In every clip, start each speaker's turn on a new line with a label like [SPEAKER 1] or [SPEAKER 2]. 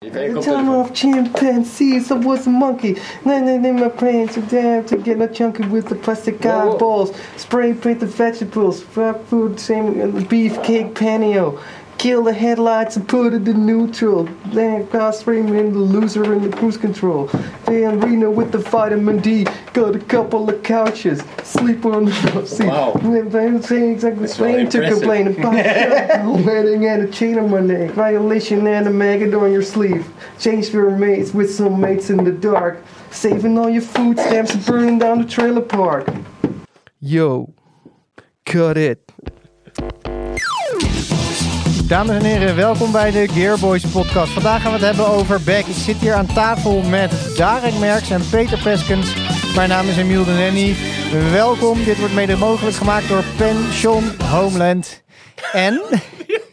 [SPEAKER 1] The time off chimpanzees, I was a monkey. Then then then my plans to damn to get a chunky with the plastic
[SPEAKER 2] Whoa, whoa.
[SPEAKER 1] eyeballs. Spray paint the vegetables, fry food, same in the beefcake panio. Kill the headlights and put it in neutral. Then cross in the loser in the cruise control. Van Reno with the vitamin D. Got a couple of couches. Sleep on the front seat.
[SPEAKER 2] Wow.
[SPEAKER 1] Then saying exactly
[SPEAKER 2] That's really
[SPEAKER 1] same to
[SPEAKER 2] impressive.
[SPEAKER 1] complain about. Wedding and a chain on my neck. Violation and a maggot on your sleeve. Change your mates with some mates in the dark. Saving all your food stamps and burning down the trailer park. Yo, cut it.
[SPEAKER 3] Dames en heren, welkom bij de Gearboys podcast. Vandaag gaan we het hebben over back. Ik zit hier aan tafel met Darek Merks en Peter Peskens. Mijn naam is Emiel de Nenny. Welkom, dit wordt mede mogelijk gemaakt door Pension Homeland. En,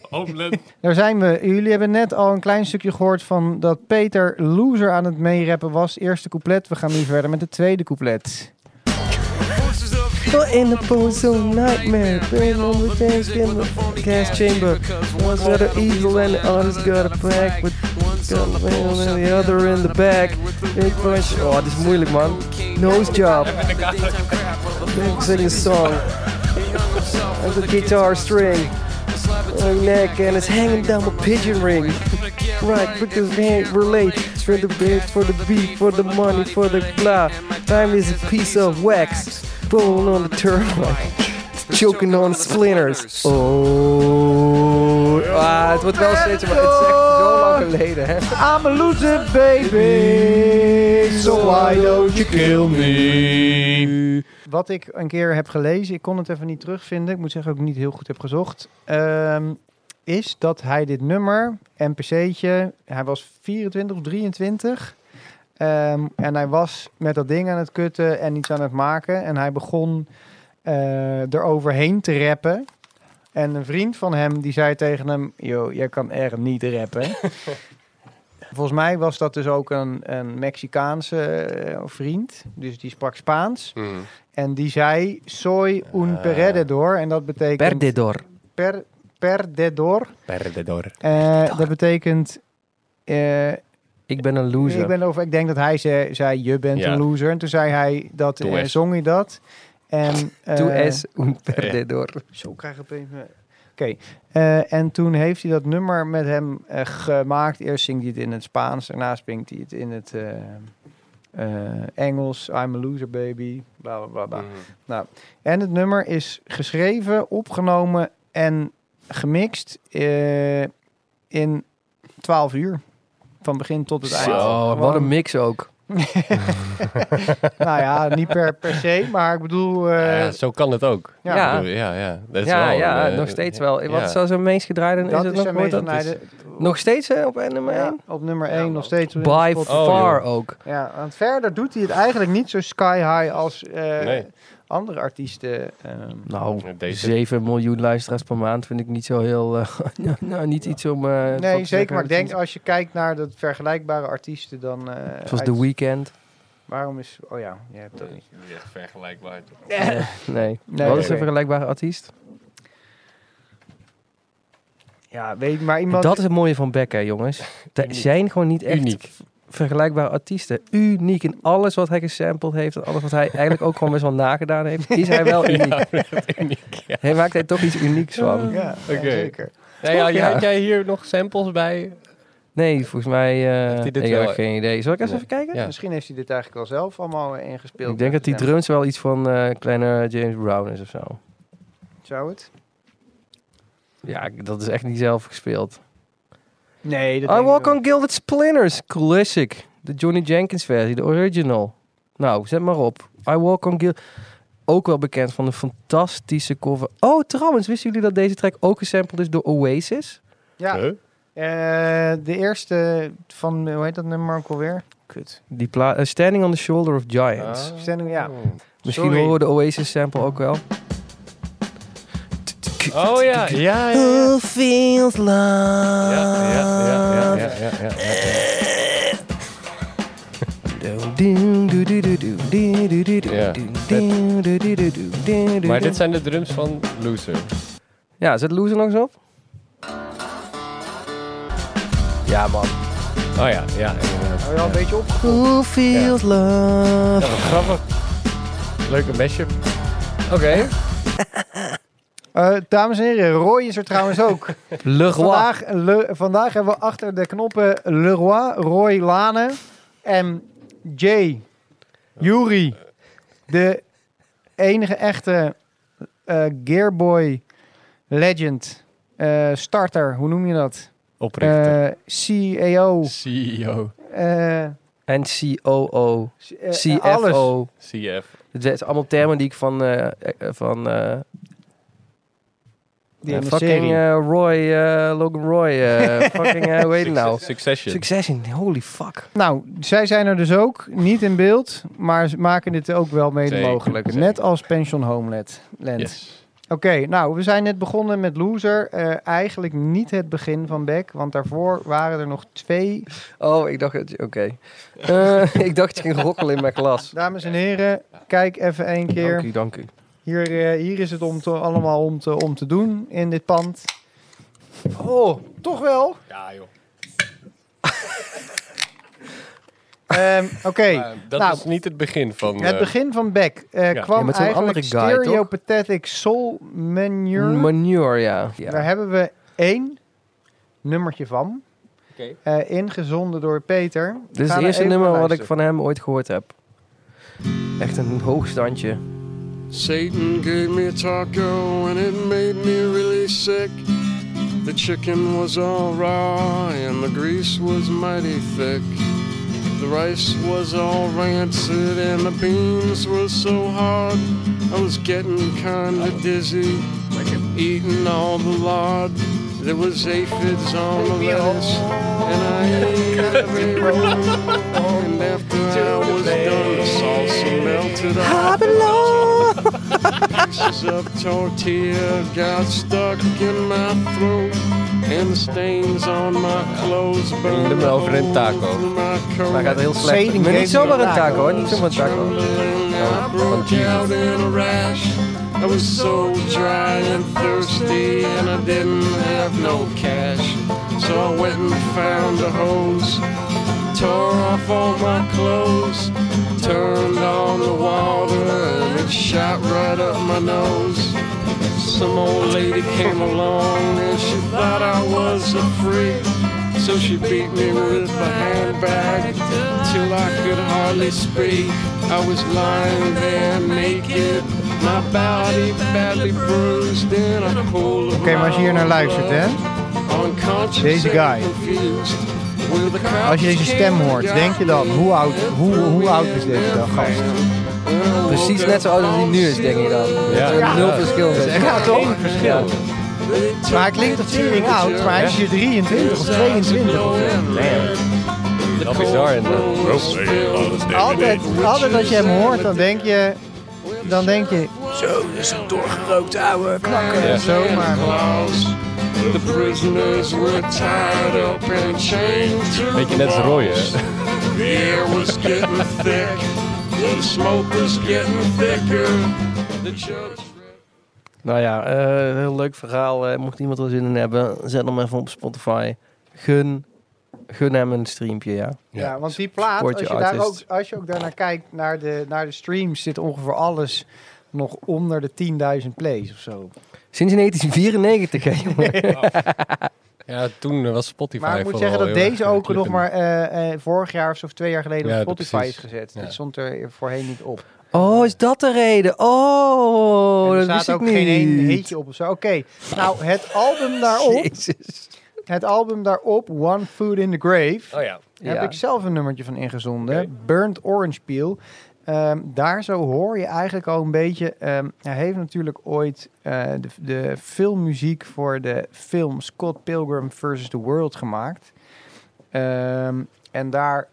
[SPEAKER 4] Homeland.
[SPEAKER 3] daar zijn we. Jullie hebben net al een klein stukje gehoord van dat Peter loser aan het meerappen was. Eerste couplet, we gaan nu verder met het tweede couplet.
[SPEAKER 1] You're in a bozo nightmare. Brain on the dance in the gas chamber. One's got an eagle and the other's got a pack. With got a whale and the other in the back. Big bunch. Oh, dit is moeilijk man. Nose job. Big singing song. There's a guitar string. My neck and it's hanging down my pigeon ring. Right, because man, we're late. For the bit, for the beat, for the money, for the blah. Time is a piece of wax. Rolling on the turnpike. Choking on splinters. Oh. Ah, het wordt wel steeds, maar het is echt zo lang geleden, hè?
[SPEAKER 3] I'm a loser baby, so why don't you kill me? Wat ik een keer heb gelezen, ik kon het even niet terugvinden. Ik moet zeggen ook niet heel goed heb gezocht. ehm, is dat hij dit nummer, NPC'tje, hij was 24 of 23. ehm, en hij was met dat ding aan het kutten en iets aan het maken. En hij begon eh eroverheen te rappen. En een vriend van hem die zei tegen hem: Yo, jij kan er niet rappen. Volgens mij was dat dus ook een, een Mexicaanse eh, vriend. Dus die sprak Spaans. En die zei: Soy un
[SPEAKER 2] Ah.
[SPEAKER 3] perdedor. En dat betekent.
[SPEAKER 1] Perdedor.
[SPEAKER 3] Per, perdedor.
[SPEAKER 2] Perdedor.
[SPEAKER 3] Eh, dat betekent. eh,
[SPEAKER 1] Ik ben een
[SPEAKER 3] ik, ben over, ik denk dat hij zei, zei je bent
[SPEAKER 2] Ja.
[SPEAKER 3] een loser. En toen zei hij dat,
[SPEAKER 2] Doe
[SPEAKER 3] eh,
[SPEAKER 2] eens.
[SPEAKER 3] zong hij dat. En, eh,
[SPEAKER 1] un
[SPEAKER 2] perdedor.
[SPEAKER 3] Zo krijg ik opeens... mijn- Oké, eh, en toen heeft hij dat nummer met hem eh, gemaakt. Eerst zingt hij het in het Spaans, daarna zingt hij het in het eh, eh, Engels. I'm a loser baby, bla bla bla.
[SPEAKER 2] Mm.
[SPEAKER 3] bla.
[SPEAKER 2] Ah,
[SPEAKER 3] En het nummer is geschreven, opgenomen en gemixt eh, in 12 uur. Van begin tot het eind.
[SPEAKER 2] Zo,
[SPEAKER 3] Gewoon-
[SPEAKER 5] Wat een mix ook.
[SPEAKER 3] Nou ja, niet per, per se, maar ik bedoel... eh,
[SPEAKER 2] ja, zo kan het ook.
[SPEAKER 3] ja,
[SPEAKER 5] ja,
[SPEAKER 2] Ik bedoel, ja, ja. Dat is
[SPEAKER 5] ja,
[SPEAKER 2] wel,
[SPEAKER 5] ja
[SPEAKER 2] eh,
[SPEAKER 5] nog steeds wel.
[SPEAKER 2] ja.
[SPEAKER 5] Wat is dat zijn meest gedraaide? Is
[SPEAKER 3] dat
[SPEAKER 5] het
[SPEAKER 3] is
[SPEAKER 5] nog
[SPEAKER 3] zijn
[SPEAKER 5] nooit
[SPEAKER 3] meest
[SPEAKER 5] dat?
[SPEAKER 3] genaaide-
[SPEAKER 5] Nog steeds hè, op nummer
[SPEAKER 3] Ja,
[SPEAKER 5] 1?
[SPEAKER 3] op nummer 1 nog steeds. op
[SPEAKER 5] By
[SPEAKER 3] Spotify.
[SPEAKER 2] Oh,
[SPEAKER 5] far ook.
[SPEAKER 3] Ja, want verder doet hij het eigenlijk niet zo sky high als eh,
[SPEAKER 2] Nee.
[SPEAKER 3] andere artiesten. ehm.
[SPEAKER 5] Nou,
[SPEAKER 2] Deze.
[SPEAKER 5] 7 miljoen luisteraars per maand vind ik niet zo heel... eh, nou, nou, niet iets om... eh, van te
[SPEAKER 3] nee, zeker.
[SPEAKER 5] zeggen.
[SPEAKER 3] Maar ik denk als je kijkt naar dat vergelijkbare artiesten, dan. eh,
[SPEAKER 5] Zoals
[SPEAKER 3] uit-
[SPEAKER 5] The Weeknd.
[SPEAKER 3] Waarom is. Oh ja, je hebt dat niet.
[SPEAKER 2] Niet echt vergelijkbaar.
[SPEAKER 5] Nee.
[SPEAKER 3] Nee,
[SPEAKER 5] Wat is
[SPEAKER 3] oké.
[SPEAKER 5] een vergelijkbare artiest?
[SPEAKER 3] Ja, weet maar iemand.
[SPEAKER 5] Dat is het mooie van Beck, hè, jongens. Er
[SPEAKER 2] Uniek.
[SPEAKER 5] zijn gewoon niet echt
[SPEAKER 2] Uniek.
[SPEAKER 5] vergelijkbare artiesten. Uniek in alles wat hij gesampled heeft. En alles wat hij eigenlijk ook gewoon best wel nagedaan heeft. Is hij wel uniek. Hij maakt hij toch iets unieks van.
[SPEAKER 3] Ja, ja,
[SPEAKER 2] Oké.
[SPEAKER 3] zeker.
[SPEAKER 2] Nee, ja,
[SPEAKER 5] Ja.
[SPEAKER 2] Had jij hier nog samples bij?
[SPEAKER 5] Nee, volgens mij... eh,
[SPEAKER 2] Heeft hij dit
[SPEAKER 5] ik heb
[SPEAKER 2] wel-
[SPEAKER 5] geen idee. Zal ik eens
[SPEAKER 2] Nee.
[SPEAKER 5] even kijken?
[SPEAKER 2] Ja.
[SPEAKER 3] Misschien heeft hij dit eigenlijk wel zelf allemaal eh, ingespeeld.
[SPEAKER 5] Ik denk dat die
[SPEAKER 3] Ja,
[SPEAKER 5] drums wel iets van eh, kleine James Brown is of zo.
[SPEAKER 3] Zou het?
[SPEAKER 5] Ja, ik- dat is echt niet zelf gespeeld.
[SPEAKER 3] Nee, dat
[SPEAKER 5] I
[SPEAKER 3] denk ik
[SPEAKER 5] Walk
[SPEAKER 2] eh,
[SPEAKER 3] wel.
[SPEAKER 5] on Gilded Splinters. Classic. De Johnny Jenkins versie, de original. Nou, zet maar op. I Walk on Gilded... Ook wel bekend van een fantastische cover. Oh, trouwens, wisten jullie dat deze track ook gesampled is door Oasis?
[SPEAKER 3] Ja,
[SPEAKER 2] Huh?
[SPEAKER 3] eh, de eerste van. Hoe heet dat nummer ook alweer? Kut.
[SPEAKER 5] Die pla- eh, Standing on the Shoulder of Giants.
[SPEAKER 2] Ah.
[SPEAKER 3] Stelling, ja.
[SPEAKER 5] Misschien
[SPEAKER 3] sorry.
[SPEAKER 5] horen we de Oasis sample ook wel.
[SPEAKER 2] Oh ja, ja, ja. ja.
[SPEAKER 5] Who feels love?
[SPEAKER 2] Ja, ja, ja, ja, ja, ja, ja, ja. Ja. Maar dit zijn de drums van Loser.
[SPEAKER 5] Ja, zet Loser nog eens op. Ja, man.
[SPEAKER 2] Oh ja, ja. inderdaad.
[SPEAKER 3] Nou ja, een beetje op.
[SPEAKER 6] Who feels
[SPEAKER 2] Ja,
[SPEAKER 6] love?
[SPEAKER 2] wat grappig. Leuke mashup.
[SPEAKER 5] Oké.
[SPEAKER 3] Eh, dames en heren, Roy is er trouwens ook.
[SPEAKER 5] Le Roi.
[SPEAKER 3] vandaag, Le- vandaag hebben we achter de knoppen Leroy, Roy Lane en Jay, Yuri, de enige echte eh, Gearboy legend, eh, starter, hoe noem je dat?
[SPEAKER 2] Oprichter.
[SPEAKER 3] Eh, CEO,
[SPEAKER 2] CEO.
[SPEAKER 3] eh, eh,
[SPEAKER 5] En COO.
[SPEAKER 3] eh, alles.
[SPEAKER 5] CFO.
[SPEAKER 2] CF.
[SPEAKER 5] Het zijn allemaal termen die ik van, eh, eh, van eh,
[SPEAKER 3] Die
[SPEAKER 5] eh,
[SPEAKER 3] in de
[SPEAKER 5] fucking
[SPEAKER 3] serie.
[SPEAKER 5] eh, Roy, eh, Logan Roy, eh, fucking, eh, hoe heet het nou?
[SPEAKER 2] Succession.
[SPEAKER 5] Succession, holy fuck.
[SPEAKER 3] Nou, zij zijn er dus ook, niet in beeld, maar ze maken dit ook wel mede
[SPEAKER 2] Zeker,
[SPEAKER 3] mogelijk.
[SPEAKER 2] zeker.
[SPEAKER 3] Net als Pension Homeland. Land.
[SPEAKER 2] Yes.
[SPEAKER 3] Oké, nou, we zijn net begonnen met Loser. Eh, eigenlijk niet het begin van Beck, want daarvoor waren er nog twee.
[SPEAKER 5] Oh, ik dacht, dat je- oké. Eh, ik dacht, je ging rokkelen in mijn glas.
[SPEAKER 3] Dames en heren, kijk even één
[SPEAKER 5] Dank
[SPEAKER 3] keer.
[SPEAKER 5] u, dank u.
[SPEAKER 3] Hier, eh, hier is het om te, allemaal om te, om te doen in dit pand. Oh, toch wel?
[SPEAKER 2] Ja, joh.
[SPEAKER 3] Ehm, Oké,
[SPEAKER 2] Eh, dat
[SPEAKER 3] nou,
[SPEAKER 2] is niet het begin van...
[SPEAKER 3] het
[SPEAKER 2] eh,
[SPEAKER 3] begin van Beck eh,
[SPEAKER 2] Ja.
[SPEAKER 5] Ja,
[SPEAKER 3] kwam
[SPEAKER 5] met zo'n
[SPEAKER 3] eigenlijk
[SPEAKER 5] andere guy, toch?
[SPEAKER 3] Stereopathetic Soul Manure.
[SPEAKER 5] Manure, ja.
[SPEAKER 3] Daar
[SPEAKER 5] ja.
[SPEAKER 3] hebben we één nummertje van.
[SPEAKER 2] Oké.
[SPEAKER 3] Eh, ingezonden door Peter. We
[SPEAKER 5] Dit
[SPEAKER 3] gaan
[SPEAKER 5] is het
[SPEAKER 3] er
[SPEAKER 5] eerste
[SPEAKER 3] even
[SPEAKER 5] nummer
[SPEAKER 3] naar
[SPEAKER 5] wat ik
[SPEAKER 3] luisteren.
[SPEAKER 5] van hem ooit gehoord heb. Echt een hoogstandje.
[SPEAKER 7] Satan gave me a taco and it made me really sick. The chicken was all raw and the grease was mighty thick. The rice was all rancid and the beans were so hard. I was getting kinda dizzy, like I'm eating all the lard. There was aphids on the lettuce, and I ate every roll. And after I was done, the salsa melted off. Pieces of tortilla got stuck in my throat, and the stains on my clothes burned.
[SPEAKER 2] nummer over een taco.
[SPEAKER 7] all through my coat.
[SPEAKER 5] Maar hij gaat heel slecht.
[SPEAKER 3] Shading
[SPEAKER 5] Maar niet
[SPEAKER 3] geeft
[SPEAKER 5] zomaar een
[SPEAKER 3] een
[SPEAKER 5] taco, hoor. Niet zomaar een taco.
[SPEAKER 7] Trembling, I broke out in a rash. I was so dry and thirsty, and I didn't have no cash. So I went and found a hose, tore off all my clothes, turned on the water, and it shot right up my nose. Some old lady came along and she thought I was a freak. So she beat me with a handbag till I could hardly speak. I was lying there naked, my body badly bruised in a pool of
[SPEAKER 3] Oké, maar als je hier naar
[SPEAKER 7] my own
[SPEAKER 3] luistert, hè.
[SPEAKER 7] blood. Unconscious
[SPEAKER 3] Deze
[SPEAKER 7] and
[SPEAKER 3] guy.
[SPEAKER 7] confused. With the cops
[SPEAKER 3] Als je deze stem hoort, denk je dan, hoe oud, hoe, hoe oud is deze dan, gast?
[SPEAKER 5] Precies net zo oud als hij nu is, denk ik dan.
[SPEAKER 2] Ja.
[SPEAKER 5] Ja. Nul verschil.
[SPEAKER 3] Ja, toch?
[SPEAKER 5] verschil.
[SPEAKER 3] Maar het klinkt als Turing oud, maar hij is hier 23 of 22 of zo.
[SPEAKER 2] Dat bizar. inderdaad.
[SPEAKER 3] Altijd, altijd als je hem hoort, dan denk je... Dan denk je...
[SPEAKER 2] Ja.
[SPEAKER 3] Zo, maar...
[SPEAKER 7] The prisoners were tied up and chained to the
[SPEAKER 2] Beetje net als Roy, hè?
[SPEAKER 7] The air was getting thick. The smoke was getting thicker. The judge.
[SPEAKER 5] Nou ja, eh, heel leuk verhaal. Eh, mocht iemand er zin in hebben, zet hem even op Spotify. Gun, gun hem een streampje, ja.
[SPEAKER 3] Ja, want die plaat, als
[SPEAKER 5] Support
[SPEAKER 3] je,
[SPEAKER 5] your
[SPEAKER 3] daar ook,
[SPEAKER 5] artist.
[SPEAKER 3] als je ook daarnaar kijkt, naar de, naar de streams, zit ongeveer alles nog onder de 10.000 plays of zo.
[SPEAKER 5] Sinds 1994, hè, jongen.
[SPEAKER 2] Ja, toen eh, was Spotify
[SPEAKER 3] Maar ik moet
[SPEAKER 2] vooral
[SPEAKER 3] zeggen dat
[SPEAKER 2] heel
[SPEAKER 3] deze
[SPEAKER 2] erg, eh,
[SPEAKER 3] ook nog
[SPEAKER 2] klikken.
[SPEAKER 3] maar eh, eh, vorig jaar of zo, of twee jaar geleden
[SPEAKER 2] Ja,
[SPEAKER 3] op Spotify
[SPEAKER 2] precies.
[SPEAKER 3] is gezet.
[SPEAKER 2] Ja.
[SPEAKER 3] Dit stond er voorheen niet op.
[SPEAKER 5] Oh, is dat de reden?
[SPEAKER 3] En
[SPEAKER 5] Oh,
[SPEAKER 3] er
[SPEAKER 5] dat
[SPEAKER 3] staat
[SPEAKER 5] wist ik
[SPEAKER 3] ook
[SPEAKER 5] niet.
[SPEAKER 3] geen één heetje op of zo. Oké, nou het album daarop,
[SPEAKER 5] Jezus.
[SPEAKER 3] het album daarop, One Food in the Grave,
[SPEAKER 2] Oh ja.
[SPEAKER 3] heb
[SPEAKER 5] Ja.
[SPEAKER 3] ik zelf een nummertje van ingezonden. Burnt Orange Peel. Ehm, daar zo hoor je eigenlijk al een beetje. ehm, hij heeft natuurlijk ooit eh, de, de filmmuziek voor de film Scott Pilgrim vs. The World gemaakt. Ehm, en daar,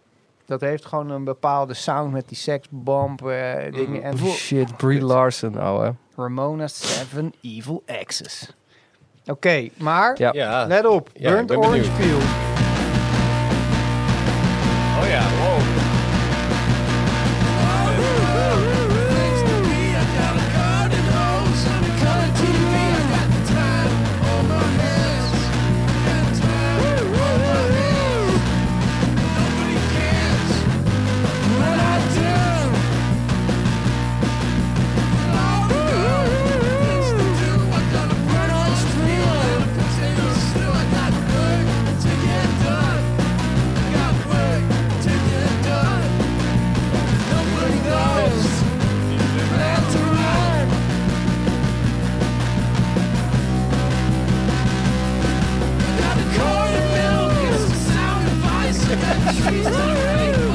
[SPEAKER 3] dat heeft gewoon een bepaalde sound met die seksbomb eh, dingen.
[SPEAKER 2] Mm.
[SPEAKER 3] En voor-
[SPEAKER 5] Shit, Brie Larson, ouwe.
[SPEAKER 3] Ramona Seven Evil Axes. Oké, maar
[SPEAKER 5] Ja.
[SPEAKER 2] Ja.
[SPEAKER 3] let op.
[SPEAKER 2] Ja,
[SPEAKER 3] Burnt
[SPEAKER 2] ik ben
[SPEAKER 3] Orange Peel.
[SPEAKER 2] Oh ja, wow.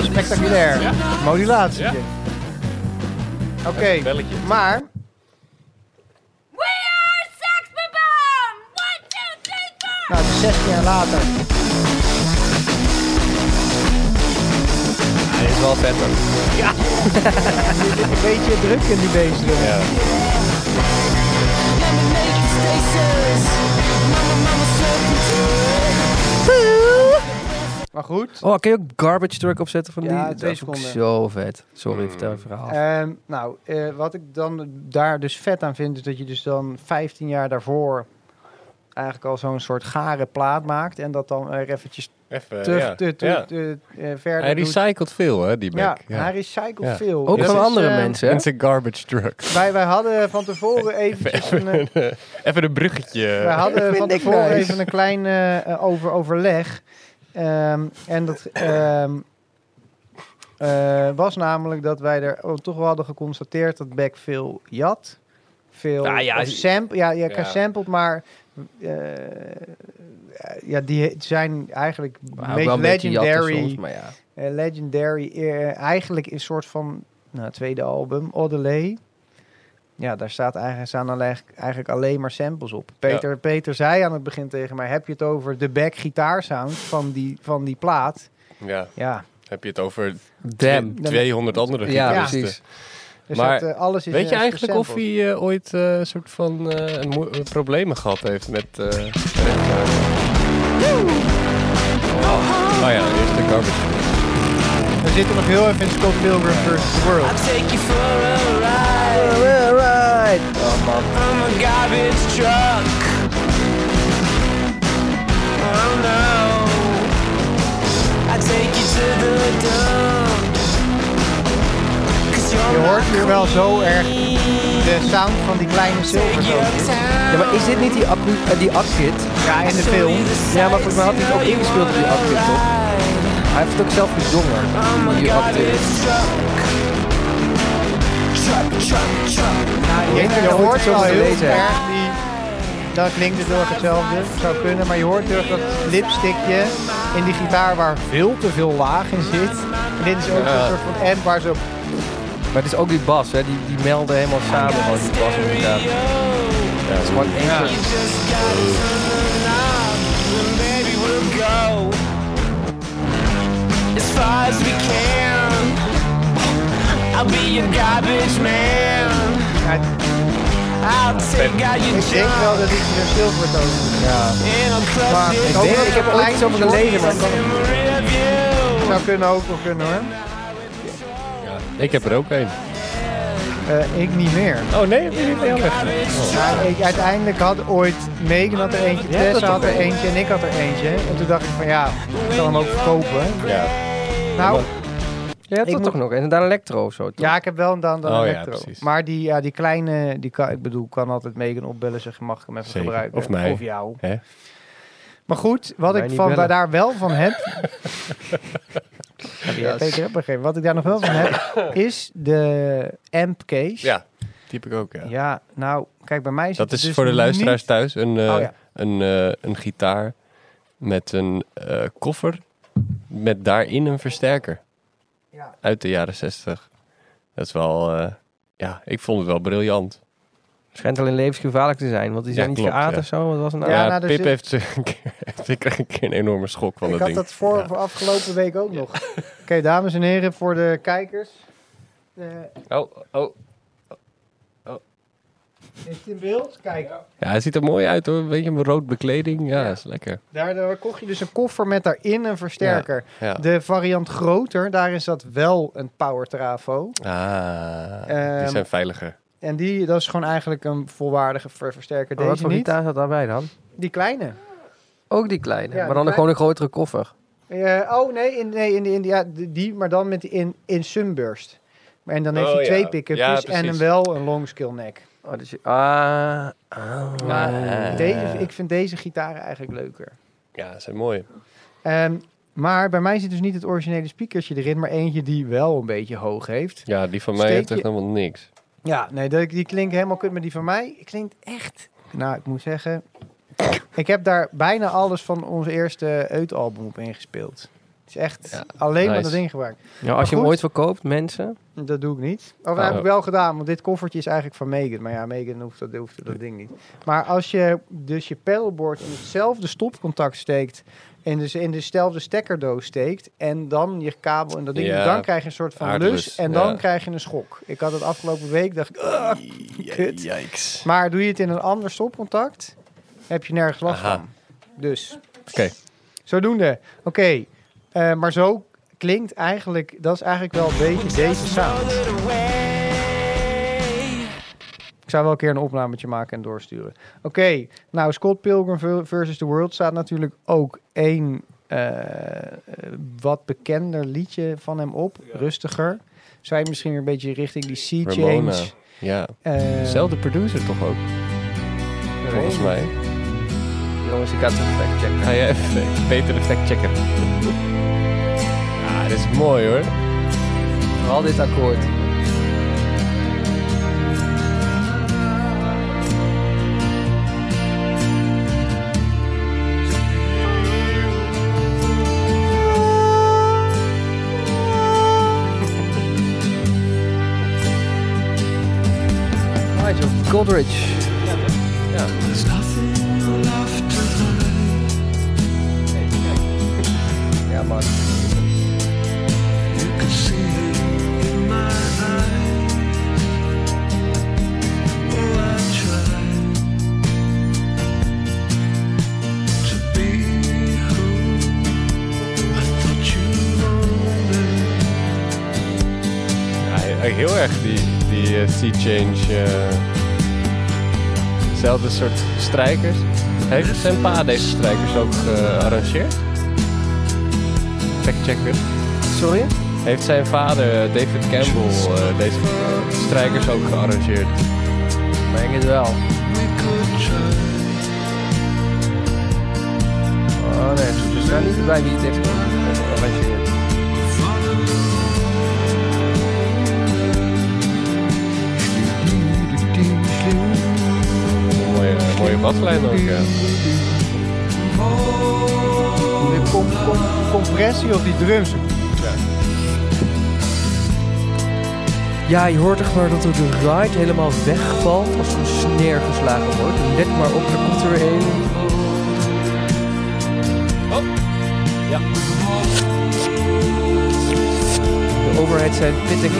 [SPEAKER 3] Spectaculair.
[SPEAKER 2] Ja.
[SPEAKER 3] Modulatie.
[SPEAKER 2] Ja.
[SPEAKER 3] Oké,
[SPEAKER 2] Een belletje.
[SPEAKER 3] maar
[SPEAKER 8] We are Sex Bomb! One, two, three, four!
[SPEAKER 3] nou, 16 jaar later.
[SPEAKER 5] Hij is wel vet hoor.
[SPEAKER 3] Er zit een beetje druk in die beesten.
[SPEAKER 2] Ja.
[SPEAKER 3] Maar goed.
[SPEAKER 5] Oh, kun je ook garbage truck opzetten van
[SPEAKER 3] Ja,
[SPEAKER 5] die?
[SPEAKER 3] twee
[SPEAKER 5] Dat is ook
[SPEAKER 3] seconden.
[SPEAKER 5] zo vet.
[SPEAKER 2] Hmm.
[SPEAKER 5] Sorry, vertel je verhaal.
[SPEAKER 3] Ehm, nou, eh, wat ik dan daar dus vet aan vind, is dat je dus dan 15 jaar daarvoor eigenlijk al zo'n soort gare plaat maakt. En dat dan er eventjes
[SPEAKER 2] Even,
[SPEAKER 3] te,
[SPEAKER 2] Eh, ja.
[SPEAKER 3] te, te-
[SPEAKER 2] Ja.
[SPEAKER 3] te- eh, verder
[SPEAKER 2] Hij
[SPEAKER 3] doet.
[SPEAKER 2] recycelt veel, hè, die
[SPEAKER 3] Ja,
[SPEAKER 2] Mac. Ja.
[SPEAKER 3] hij recycelt
[SPEAKER 2] Ja.
[SPEAKER 3] veel.
[SPEAKER 5] ook
[SPEAKER 3] Dus
[SPEAKER 5] van
[SPEAKER 3] het is,
[SPEAKER 5] andere
[SPEAKER 3] eh,
[SPEAKER 5] mensen. hè?
[SPEAKER 2] En zijn garbage truck.
[SPEAKER 3] Wij, wij hadden van tevoren eventjes een, eh,
[SPEAKER 2] Even een bruggetje.
[SPEAKER 3] wij hadden van
[SPEAKER 5] eh, ik
[SPEAKER 3] tevoren
[SPEAKER 5] nice.
[SPEAKER 3] even een klein eh, eh, over, overleg. Ehm, en dat ehm, eh, was namelijk dat wij er oh, toch wel hadden geconstateerd dat Beck veel jat. Veel
[SPEAKER 5] Ah, ja,
[SPEAKER 3] of
[SPEAKER 5] die-
[SPEAKER 3] sample, ja, ja,
[SPEAKER 2] Ja.
[SPEAKER 3] sampled, maar eh, ja, die zijn eigenlijk
[SPEAKER 5] Maar ook
[SPEAKER 3] meest
[SPEAKER 5] wel een beetje jatten
[SPEAKER 3] legendary.
[SPEAKER 5] soms, maar ja.
[SPEAKER 3] Eh, Legendary, eh, eigenlijk is een soort van nou, tweede album, Odelay. Ja, daar staat eigenlijk, staan alleen, eigenlijk alleen maar samples op. Peter, Peter zei aan het begin tegen mij, heb je het over de back gitaarsound van die, van die plaat?
[SPEAKER 2] Ja,
[SPEAKER 3] Ja,
[SPEAKER 2] heb je het over
[SPEAKER 5] Damn.
[SPEAKER 2] tw- 200 andere
[SPEAKER 5] Ja,
[SPEAKER 2] gitaristen.
[SPEAKER 5] precies.
[SPEAKER 3] dus
[SPEAKER 2] Maar
[SPEAKER 3] dat, eh, alles is
[SPEAKER 2] Weet je
[SPEAKER 3] is
[SPEAKER 2] eigenlijk of hij
[SPEAKER 3] gesampled.
[SPEAKER 2] eh, ooit eh, een soort van eh, een mo- eh, problemen gehad heeft met... eh, met, eh, oh ja, eerst de garbage.
[SPEAKER 3] We zitten nog heel even in Scott Pilgrim vs. The World.
[SPEAKER 4] Take you for a ride.
[SPEAKER 3] Eh,
[SPEAKER 4] I'm a garbage truck. Oh no. I take you to the dump. Cause you're
[SPEAKER 3] Je
[SPEAKER 4] my
[SPEAKER 3] hoort hier wel zo erg
[SPEAKER 4] queen.
[SPEAKER 3] de sound van die kleine
[SPEAKER 4] Take you
[SPEAKER 3] zilverzootjes.
[SPEAKER 5] Ja, maar is dit niet die, acu- eh, die akkit?
[SPEAKER 3] Ja, in de film.
[SPEAKER 5] Ja, maar volgens mij had hij het ook ingespeeld op die akkit, toch? Hij heeft het ook zelf gezongen. Die akkit.
[SPEAKER 3] Je,
[SPEAKER 5] Ja,
[SPEAKER 3] je
[SPEAKER 5] dat moet
[SPEAKER 3] hoort
[SPEAKER 5] ik zo
[SPEAKER 3] wel
[SPEAKER 5] moeten
[SPEAKER 3] heel
[SPEAKER 5] lezen.
[SPEAKER 3] erg die... Dat klinkt het heel erg hetzelfde, zou kunnen. Maar je hoort heel erg dat lipstickje in die gitaar waar veel te veel laag in zit. En dit is ook
[SPEAKER 2] Ja.
[SPEAKER 3] een soort van amp waar ze...
[SPEAKER 5] Maar het is ook die bas, hè? Die, die melden helemaal samen gewoon die bas en die gitaar. Het is gewoon één soort-
[SPEAKER 4] As far as we can, I'll be your garbage man.
[SPEAKER 3] Ja,
[SPEAKER 4] I'll take out your
[SPEAKER 3] ik denk wel
[SPEAKER 4] junk
[SPEAKER 3] dat ik weer zilver toon. Ja.
[SPEAKER 4] and I'll
[SPEAKER 3] Maar
[SPEAKER 4] crush
[SPEAKER 3] ik
[SPEAKER 4] it
[SPEAKER 3] denk dat
[SPEAKER 5] Ik heb er ooit iets over gelezen, maar ik kan-
[SPEAKER 4] in
[SPEAKER 3] zou kunnen ook wel kunnen hoor.
[SPEAKER 2] Ik heb er ook één.
[SPEAKER 3] Eh, ik niet meer.
[SPEAKER 2] Oh nee, heb je niet meer weg?
[SPEAKER 3] Maar ik uiteindelijk had ooit Megan had er eentje, Tess had er eentje en ik had er eentje. En toen dacht ik van ja, ik zal hem ook verkopen.
[SPEAKER 2] Ja.
[SPEAKER 3] Nou,
[SPEAKER 5] Ja, dat
[SPEAKER 3] Ik
[SPEAKER 5] toch
[SPEAKER 3] moet-
[SPEAKER 5] nog. En daar elektro of zo, toch?
[SPEAKER 3] Ja, ik heb wel een dan dan
[SPEAKER 2] Oh ja,
[SPEAKER 3] elektro.
[SPEAKER 2] precies.
[SPEAKER 3] maar die, ja, die kleine, die kan, ik bedoel, kan altijd Megan opbellen zeggen, mag ik hem even
[SPEAKER 2] Zeker.
[SPEAKER 3] gebruiken?
[SPEAKER 2] Of mij.
[SPEAKER 3] jou.
[SPEAKER 2] Hè?
[SPEAKER 3] Maar goed, wat
[SPEAKER 5] Mij
[SPEAKER 3] ik
[SPEAKER 5] niet
[SPEAKER 3] van,
[SPEAKER 5] bellen.
[SPEAKER 3] daar wel van heb... ja, Peter heb begrepen. Wat ik daar nog wel van heb, is de amp case.
[SPEAKER 2] Ja, die heb ik ook, ja.
[SPEAKER 3] Ja, nou, kijk, bij mij zit
[SPEAKER 2] Dat
[SPEAKER 3] het
[SPEAKER 2] is
[SPEAKER 3] dus
[SPEAKER 2] voor de luisteraars thuis een, eh,
[SPEAKER 3] niet- Oh ja,
[SPEAKER 2] een, eh, een gitaar met een eh, koffer met daarin een versterker.
[SPEAKER 3] Ja.
[SPEAKER 2] Uit de jaren zestig. Dat is wel, eh, ja, ik vond het wel briljant.
[SPEAKER 5] Schijnt alleen levensgevaarlijk te zijn, want die
[SPEAKER 2] Ja,
[SPEAKER 5] zijn niet
[SPEAKER 2] klopt,
[SPEAKER 5] geaard
[SPEAKER 2] ja.
[SPEAKER 5] of zo. Wat was het nou?
[SPEAKER 3] Ja,
[SPEAKER 2] Ja,
[SPEAKER 3] nou, er
[SPEAKER 2] Pip
[SPEAKER 3] zit-
[SPEAKER 2] heeft ze een keer, ik kreeg een keer een enorme schok van
[SPEAKER 3] ik
[SPEAKER 2] dat
[SPEAKER 3] had
[SPEAKER 2] ding.
[SPEAKER 3] dat voor,
[SPEAKER 2] Ja.
[SPEAKER 3] voor afgelopen week ook nog. Oké, dames en heren, voor de kijkers. eh,
[SPEAKER 2] Oh, oh.
[SPEAKER 3] is het in beeld? Kijk.
[SPEAKER 2] Ja, hij ziet er mooi uit hoor. Een beetje een rood bekleding. Ja, is lekker.
[SPEAKER 3] Daardoor kocht je dus een koffer met daarin een versterker.
[SPEAKER 2] Ja.
[SPEAKER 3] De variant groter, daar is dat wel een power trafo.
[SPEAKER 2] Ah, die
[SPEAKER 3] Ehm,
[SPEAKER 2] zijn veiliger.
[SPEAKER 3] En die, dat is gewoon eigenlijk een volwaardige ver- versterker.
[SPEAKER 5] Oh, wat
[SPEAKER 3] Deze
[SPEAKER 5] voor
[SPEAKER 3] niet.
[SPEAKER 5] gitaar zat daarbij dan?
[SPEAKER 3] Die kleine.
[SPEAKER 5] Ook die kleine,
[SPEAKER 3] Ja, die
[SPEAKER 5] maar dan
[SPEAKER 3] kleine.
[SPEAKER 5] gewoon een grotere koffer.
[SPEAKER 3] Eh, oh nee, in, nee in, in, ja, die, die, maar dan met die in, in Sunburst. Maar En dan heeft
[SPEAKER 2] Oh,
[SPEAKER 3] hij twee
[SPEAKER 2] ja. Ja,
[SPEAKER 3] pick-upjes en
[SPEAKER 2] precies.
[SPEAKER 3] een wel een long skill neck.
[SPEAKER 5] Oh, dus je, ah, ah,
[SPEAKER 3] Maar
[SPEAKER 5] ah.
[SPEAKER 3] deze, ik vind deze gitaren eigenlijk leuker.
[SPEAKER 2] Ja, ze zijn mooi.
[SPEAKER 3] Ehm, maar bij mij zit dus niet het originele speakersje erin, maar eentje die wel een beetje hoog heeft.
[SPEAKER 2] Ja, die van
[SPEAKER 3] Steek
[SPEAKER 2] mij heeft echt
[SPEAKER 3] je-
[SPEAKER 2] helemaal niks.
[SPEAKER 3] Ja, nee, dat- die klinkt helemaal kut, maar die van mij klinkt echt... Nou, ik moet zeggen... Ik heb daar bijna alles van ons eerste Eut-album op ingespeeld. is echt
[SPEAKER 2] Ja,
[SPEAKER 3] alleen maar
[SPEAKER 2] nice.
[SPEAKER 3] dat ding gebruikt.
[SPEAKER 5] Nou, als je hem
[SPEAKER 3] goed.
[SPEAKER 5] ooit verkoopt, mensen.
[SPEAKER 3] Dat doe ik niet. Of nou,
[SPEAKER 2] Ah.
[SPEAKER 3] heb ik wel gedaan, want dit koffertje is eigenlijk van Megan. Maar ja, Megan hoeft dat, hoeft dat ding niet. Maar als je dus je paddleboard in hetzelfde stopcontact steekt... en dus in dezelfde stekkerdoos steekt... en dan je kabel en dat ding...
[SPEAKER 2] Ja,
[SPEAKER 3] dan krijg je een soort van
[SPEAKER 2] aardlus,
[SPEAKER 3] lus en dan
[SPEAKER 2] ja.
[SPEAKER 3] krijg je een schok. Ik had het afgelopen week, dacht ik... "Ugh." Kut.
[SPEAKER 2] Yikes.
[SPEAKER 3] Maar doe je het in een ander stopcontact... heb je nergens last
[SPEAKER 2] Aha.
[SPEAKER 3] van. Dus...
[SPEAKER 2] Oké.
[SPEAKER 3] Zodoende. Oké. Eh, maar zo klinkt eigenlijk... dat is eigenlijk wel een beetje deze sound. Ik zou wel een keer een opnametje maken en doorsturen. Oké, nou Scott Pilgrim v- versus The World staat natuurlijk ook één eh, eh, wat bekender liedje van hem op. Rustiger. Zou je misschien weer een beetje richting die Sea
[SPEAKER 2] Ramona.
[SPEAKER 3] Change...
[SPEAKER 2] Ja.
[SPEAKER 3] eh,
[SPEAKER 2] Zelfde producer toch ook, volgens mij.
[SPEAKER 5] Jongens, ik ga het even factchecken.
[SPEAKER 2] Ga jij even Peter de fact checken. Ah, dit is mooi hoor.
[SPEAKER 5] Al dit akkoord. Nigel Godrich. Ja, man.
[SPEAKER 2] Ja, he- heel erg die, die eh, sea change. eh, Zelfde soort strijkers. Heeft zijn pa deze strijkers ook eh, gearrangeerd? Fact checker.
[SPEAKER 5] Sorry?
[SPEAKER 2] Heeft zijn vader eh, David Campbell eh, deze strijkers ook gearrangeerd?
[SPEAKER 5] Ik denk het wel. Oh nee, we staan niet bij wie het heeft gearrangeerd.
[SPEAKER 2] Mooie, mooie baslijn ook. ja.
[SPEAKER 3] De com- com- compressie op die drums. Nou,
[SPEAKER 5] Ja, je hoort echt maar dat er de ride helemaal wegvalt als een sneer geslagen wordt. En let maar op, er komt er weer een.
[SPEAKER 2] Ja.
[SPEAKER 5] De overheid zijn pittig.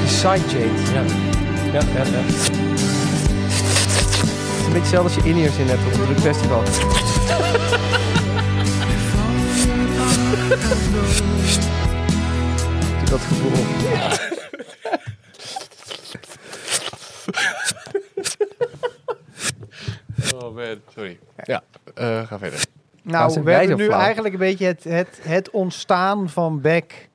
[SPEAKER 5] Die sidechains. Ja.
[SPEAKER 2] Ja, ja, ja.
[SPEAKER 5] Het is een beetje hetzelfde als je in-ears in hebt op een festival. dat gevoel.
[SPEAKER 2] Oh man, sorry. Ja, eh, ga verder.
[SPEAKER 5] Waar
[SPEAKER 3] Nou,
[SPEAKER 5] zijn
[SPEAKER 3] we
[SPEAKER 5] wij
[SPEAKER 3] hebben
[SPEAKER 5] zo
[SPEAKER 3] nu
[SPEAKER 5] flauw?
[SPEAKER 3] eigenlijk een beetje het, het, het ontstaan van Beck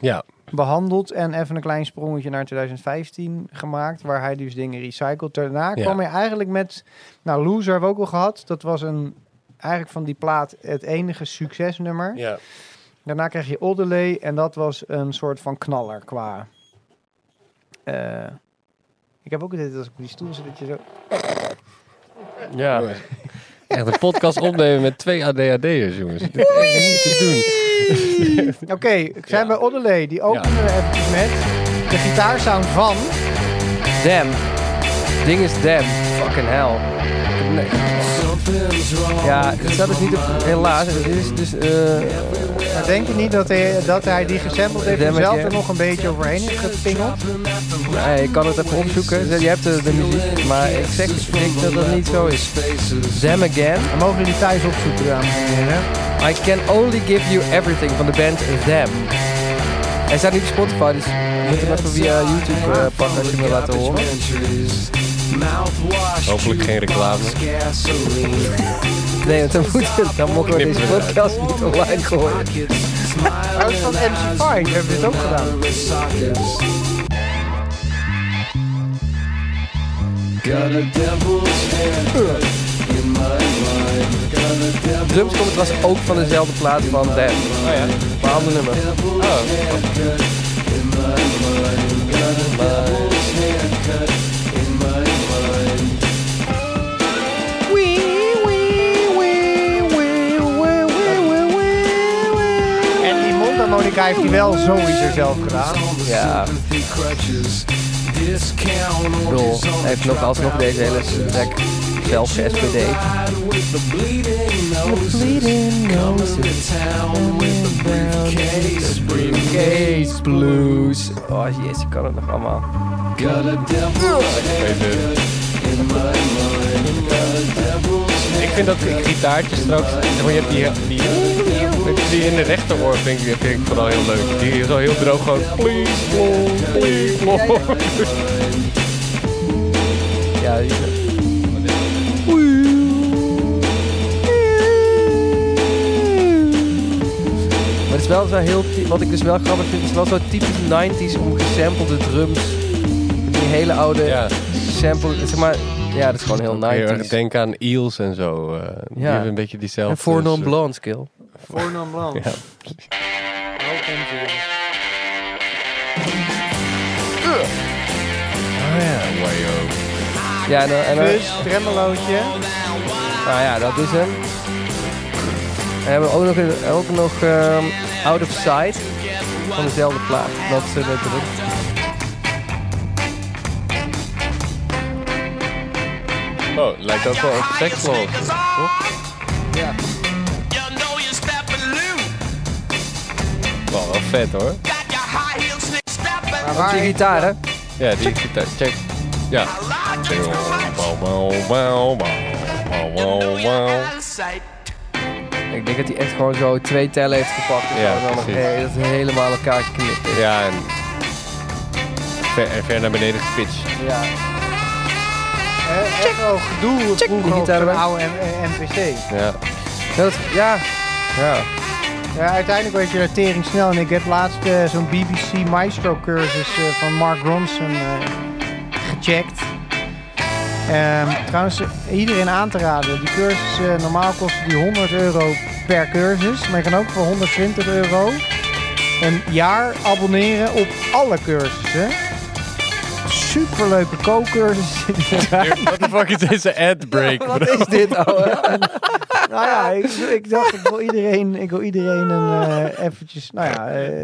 [SPEAKER 2] Ja,
[SPEAKER 3] behandeld. En even een klein sprongetje naar 2015 gemaakt, waar hij dus dingen recycled. Daarna
[SPEAKER 2] Ja.
[SPEAKER 3] kwam hij eigenlijk met, nou Loser hebben we ook al gehad. Dat was een, eigenlijk van die plaat het enige succesnummer.
[SPEAKER 2] ja.
[SPEAKER 3] Daarna kreeg je Oddeley en dat was een soort van knaller qua... eh, ik heb ook het idee dat als ik op die stoel zit, dat je zo...
[SPEAKER 2] Ja. Echt een podcast opnemen met twee ADHD'ers, jongens. Dit is echt niet te doen.
[SPEAKER 3] Oké, ik
[SPEAKER 2] Ja.
[SPEAKER 3] zijn bij Oddeley. Die openen we eventjes met de gitaarsound van...
[SPEAKER 5] Damn. Ding is damn. Fucking hell. Nee. Ja, dat is niet op, helaas. Dit is dus eh,
[SPEAKER 3] Maar Nou, denk je niet dat hij, dat hij die gesampled heeft en
[SPEAKER 5] Demmetje.
[SPEAKER 3] zelf er nog een beetje overheen heeft gepingeld?
[SPEAKER 5] Nee, ik kan het even opzoeken. Je hebt de, de muziek, maar ik zeg ik denk dat dat niet zo is. Them Again.
[SPEAKER 3] Dan mogen jullie thuis opzoeken, dames en heren.
[SPEAKER 5] I Can Only Give You Everything van de band Them. Hij staat niet op Spotify, dus je moet hem even via YouTube eh, pakken als je me laat horen.
[SPEAKER 2] Hopelijk geen reclame.
[SPEAKER 5] Nee, want dan, moet het, dan mogen we deze podcast niet online gooien.
[SPEAKER 3] Trouwens van MC5 hebben we dit ook gedaan.
[SPEAKER 5] Drums komt trouwens ook van dezelfde plaat van Them. Oh ja. Maar ander nummer.
[SPEAKER 3] En die Monica heeft hij wel sowieso zelf gedaan.
[SPEAKER 5] Ja. Ik bedoel, hij heeft nog alsnog deze hele track zelf SPD. Case Blues. Oh jezus, ik kan het nog allemaal.
[SPEAKER 2] Ik vind dat die gitaartje straks. zeg maar, Je hebt die, die, die in de rechteroor vind ik, die vind ik vooral heel leuk. Die is al heel droog gewoon. Please, Lord, please, Lord.
[SPEAKER 5] Ja, die- Maar het is wel zo heel, ty- wat ik dus wel grappig vind, is wel zo typisch 90s om gesampelde drums. Met Die hele oude
[SPEAKER 2] Ja,
[SPEAKER 5] sample, zeg maar, ja, dat is gewoon heel
[SPEAKER 2] heel erg
[SPEAKER 5] 90s.
[SPEAKER 2] denk aan Eels en zo. eh, Die
[SPEAKER 5] Ja.
[SPEAKER 2] hebben een beetje diezelfde.
[SPEAKER 5] En voor non
[SPEAKER 2] soort-
[SPEAKER 5] blonde skill.
[SPEAKER 3] Voor non blonde.
[SPEAKER 2] Ja. Oh ja, wajo.
[SPEAKER 5] Ja, en, dan- en, dan-
[SPEAKER 3] Dus, tremolootje.
[SPEAKER 5] nou ja, dat is hem. En hebben we ook nog, een- ook nog ehm, Out of Sight van dezelfde plaat. Dat is eh, dat druk.
[SPEAKER 2] Oh, lijkt ook wel op seksloos. Wel, wel vet hoor.
[SPEAKER 5] Maar waar je gitaar, hè?
[SPEAKER 2] Ja, die gitaar. Check. Ja. Wow, wow, wow, wow, wow, wow.
[SPEAKER 5] Ik denk dat hij echt gewoon zo twee tellen heeft gepakt. En
[SPEAKER 2] Ja,
[SPEAKER 5] gewoon dan nog
[SPEAKER 2] precies.
[SPEAKER 5] he- dat hij helemaal elkaar geknipt is.
[SPEAKER 2] Ja, en ver, en ver naar beneden gepitcht.
[SPEAKER 5] Ja.
[SPEAKER 3] Eh, Echt wel gedoe vroeger op
[SPEAKER 5] Gitaar
[SPEAKER 3] zo'n
[SPEAKER 5] erbij.
[SPEAKER 3] oude M- eh, MPC.
[SPEAKER 2] Ja.
[SPEAKER 5] Dat, ja. ja.
[SPEAKER 3] Ja, uiteindelijk weet je dat tering snel. En ik heb laatst eh, zo'n BBC Maestro cursus eh, van Mark Ronson eh, gecheckt. Ehm, trouwens, eh, iedereen aan te raden. Die cursus, eh, normaal kost die 100 euro per cursus. Maar je kan ook voor 120 euro een jaar abonneren op alle cursussen. Superleuke co-cursus.
[SPEAKER 2] What the fuck is deze ad break?
[SPEAKER 5] Wat is dit, ouwe?
[SPEAKER 3] nou ja, ik, ik dacht, ik wil iedereen, ik wil iedereen een eh, eventjes, nou ja, eh,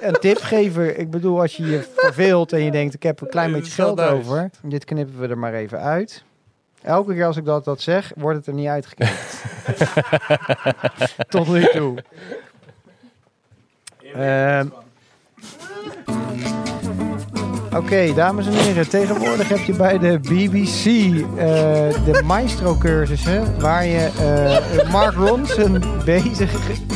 [SPEAKER 3] een tip geven. Ik bedoel, als je je verveelt en je denkt, ik heb een klein
[SPEAKER 2] Nee,
[SPEAKER 3] beetje
[SPEAKER 2] dat is
[SPEAKER 3] geld
[SPEAKER 2] wel duizend.
[SPEAKER 3] over. Dit knippen we er maar even uit. Elke keer als ik dat, dat zeg, wordt het er niet uitgeknipt. Tot nu toe. Ehm, Oké, dames en heren, tegenwoordig heb je bij de BBC eh, de Maestro-cursussen, waar je eh, Mark Ronson bezig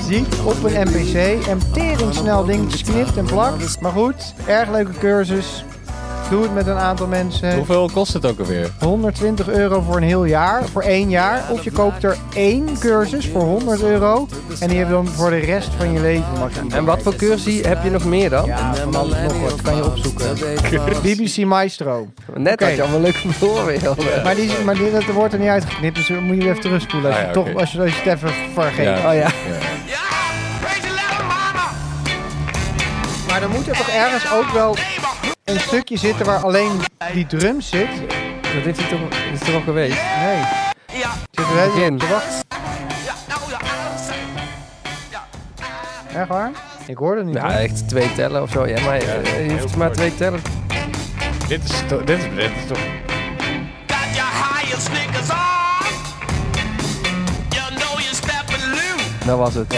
[SPEAKER 3] ziet op een NPC en tering snel dingetjes knipt en plakt. Maar goed, erg leuke cursus. Doe het met een aantal mensen.
[SPEAKER 2] Hoeveel kost het ook alweer?
[SPEAKER 3] 120 euro voor een heel jaar, voor één jaar. Of je koopt er één cursus voor 100 euro en die heb je dan voor de rest van je leven. Mag je
[SPEAKER 5] En wat voor cursie heb je nog meer dan?
[SPEAKER 3] Ja, van alles nog wat kan je opzoeken. BBC Maestro.
[SPEAKER 5] Net
[SPEAKER 3] Oké.
[SPEAKER 5] had je allemaal leuke voorbeelden.
[SPEAKER 3] Maar, die, maar die, dat wordt er niet uitgeknipt, dus dan moet je weer even terugspoelen. Als,
[SPEAKER 2] Ah,
[SPEAKER 3] je
[SPEAKER 2] ja,
[SPEAKER 3] toch,
[SPEAKER 2] oké.
[SPEAKER 3] als, je, als je het even vergeet.
[SPEAKER 2] Ja.
[SPEAKER 5] Oh ja.
[SPEAKER 3] Maar dan moet er toch ergens ook wel een stukje zitten waar alleen die drum zit?
[SPEAKER 5] Dat is hij toch, is toch al geweest?
[SPEAKER 3] Nee. Zitten wij
[SPEAKER 5] Begin.
[SPEAKER 3] te wachten? Echt waar? Ik hoorde het niet.
[SPEAKER 5] Ja, echt twee tellen of zo. Ja, maar eh, je hoeft maar twee tellen.
[SPEAKER 2] Dit is, to- dit is, dit is toch...
[SPEAKER 5] Dat was het.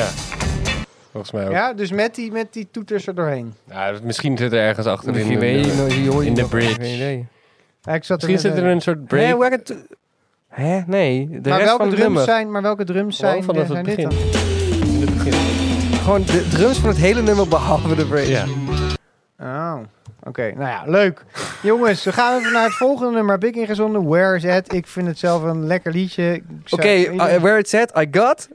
[SPEAKER 2] Volgens mij ook.
[SPEAKER 3] hoor. ja, dus met die, met die toeters er doorheen.
[SPEAKER 2] Nou, misschien zit er ergens achterin...
[SPEAKER 5] Misschien weet je,
[SPEAKER 2] een, eh,
[SPEAKER 5] nog- je hoor je
[SPEAKER 2] in de
[SPEAKER 5] nog-
[SPEAKER 2] bridge.
[SPEAKER 5] Geen idee.
[SPEAKER 3] Ja, ik zat er
[SPEAKER 2] Misschien
[SPEAKER 3] net,
[SPEAKER 2] zit er
[SPEAKER 3] eh,
[SPEAKER 2] een soort break.
[SPEAKER 5] Nee, waar het... Hè? Nee, de
[SPEAKER 3] maar
[SPEAKER 5] rest
[SPEAKER 3] welke
[SPEAKER 5] van het
[SPEAKER 3] drums
[SPEAKER 5] nummer.
[SPEAKER 3] zijn, maar welke drums
[SPEAKER 2] Gewoon
[SPEAKER 3] zijn, eh,
[SPEAKER 2] vanaf
[SPEAKER 3] zijn
[SPEAKER 2] het
[SPEAKER 3] dit
[SPEAKER 2] begin.
[SPEAKER 3] dan?
[SPEAKER 2] in het begin.
[SPEAKER 5] Gewoon de drums van het hele nummer behalve de bridge.
[SPEAKER 2] Ja.
[SPEAKER 3] Oh, oké. Nou ja, leuk. Jongens, we gaan even naar het volgende nummer. Heb ik ingezonden? Where is it? Ik vind het zelf een lekker liedje. Ik zou-
[SPEAKER 5] Oké, uh, where it's at, I got.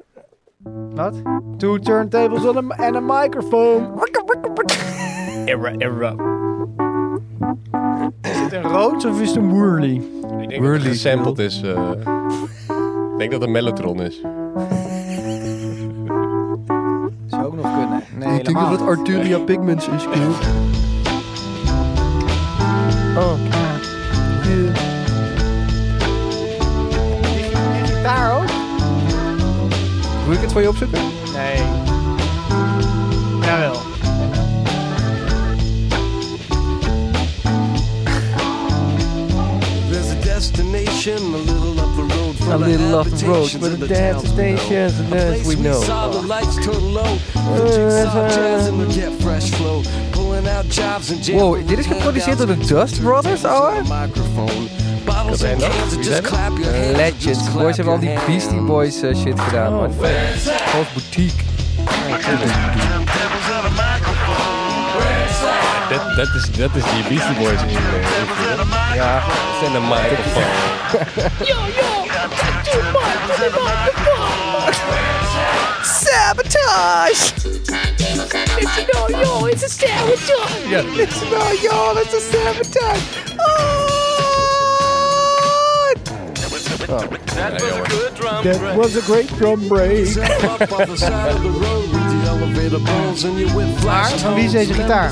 [SPEAKER 3] Wat? Two turntables on a- en een microfoon.
[SPEAKER 2] Era, era.
[SPEAKER 3] Is het een rood of is het een Whirly?
[SPEAKER 2] Ik denk dat het gesampled is. eh, ik denk dat het een mellotron is.
[SPEAKER 3] Zou ook nog kunnen. Nee, helemaal niet.
[SPEAKER 5] Arturia Pigments is cool. Oh,
[SPEAKER 3] gitaar ook?
[SPEAKER 5] moet ik het voor je opzoeken?
[SPEAKER 3] Nee. Ja,
[SPEAKER 5] A little off the road, but the dance stations, and dance we know. Uh,
[SPEAKER 7] saw the lights turn low. The jigsaw jazz and the get fresh flow. Pulling out jobs and jam-
[SPEAKER 5] Wow, dit is geproduceerd door de Dust Brothers, ouwe?
[SPEAKER 7] Microphone. Bottles and cans and just clap your hands.
[SPEAKER 5] Legends. Boys hebben al die Beastie Boys eh, shit gedaan, man. Gewoon boutique.
[SPEAKER 2] Dat, dat, is, dat is die Beastie Boys in Ja. Dat zijn de microfoon.
[SPEAKER 3] That was a great drum break.
[SPEAKER 7] Maar
[SPEAKER 3] wie is deze gitaar?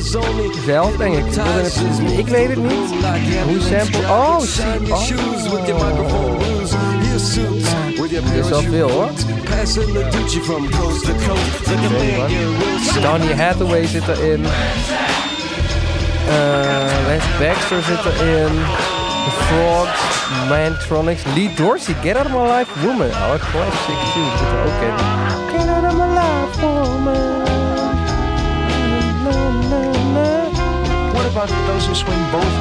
[SPEAKER 5] Zelf, denk ik. Ik wil in het- Ik weet het niet. Hoe sample... Oh, shit. Oh.
[SPEAKER 7] Dit
[SPEAKER 5] is wel veel, hoor. Donny Hathaway zit erin. Eh Les Baxter zit erin. The Frogs, Mantronics, Lee Dorsey, Get Out of My Life Woman. Oh, classic tune zit er ook in. Get Out of My Life Woman. Na, na, na.
[SPEAKER 9] What about those who swing both ways?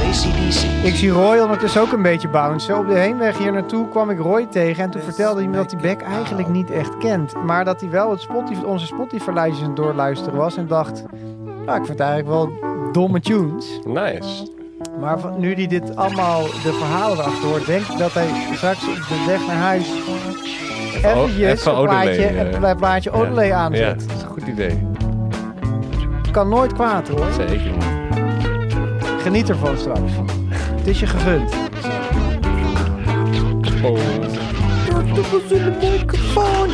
[SPEAKER 9] ACDC.
[SPEAKER 3] Ik zie Roy ondertussen ook een beetje bouncen. Op de heenweg hier naartoe kwam ik Roy tegen en toen vertelde hij me dat hij Beck eigenlijk niet echt kent. Maar dat hij wel het Spotify, onze Spotify-lijstjes aan het doorluisteren was en dacht, nou ik vind het eigenlijk wel domme tunes.
[SPEAKER 2] Nice.
[SPEAKER 3] Maar van- nu hij dit allemaal, de verhalen erachter hoort, denk ik dat hij straks op de weg naar huis
[SPEAKER 2] o-
[SPEAKER 3] eventjes
[SPEAKER 2] Oh, even
[SPEAKER 3] een plaatje,
[SPEAKER 2] Odelay, eh.
[SPEAKER 3] een plaatje Odelay
[SPEAKER 2] Ja,
[SPEAKER 3] aanzet.
[SPEAKER 2] dat is een goed idee.
[SPEAKER 3] Kan nooit kwaad hoor.
[SPEAKER 2] Zeker.
[SPEAKER 3] Geniet ervan straks. Het is je gegund.
[SPEAKER 2] Oh.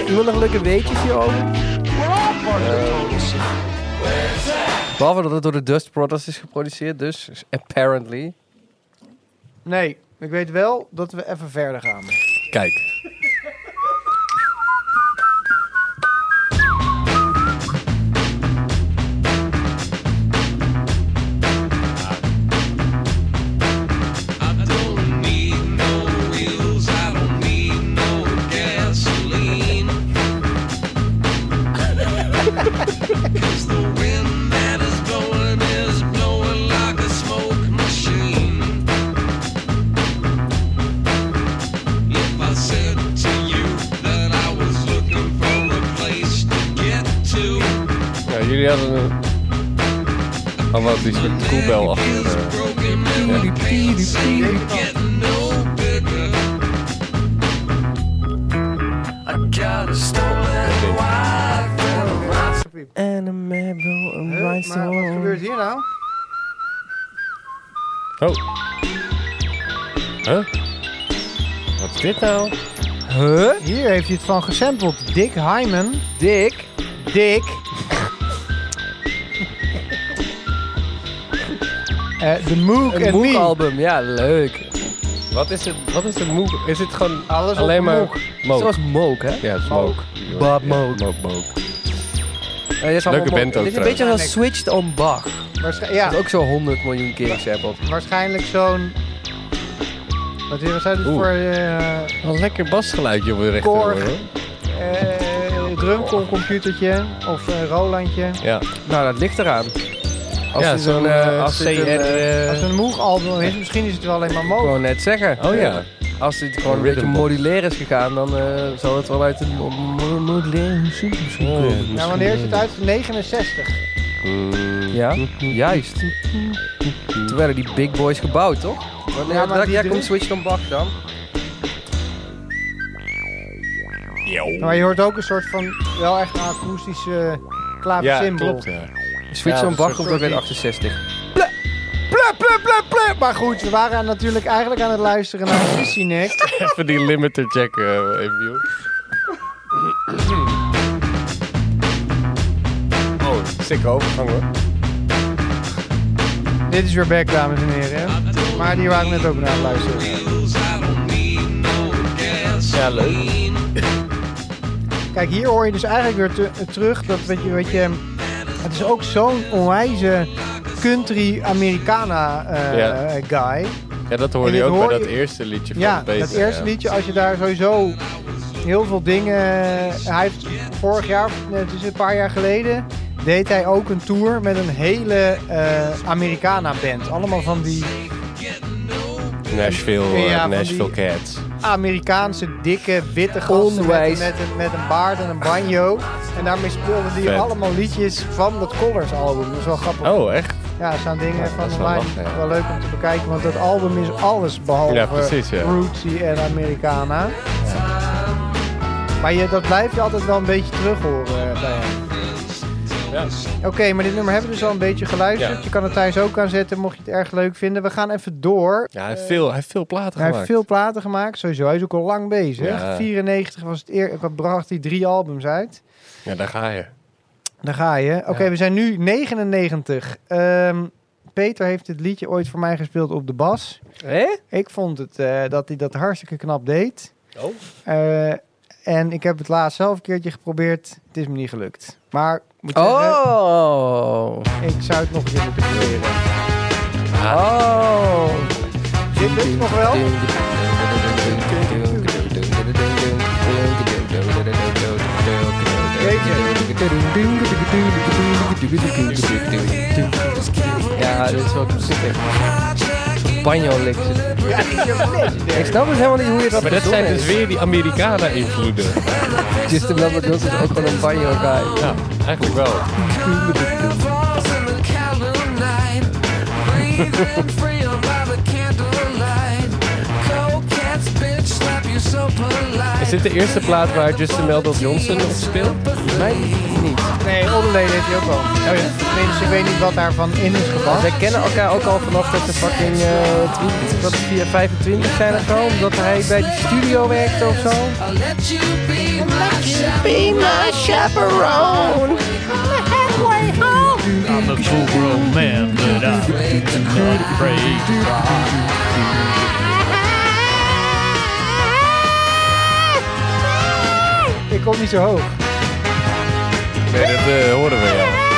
[SPEAKER 5] Iemand nog leuke weetjes hierover? Behalve dat het door de Dust Brothers is geproduceerd, dus apparently.
[SPEAKER 3] Nee, ik weet wel dat we even verder gaan.
[SPEAKER 2] Kijk.
[SPEAKER 7] Said to you that I was looking for a place to get to.
[SPEAKER 2] Ja, jullie hadden een... Oh, wat die soort koebel achter. eh,
[SPEAKER 5] En een meubel, een
[SPEAKER 3] maar wat gebeurt hier nou?
[SPEAKER 2] Oh. Huh? Wat is dit nou?
[SPEAKER 5] Huh?
[SPEAKER 3] Hier heeft hij het van gesampled. Dick Hyman.
[SPEAKER 5] Dick?
[SPEAKER 3] Dick. Eh, De Moog
[SPEAKER 5] Een
[SPEAKER 3] en
[SPEAKER 5] Moog
[SPEAKER 3] Me.
[SPEAKER 5] album, ja leuk.
[SPEAKER 2] Wat is het? Wat is het moog? Is het gewoon
[SPEAKER 3] Alles op
[SPEAKER 2] alleen maar
[SPEAKER 3] Moog.
[SPEAKER 2] moog?
[SPEAKER 5] Zoals Moog, hè?
[SPEAKER 2] Ja, het is moog. Ja,
[SPEAKER 5] Bob Moog.
[SPEAKER 2] Moog, moog.
[SPEAKER 5] Ja, dit is allemaal
[SPEAKER 2] Leuke
[SPEAKER 5] Moog.
[SPEAKER 2] band ook
[SPEAKER 5] Dit is een beetje
[SPEAKER 3] trouwens.
[SPEAKER 5] als Switched on Bach. Dat
[SPEAKER 3] Waarsch- ja,
[SPEAKER 5] is ook zo 100 miljoen keer gesampled.
[SPEAKER 3] waarschijnlijk zo'n... Wat is- wat zijn dit
[SPEAKER 2] Oeh.
[SPEAKER 3] voor eh
[SPEAKER 2] Wel een lekker basgeluidje op de
[SPEAKER 3] Korg.
[SPEAKER 2] rechteroor. hoor.
[SPEAKER 3] eh drumcomputertje of eh Rolandje?
[SPEAKER 2] Ja.
[SPEAKER 5] Nou, dat ligt eraan. Als
[SPEAKER 2] ja,
[SPEAKER 5] dit een,
[SPEAKER 2] zo'n
[SPEAKER 5] eh,
[SPEAKER 2] eh
[SPEAKER 5] als
[SPEAKER 2] CR.
[SPEAKER 5] dit een, eh,
[SPEAKER 2] eh,
[SPEAKER 3] Als het een Moog album is, misschien is het wel alleen maar
[SPEAKER 5] Ik
[SPEAKER 3] Moog. Nou,
[SPEAKER 5] wou net zeggen.
[SPEAKER 2] oh ja.
[SPEAKER 5] Als dit gewoon een
[SPEAKER 2] Rhythm
[SPEAKER 5] beetje
[SPEAKER 2] box.
[SPEAKER 5] modulair is gegaan, dan eh zal het wel uit een mo- mo- modulaire muziek misschien komen.
[SPEAKER 3] Nou, wanneer is het uit? 69.
[SPEAKER 5] Ja, juist. Toen werden die big boys gebouwd, toch? Wanneer,
[SPEAKER 3] Ja, maar
[SPEAKER 5] welk
[SPEAKER 3] die
[SPEAKER 5] jaar
[SPEAKER 3] doen-
[SPEAKER 5] komt Switch on Bach dan?
[SPEAKER 3] Maar je hoort ook een soort van, wel echt een akoestische eh,
[SPEAKER 2] Ja,
[SPEAKER 3] klaversymbol.
[SPEAKER 2] klopt. Ja.
[SPEAKER 5] Switch
[SPEAKER 2] Ja,
[SPEAKER 5] on Bach
[SPEAKER 2] dat
[SPEAKER 5] komt ook uit 68.
[SPEAKER 3] Plep, plep, plep, plep. Maar goed, we waren natuurlijk eigenlijk aan het luisteren naar Sissy Nick.
[SPEAKER 2] Even die limiter checken, eh, even joh. Oh, sikke overgang hoor.
[SPEAKER 3] Dit is weer back, dames en heren. Maar die waren net ook naar het luisteren.
[SPEAKER 2] Ja, leuk.
[SPEAKER 3] Kijk, hier hoor je dus eigenlijk weer te- terug dat, weet je, weet je, het is ook zo'n onwijze country Americana eh,
[SPEAKER 2] Ja.
[SPEAKER 3] guy.
[SPEAKER 2] Ja, dat
[SPEAKER 3] En
[SPEAKER 2] hoorde je
[SPEAKER 3] dit
[SPEAKER 2] ook
[SPEAKER 3] hoor
[SPEAKER 2] bij dat
[SPEAKER 3] je-
[SPEAKER 2] eerste liedje van
[SPEAKER 3] Ja,
[SPEAKER 2] Peter.
[SPEAKER 3] dat eerste liedje, als je daar sowieso heel veel dingen... Hij heeft vorig jaar, of nee, het is een paar jaar geleden, deed hij ook een tour met een hele eh Americana-band. Allemaal van die
[SPEAKER 2] Nashville, eh,
[SPEAKER 3] Ja, van
[SPEAKER 2] Nashville
[SPEAKER 3] die-
[SPEAKER 2] Cats.
[SPEAKER 3] Amerikaanse, dikke, witte gasten met,
[SPEAKER 5] Onwijs.
[SPEAKER 3] met, een, met een baard en een banjo. En daarmee speelden die
[SPEAKER 2] Vet.
[SPEAKER 3] allemaal liedjes van dat Colors album. Dat is wel grappig.
[SPEAKER 2] Oh, echt?
[SPEAKER 3] Ja, er staan dingen
[SPEAKER 2] dat
[SPEAKER 3] van
[SPEAKER 2] is
[SPEAKER 3] online.
[SPEAKER 2] wel
[SPEAKER 3] Wel,
[SPEAKER 2] lachen, ja.
[SPEAKER 3] leuk om te bekijken, want dat album is alles behalve
[SPEAKER 2] Ja, precies, ja.
[SPEAKER 3] rootsy en Americana. Maar je, dat blijf je altijd wel een beetje terug horen eh, bij hem.
[SPEAKER 2] Ja.
[SPEAKER 3] Oké, maar dit nummer hebben we dus al een beetje geluisterd.
[SPEAKER 2] Ja.
[SPEAKER 3] Je kan het thuis ook aanzetten, mocht je het erg leuk vinden. We gaan even door.
[SPEAKER 2] Ja, hij heeft veel, hij heeft veel platen
[SPEAKER 3] Hij heeft
[SPEAKER 2] gemaakt.
[SPEAKER 3] veel platen gemaakt, sowieso. Hij is ook al lang bezig.
[SPEAKER 2] Ja.
[SPEAKER 3] 94 was het eer, bracht hij drie albums uit.
[SPEAKER 2] Ja, daar ga je.
[SPEAKER 3] Daar ga je. Oké, we zijn nu 99. Ehm, Peter heeft dit liedje ooit voor mij gespeeld op de bas.
[SPEAKER 5] Hé?
[SPEAKER 3] Ik vond het, eh, dat hij dat hartstikke knap deed.
[SPEAKER 2] Oh.
[SPEAKER 3] Eh, en ik heb het laatst zelf een keertje geprobeerd. Het is me niet gelukt. Maar ik moet zeggen,
[SPEAKER 5] Oh!
[SPEAKER 3] ik zou het nog een keer moeten proberen.
[SPEAKER 2] Ah.
[SPEAKER 5] Oh!
[SPEAKER 3] Dit lukt nog wel.
[SPEAKER 5] Ja, dit is wel zitten. Banjo licks.
[SPEAKER 3] Ja, die is ook leuk.
[SPEAKER 5] Ik snap dus helemaal niet hoe je dat
[SPEAKER 2] Maar dat zijn dus weer die Americana-invloeden.
[SPEAKER 5] Justin Lambert Wilson is ook gewoon een banjo guy.
[SPEAKER 2] Ja, eigenlijk wel. Is dit de eerste plaat waar Justin Meldon Johnson op speelt?
[SPEAKER 5] Mij niet.
[SPEAKER 3] Nee, Oddeleden heeft hij ook al. Oh ja. Tenminste, ik weet niet wat daarvan in is gepast.
[SPEAKER 5] Zij kennen elkaar ook al vanaf dat ze fucking eh 20, wat, 4, 25 zijn of zo. Omdat hij bij de studio werkte of zo.
[SPEAKER 10] I'm a full grown man, but I'm not afraid.
[SPEAKER 3] Ik kom niet zo hoog.
[SPEAKER 2] Nee, dat eh, horen we ja.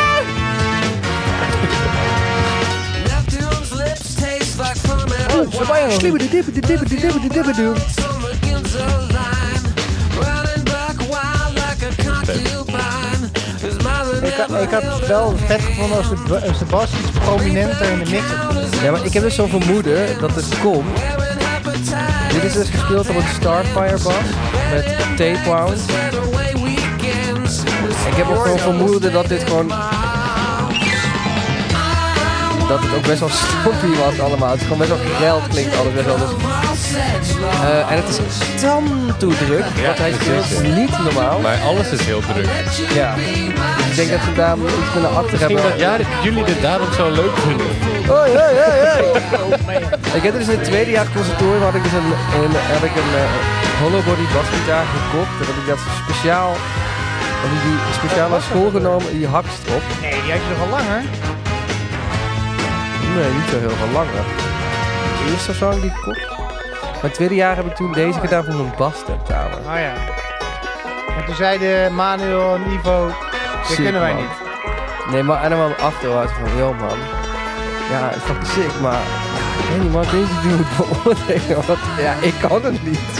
[SPEAKER 3] Ik had, ik had het wel vet gevonden als de, ba- als de bas iets prominenter in de mix had gezeten.
[SPEAKER 5] Ja, maar ik heb dus zo'n vermoeden dat het komt. Dit is dus gespeeld op een Starfire bas met tape wound. Ik heb ook zo'n vermoeden dat dit gewoon... Dat het ook best wel stompie was allemaal. Het is gewoon best wel geld klinkt alles best wel. Dus, Eh, en het is tam toedruk, want hij speelt niet normaal.
[SPEAKER 2] Maar alles is heel druk.
[SPEAKER 5] Ja. Ik denk dat ze daar iets kunnen achter
[SPEAKER 2] Misschien
[SPEAKER 5] hebben.
[SPEAKER 2] dat ja, jullie dit daarom zo leuk vinden.
[SPEAKER 5] Hoi, hoi, hoi, hoi. Ik heb dus in het tweede jaar conservatorium had ik dus een, een, heb ik een eh, hollowbody basgitaar gekocht. En heb ik dat speciaal, heb ik die speciaal naar school genomen, die hakst op.
[SPEAKER 3] Nee, die had je toch al langer?
[SPEAKER 5] Nee, niet zo heel veel langer. De eerste song die ik gekocht. Maar het tweede jaar heb ik toen deze gedaan voor mijn basstentamen.
[SPEAKER 3] Oh ja. En toen zeiden Manuel en Ivo, dat
[SPEAKER 5] Sick,
[SPEAKER 3] kunnen wij
[SPEAKER 5] man.
[SPEAKER 3] niet.
[SPEAKER 5] Nee, maar en dan wel achteruit van, joh man. Ja, het is fucking sick, maar ik weet niet, man, ik weet niet hoe ik het beoordelen, want ja, ik kan het niet.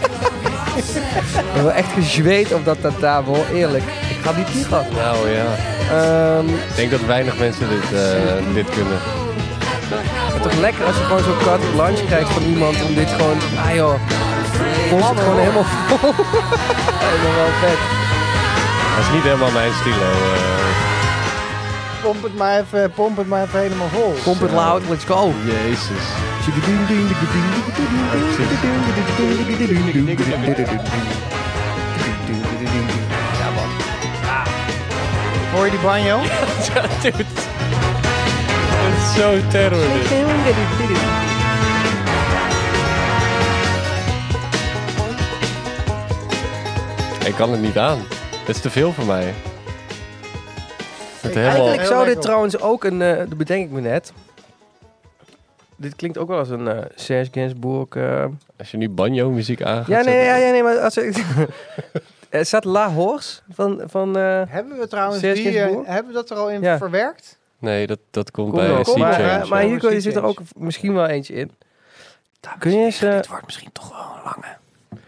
[SPEAKER 5] ik heb wel echt gezweet op dat tafel, eerlijk. Ik ga niet liegen.
[SPEAKER 2] Nou ja,
[SPEAKER 5] Ehm,
[SPEAKER 2] ik denk dat weinig mensen dit, eh, dit kunnen.
[SPEAKER 5] het is toch lekker als je gewoon zo'n carte lunch krijgt van iemand om dit gewoon, ah joh, ons het gewoon helemaal vol. helemaal wel vet.
[SPEAKER 2] Dat is niet helemaal mijn stilo. eh.
[SPEAKER 3] Pomp het maar even, pomp het maar even helemaal vol.
[SPEAKER 5] Pomp het loud, let's go.
[SPEAKER 2] Jezus.
[SPEAKER 3] Hoor je die banjo?
[SPEAKER 2] Het is zo terror dit. Ik kan het niet aan. Het is te veel voor mij. Het helemaal...
[SPEAKER 5] Eigenlijk zou
[SPEAKER 3] Heel
[SPEAKER 5] dit
[SPEAKER 3] lekker.
[SPEAKER 5] trouwens ook een, eh, dat bedenk ik me net. Dit klinkt ook wel als een eh Serge Gainsbourg. eh,
[SPEAKER 2] Als je nu banjo-muziek aan gaat
[SPEAKER 5] Ja, nee,
[SPEAKER 2] zetten-
[SPEAKER 5] ja, ja, nee, maar als ik. Er staat La Horse van. van eh,
[SPEAKER 3] Hebben we trouwens
[SPEAKER 5] Serge
[SPEAKER 3] die, eh,
[SPEAKER 5] Gainsbourg?
[SPEAKER 3] hebben we dat er al in
[SPEAKER 5] Ja.
[SPEAKER 3] verwerkt?
[SPEAKER 2] Nee, dat, dat komt
[SPEAKER 5] Kom
[SPEAKER 2] bij Sea
[SPEAKER 5] dan. Kom maar,
[SPEAKER 2] Change.
[SPEAKER 5] eh, maar Hugo,
[SPEAKER 3] Sea
[SPEAKER 5] je zit er ook
[SPEAKER 3] Change.
[SPEAKER 5] misschien wel eentje in. Kun je eens... eh,
[SPEAKER 3] Het wordt misschien toch wel een lange.
[SPEAKER 5] kun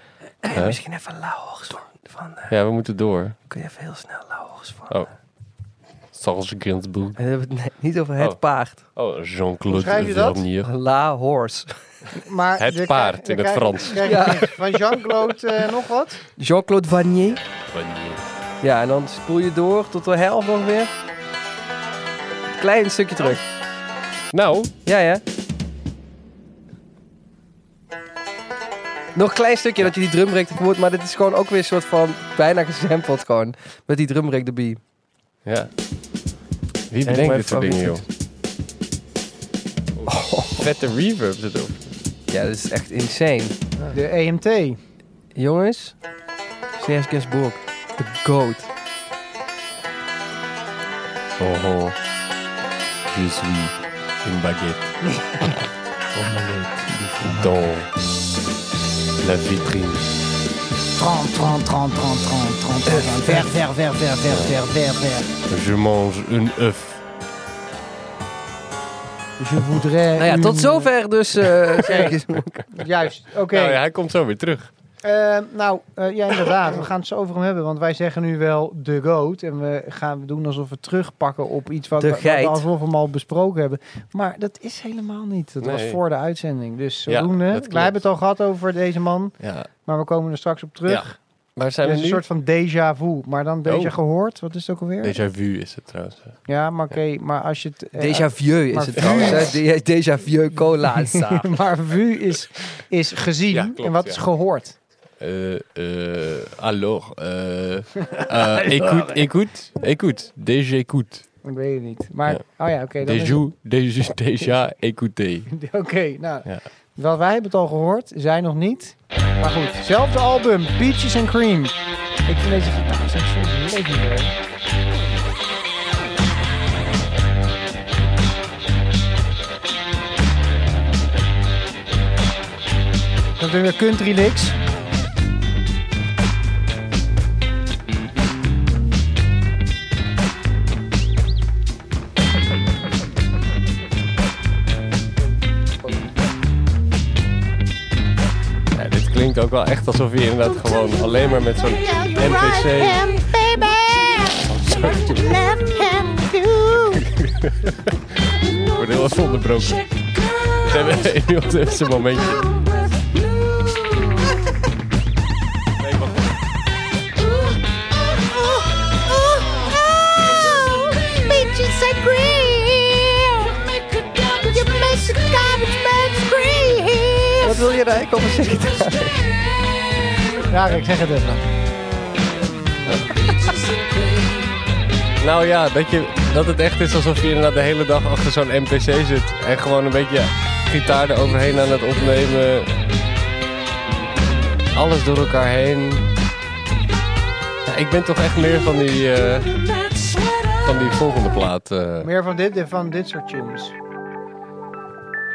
[SPEAKER 5] je
[SPEAKER 2] Hè?
[SPEAKER 5] Eh, misschien even lauwers van... van eh,
[SPEAKER 2] Ja, we moeten door.
[SPEAKER 5] kun je even heel snel lauwers van...
[SPEAKER 2] Oh. Charles Gainsbourg.
[SPEAKER 5] We hebben het net niet over het
[SPEAKER 2] Oh.
[SPEAKER 5] paard.
[SPEAKER 2] Oh,
[SPEAKER 3] Hoe schrijf
[SPEAKER 2] Jean-Claude
[SPEAKER 3] je dat?
[SPEAKER 2] Vernier.
[SPEAKER 5] La horse.
[SPEAKER 3] Maar
[SPEAKER 2] Het
[SPEAKER 3] je
[SPEAKER 2] paard
[SPEAKER 3] krijgt-
[SPEAKER 2] in
[SPEAKER 3] je
[SPEAKER 2] het
[SPEAKER 3] krijgt-
[SPEAKER 2] Frans.
[SPEAKER 3] krijg je niks. Van Jean-Claude eh, nog wat?
[SPEAKER 5] Jean-Claude Vanier.
[SPEAKER 2] Vernier.
[SPEAKER 5] Ja, en dan spoel je door tot de helft nog weer. Klein stukje terug.
[SPEAKER 2] Nou,
[SPEAKER 5] Ja, ja. Nog een klein stukje dat je die drumbreak ervoor hoort, maar dit is gewoon ook weer een soort van bijna gesampled gewoon. Met die drumbreak erbij.
[SPEAKER 2] ja. Wie
[SPEAKER 5] maar
[SPEAKER 2] bedenkt
[SPEAKER 5] even
[SPEAKER 2] dit soort dingen, joh?
[SPEAKER 5] favoriet.
[SPEAKER 2] Vette reverb zit op.
[SPEAKER 5] Ja, dat is echt insane.
[SPEAKER 3] De EMT.
[SPEAKER 5] Jongens, Serge Gainsbourg, de goat.
[SPEAKER 2] Oh, oh. Je suis une baguette. Dans la vitrine.
[SPEAKER 11] 30, 30, 30, 30, 30, 30, 30. Ver, ver, ver, ver, ver, ver, ver, ver.
[SPEAKER 2] Je mange een œuf.
[SPEAKER 11] Je voudrais.
[SPEAKER 5] Nou ja, tot
[SPEAKER 11] une-
[SPEAKER 5] zover dus eh Serge Gainsbourg.
[SPEAKER 3] Juist, oké.
[SPEAKER 2] Nou ja, hij komt zo weer terug.
[SPEAKER 3] Eh, nou, eh, ja, inderdaad. We gaan het zo over hem hebben. Want wij zeggen nu wel de goat. En we gaan doen alsof we terugpakken op iets wat,
[SPEAKER 5] De
[SPEAKER 3] wat we
[SPEAKER 5] geit.
[SPEAKER 3] alsof we hem al besproken hebben. Maar dat is helemaal niet. Dat was
[SPEAKER 2] Nee.
[SPEAKER 3] voor de uitzending. Dus
[SPEAKER 2] Ja,
[SPEAKER 3] zodoende.
[SPEAKER 2] dat
[SPEAKER 3] wij
[SPEAKER 2] klopt.
[SPEAKER 3] hebben het al gehad over deze man.
[SPEAKER 2] Ja.
[SPEAKER 3] Maar we komen er straks op terug.
[SPEAKER 2] Ja. Maar zijn
[SPEAKER 3] Het
[SPEAKER 2] we
[SPEAKER 3] is
[SPEAKER 2] nu?
[SPEAKER 3] een soort van déjà vu. Maar dan déjà
[SPEAKER 2] Oh.
[SPEAKER 3] gehoord. Wat is het ook alweer?
[SPEAKER 2] Déjà vu is het trouwens.
[SPEAKER 3] Ja, maar oké. maar als je het... eh,
[SPEAKER 5] Déjà vieux is
[SPEAKER 3] Maar
[SPEAKER 5] het
[SPEAKER 3] vu-
[SPEAKER 5] trouwens. hè. De- Déjà vieux cola.
[SPEAKER 3] maar vu is, is gezien.
[SPEAKER 2] Ja, klopt,
[SPEAKER 3] en wat
[SPEAKER 2] ja.
[SPEAKER 3] is gehoord?
[SPEAKER 2] Eh, eh, alors, eh, eh, écoute, écoute, écoute, déjà écoute.
[SPEAKER 3] Ik weet het niet. Maar, oh ja, oké. dan is het.
[SPEAKER 2] Déjà, déjà, déjà écouté.
[SPEAKER 3] Oké, nou.
[SPEAKER 2] Ja.
[SPEAKER 3] Wel, wij hebben het al gehoord, zij nog niet. Maar goed, zelfde album, Peaches and Cream. Ik vind deze gitaar zijn zo legendair. Dat is weer country licks.
[SPEAKER 2] Ja, dit klinkt ook wel echt alsof je inderdaad gewoon alleen maar met zo'n NPC... Wordt heel wat onderbroken. Ze hebben nu op het eerste momentje. Nee, maar goed.
[SPEAKER 5] Wat wil je daar eigenlijk over zeggen?
[SPEAKER 3] Ja, ik zeg het even.
[SPEAKER 2] Nou ja, dat, je, dat het echt is alsof je inderdaad de hele dag achter zo'n NPC zit. En gewoon een beetje gitaar eroverheen aan het opnemen. Alles door elkaar heen. Ja, ik ben toch echt meer van die, eh, van die volgende plaat. eh.
[SPEAKER 3] Meer van dit, van dit soort tunes.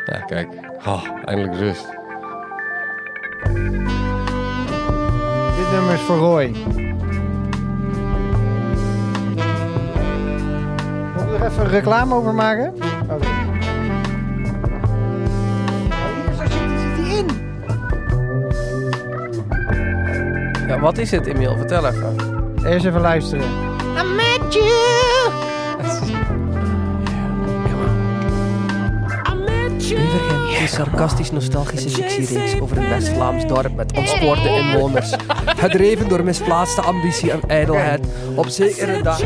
[SPEAKER 2] Ja, kijk. Ah, eindelijk rust.
[SPEAKER 3] Dit nummer is voor Roy. Moet ik er even reclame over maken? Oké.
[SPEAKER 5] Ja, wat is het, Emiel? Vertel even.
[SPEAKER 3] Eerst even luisteren.
[SPEAKER 5] Een sarcastisch nostalgische fictiereeks over een West-Vlaams dorp met ontspoorde inwoners. Gedreven door misplaatste ambitie en ijdelheid. Op zekere dag.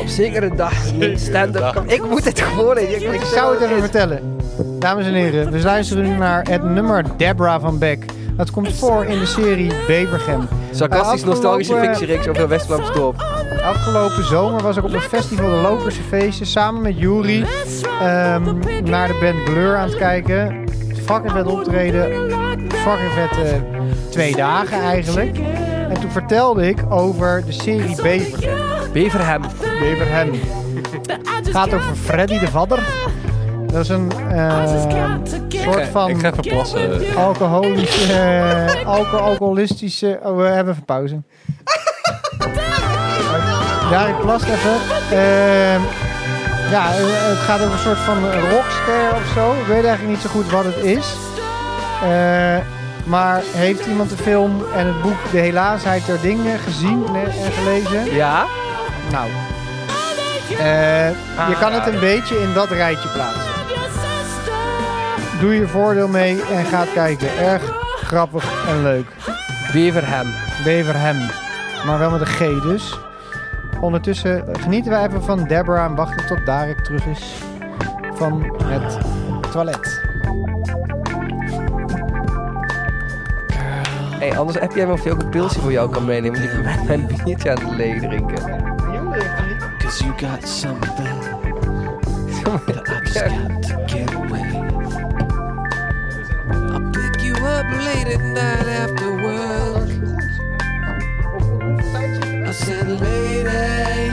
[SPEAKER 5] Op zekere dag. een Stand-up. Ik moet het gewoon in. Ik,
[SPEAKER 3] Ik zou het even vertellen. Dames en heren, we luisteren nu naar het nummer Debra van Beck. Dat komt voor in de serie Bevergem.
[SPEAKER 5] Sarcastisch
[SPEAKER 3] Afgelopen-
[SPEAKER 5] nostalgische fictiereeks over een West-Vlaams dorp.
[SPEAKER 3] Afgelopen zomer was ik op een festival de Lokerse Feesten samen met Jury ehm, naar de band Blur aan het kijken. Fucking vet optreden. Fucking vet eh, twee dagen eigenlijk. En toen vertelde ik over de serie Bevergem.
[SPEAKER 5] Beverhem.
[SPEAKER 3] Beverhem. Het gaat over Freddy de Vadder. Dat is een eh, soort van
[SPEAKER 2] Ik ga even plassen.
[SPEAKER 3] alcoholische, eh, alco- alcoholistische... Oh, we hebben even pauze. Ja, ik plast even. Ehm, Ja, eh, het gaat over een soort van eh, rockster of zo. Ik weet eigenlijk niet zo goed wat het is. Eh, maar heeft iemand de film en het boek De Helaasheid der Dingen gezien en en gelezen?
[SPEAKER 5] Ja.
[SPEAKER 3] Nou. Eh, je kan het
[SPEAKER 5] Aanrader.
[SPEAKER 3] een beetje in dat rijtje plaatsen. Doe je voordeel mee en ga het kijken. Erg grappig en leuk.
[SPEAKER 5] Beverham.
[SPEAKER 3] Beverham. Maar wel met een G dus. Ondertussen genieten wij even van Deborah en wachten tot Darek terug is van het toilet.
[SPEAKER 5] Hey, anders heb jij me of je ook een pilsje voor jou kan meenemen. Want ik ben mijn biertje aan het leeg drinken.
[SPEAKER 7] Cause you got something that I just got to get away. I'll pick you up late at night after work. I said, lady,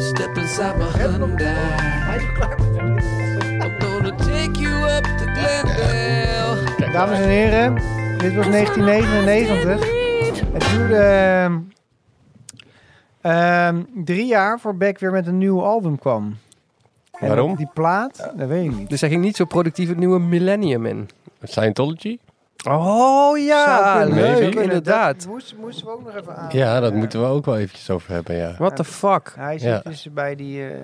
[SPEAKER 7] step inside my Hyundai. I'm gonna take you up to Glendale.
[SPEAKER 3] Dames en heren, dit was 1999. Het duurde ehm, ehm, drie jaar voor Beck weer met een nieuw album kwam. En
[SPEAKER 2] Waarom?
[SPEAKER 3] Die plaat, dat weet ik niet.
[SPEAKER 5] Dus hij ging niet zo productief het nieuwe millennium in.
[SPEAKER 2] Scientology?
[SPEAKER 5] Oh ja,
[SPEAKER 3] Zou kunnen,
[SPEAKER 2] leuk,
[SPEAKER 3] zou kunnen.
[SPEAKER 5] inderdaad.
[SPEAKER 3] Dat moest- moesten we ook nog even aan.
[SPEAKER 2] Ja, dat moeten we ook wel eventjes over hebben, ja.
[SPEAKER 5] What the fuck?
[SPEAKER 3] Hij
[SPEAKER 2] Ja.
[SPEAKER 3] zit dus bij die eh,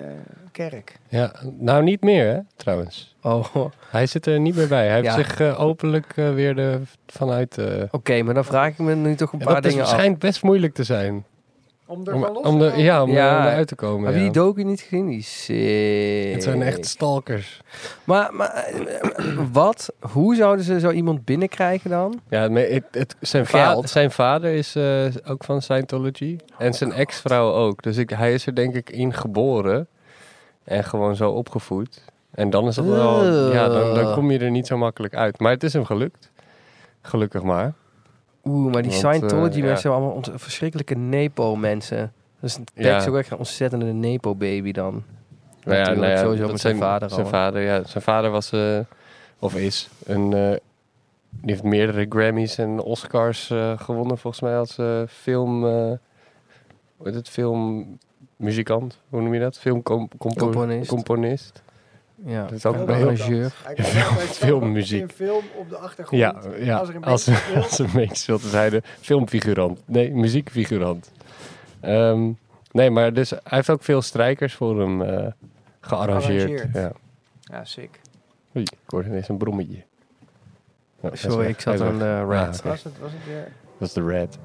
[SPEAKER 3] kerk.
[SPEAKER 2] ja. Nou, niet meer, hè, trouwens.
[SPEAKER 5] Oh, oké,
[SPEAKER 2] Hij zit er niet meer bij. Hij heeft
[SPEAKER 5] Ja.
[SPEAKER 2] zich eh, openlijk eh, weer de, vanuit... eh,
[SPEAKER 5] maar dan vraag ik me nu toch een
[SPEAKER 2] ja,
[SPEAKER 5] paar
[SPEAKER 2] dat is
[SPEAKER 5] dingen af.
[SPEAKER 2] waarschijnlijk best moeilijk te zijn.
[SPEAKER 3] Om er
[SPEAKER 2] Om,
[SPEAKER 3] van los
[SPEAKER 2] om
[SPEAKER 3] te
[SPEAKER 2] er-
[SPEAKER 3] komen.
[SPEAKER 2] ja, om er-
[SPEAKER 5] Ja.
[SPEAKER 2] om eruit te komen.
[SPEAKER 5] Heb je die
[SPEAKER 2] ja.
[SPEAKER 5] docu niet gezien? Die is sick.
[SPEAKER 2] Het zijn echt stalkers.
[SPEAKER 5] Maar, maar eh, wat? Hoe zouden ze zo iemand binnenkrijgen dan?
[SPEAKER 2] Ja, maar het, het- zijn,
[SPEAKER 5] Geld.
[SPEAKER 2] va- zijn vader is eh, ook van Scientology. En zijn ex-vrouw ook. Dus ik, hij is er denk ik in geboren. En gewoon zo opgevoed. En dan is dat wel...
[SPEAKER 5] Ugh.
[SPEAKER 2] Ja, dan, dan kom je er niet zo makkelijk uit. Maar het is hem gelukt. Gelukkig maar.
[SPEAKER 5] Oeh, maar die
[SPEAKER 2] Want, eh,
[SPEAKER 5] Scientology-mensen
[SPEAKER 2] ja.
[SPEAKER 5] zijn allemaal ont- verschrikkelijke nepo-mensen. Dus het
[SPEAKER 2] Ja.
[SPEAKER 5] is ook echt een ontzettende nepo-baby dan.
[SPEAKER 2] Nou ja,
[SPEAKER 5] Natuurlijk,
[SPEAKER 2] nou ja,
[SPEAKER 5] sowieso
[SPEAKER 2] dat
[SPEAKER 5] met zijn vader
[SPEAKER 2] Zijn
[SPEAKER 5] al.
[SPEAKER 2] vader, ja. Zijn vader was, eh, of is, een... eh, die heeft meerdere Grammys en Oscars eh, gewonnen, volgens mij, als eh, film... eh, hoe heet het? Filmmuzikant, hoe noem je dat? Filmcomponist.
[SPEAKER 5] Componist.
[SPEAKER 2] Componist.
[SPEAKER 5] Ja,
[SPEAKER 2] Dat is ook
[SPEAKER 5] een
[SPEAKER 2] heel-
[SPEAKER 5] arrangeur.
[SPEAKER 3] Hij
[SPEAKER 2] Ja,
[SPEAKER 3] kan
[SPEAKER 2] veel-
[SPEAKER 3] altijd
[SPEAKER 2] veel
[SPEAKER 3] staan,
[SPEAKER 2] muziek.
[SPEAKER 3] Een film op de achtergrond.
[SPEAKER 2] Ja, ja.
[SPEAKER 3] Als er een
[SPEAKER 2] Als,
[SPEAKER 3] beetje
[SPEAKER 2] als een beetje stilte zeiden, filmfigurant. Nee, muziekfigurant. Ehm, nee, maar dus, hij heeft ook veel strijkers voor hem eh, gearrangeerd.
[SPEAKER 3] Gearrangeerd.
[SPEAKER 2] Ja.
[SPEAKER 3] Ja, sick.
[SPEAKER 2] Oei, ik hoorde ineens een brommetje. Oh, hij is
[SPEAKER 5] Sorry,
[SPEAKER 2] weg,
[SPEAKER 5] ik zat
[SPEAKER 2] hij is
[SPEAKER 5] aan
[SPEAKER 2] weg.
[SPEAKER 5] de rat.
[SPEAKER 2] Ah, oké.
[SPEAKER 3] Was het, was het weer.
[SPEAKER 2] Dat is de red.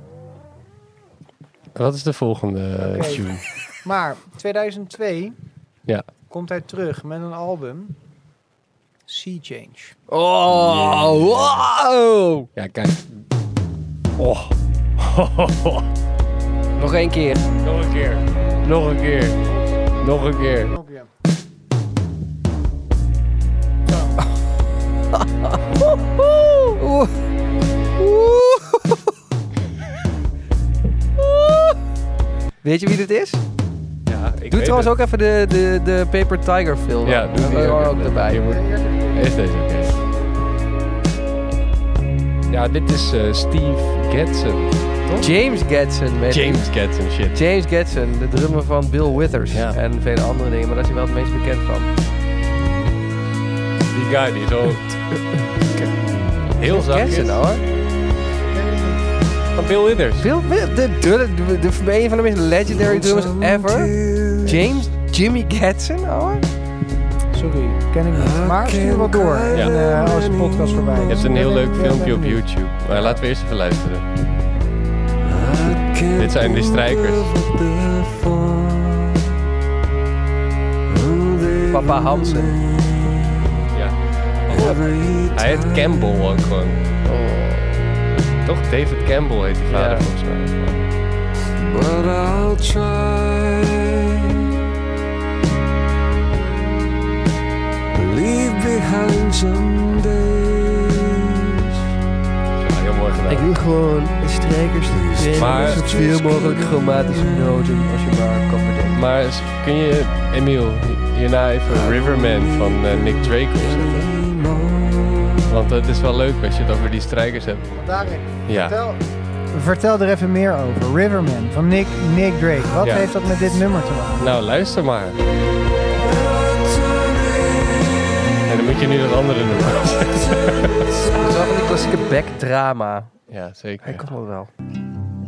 [SPEAKER 2] Wat is de volgende eh,
[SPEAKER 3] Oké.
[SPEAKER 2] tune?
[SPEAKER 3] Maar 2002
[SPEAKER 2] Ja.
[SPEAKER 3] komt hij terug met een album. Sea Change.
[SPEAKER 5] Oh, wow!
[SPEAKER 2] Ja, kijk. Oh.
[SPEAKER 5] Nog één keer.
[SPEAKER 2] Nog een keer. Nog een keer. Nog een keer.
[SPEAKER 3] Ook ja.
[SPEAKER 5] Oeh. Oeh. Oeh. Weet je wie dit is?
[SPEAKER 2] Ja, Ah, ik
[SPEAKER 5] Doe trouwens ook even de, de, de Paper Tiger film.
[SPEAKER 2] Ja, doe
[SPEAKER 5] dat
[SPEAKER 2] die
[SPEAKER 5] horen we
[SPEAKER 2] ook
[SPEAKER 5] ook
[SPEAKER 2] even.
[SPEAKER 5] erbij.
[SPEAKER 2] Die moet- Is deze oké? Ja, dit is eh, Steve Getson.
[SPEAKER 5] James Gadson. weet ik.
[SPEAKER 2] James Getson, shit.
[SPEAKER 5] James Gadson, de drummer van Bill Withers
[SPEAKER 2] Ja.
[SPEAKER 5] en vele andere dingen, maar daar is hij wel het meest bekend van.
[SPEAKER 2] Die guy die zo... Heel zachtjes.
[SPEAKER 5] Gadson hoor.
[SPEAKER 2] Van Bill Withers.
[SPEAKER 5] Bill Withers, de, de, de, de- een van de meest legendary drummers ever. James Jimmy Gadson hoor.
[SPEAKER 3] Sorry, ken ik niet. Maar stuur wel door. En
[SPEAKER 2] Ja.
[SPEAKER 3] eh, als de podcast voorbij
[SPEAKER 2] Je
[SPEAKER 3] is.
[SPEAKER 2] hebt een heel leuk
[SPEAKER 3] Ik ben
[SPEAKER 2] filmpje op
[SPEAKER 3] benieuwd.
[SPEAKER 2] YouTube. Maar laten we eerst even luisteren. Dit zijn die strijkers.
[SPEAKER 5] Papa Hansen.
[SPEAKER 2] Ja. Hij heet Campbell ook gewoon. Toch? David Campbell heet die vader
[SPEAKER 5] Oh. Ja.
[SPEAKER 2] volgens mij.
[SPEAKER 7] But I'll try. Leave behind some days.
[SPEAKER 2] Ja, heel mooi gedaan.
[SPEAKER 5] Ik wil gewoon strijkers
[SPEAKER 2] Maar-
[SPEAKER 5] zoveel mogelijk chromatische noten als je maar kan bedenken.
[SPEAKER 2] Maar s- kun je, Emiel, hierna even Riverman van eh, Nick Drake opzetten? Want het is wel leuk als je het over die strijkers hebt.
[SPEAKER 3] Darek,
[SPEAKER 2] Ja.
[SPEAKER 3] vertel, vertel er even meer over. Riverman van Nick, Nick Drake. Wat
[SPEAKER 2] Ja.
[SPEAKER 3] heeft dat met dit nummer te maken?
[SPEAKER 2] Nou, luister maar. En dan moet je nu dat andere nummer.
[SPEAKER 5] Dat is wel van die klassieke backdrama.
[SPEAKER 2] ja, zeker.
[SPEAKER 5] Hij komt wel wel.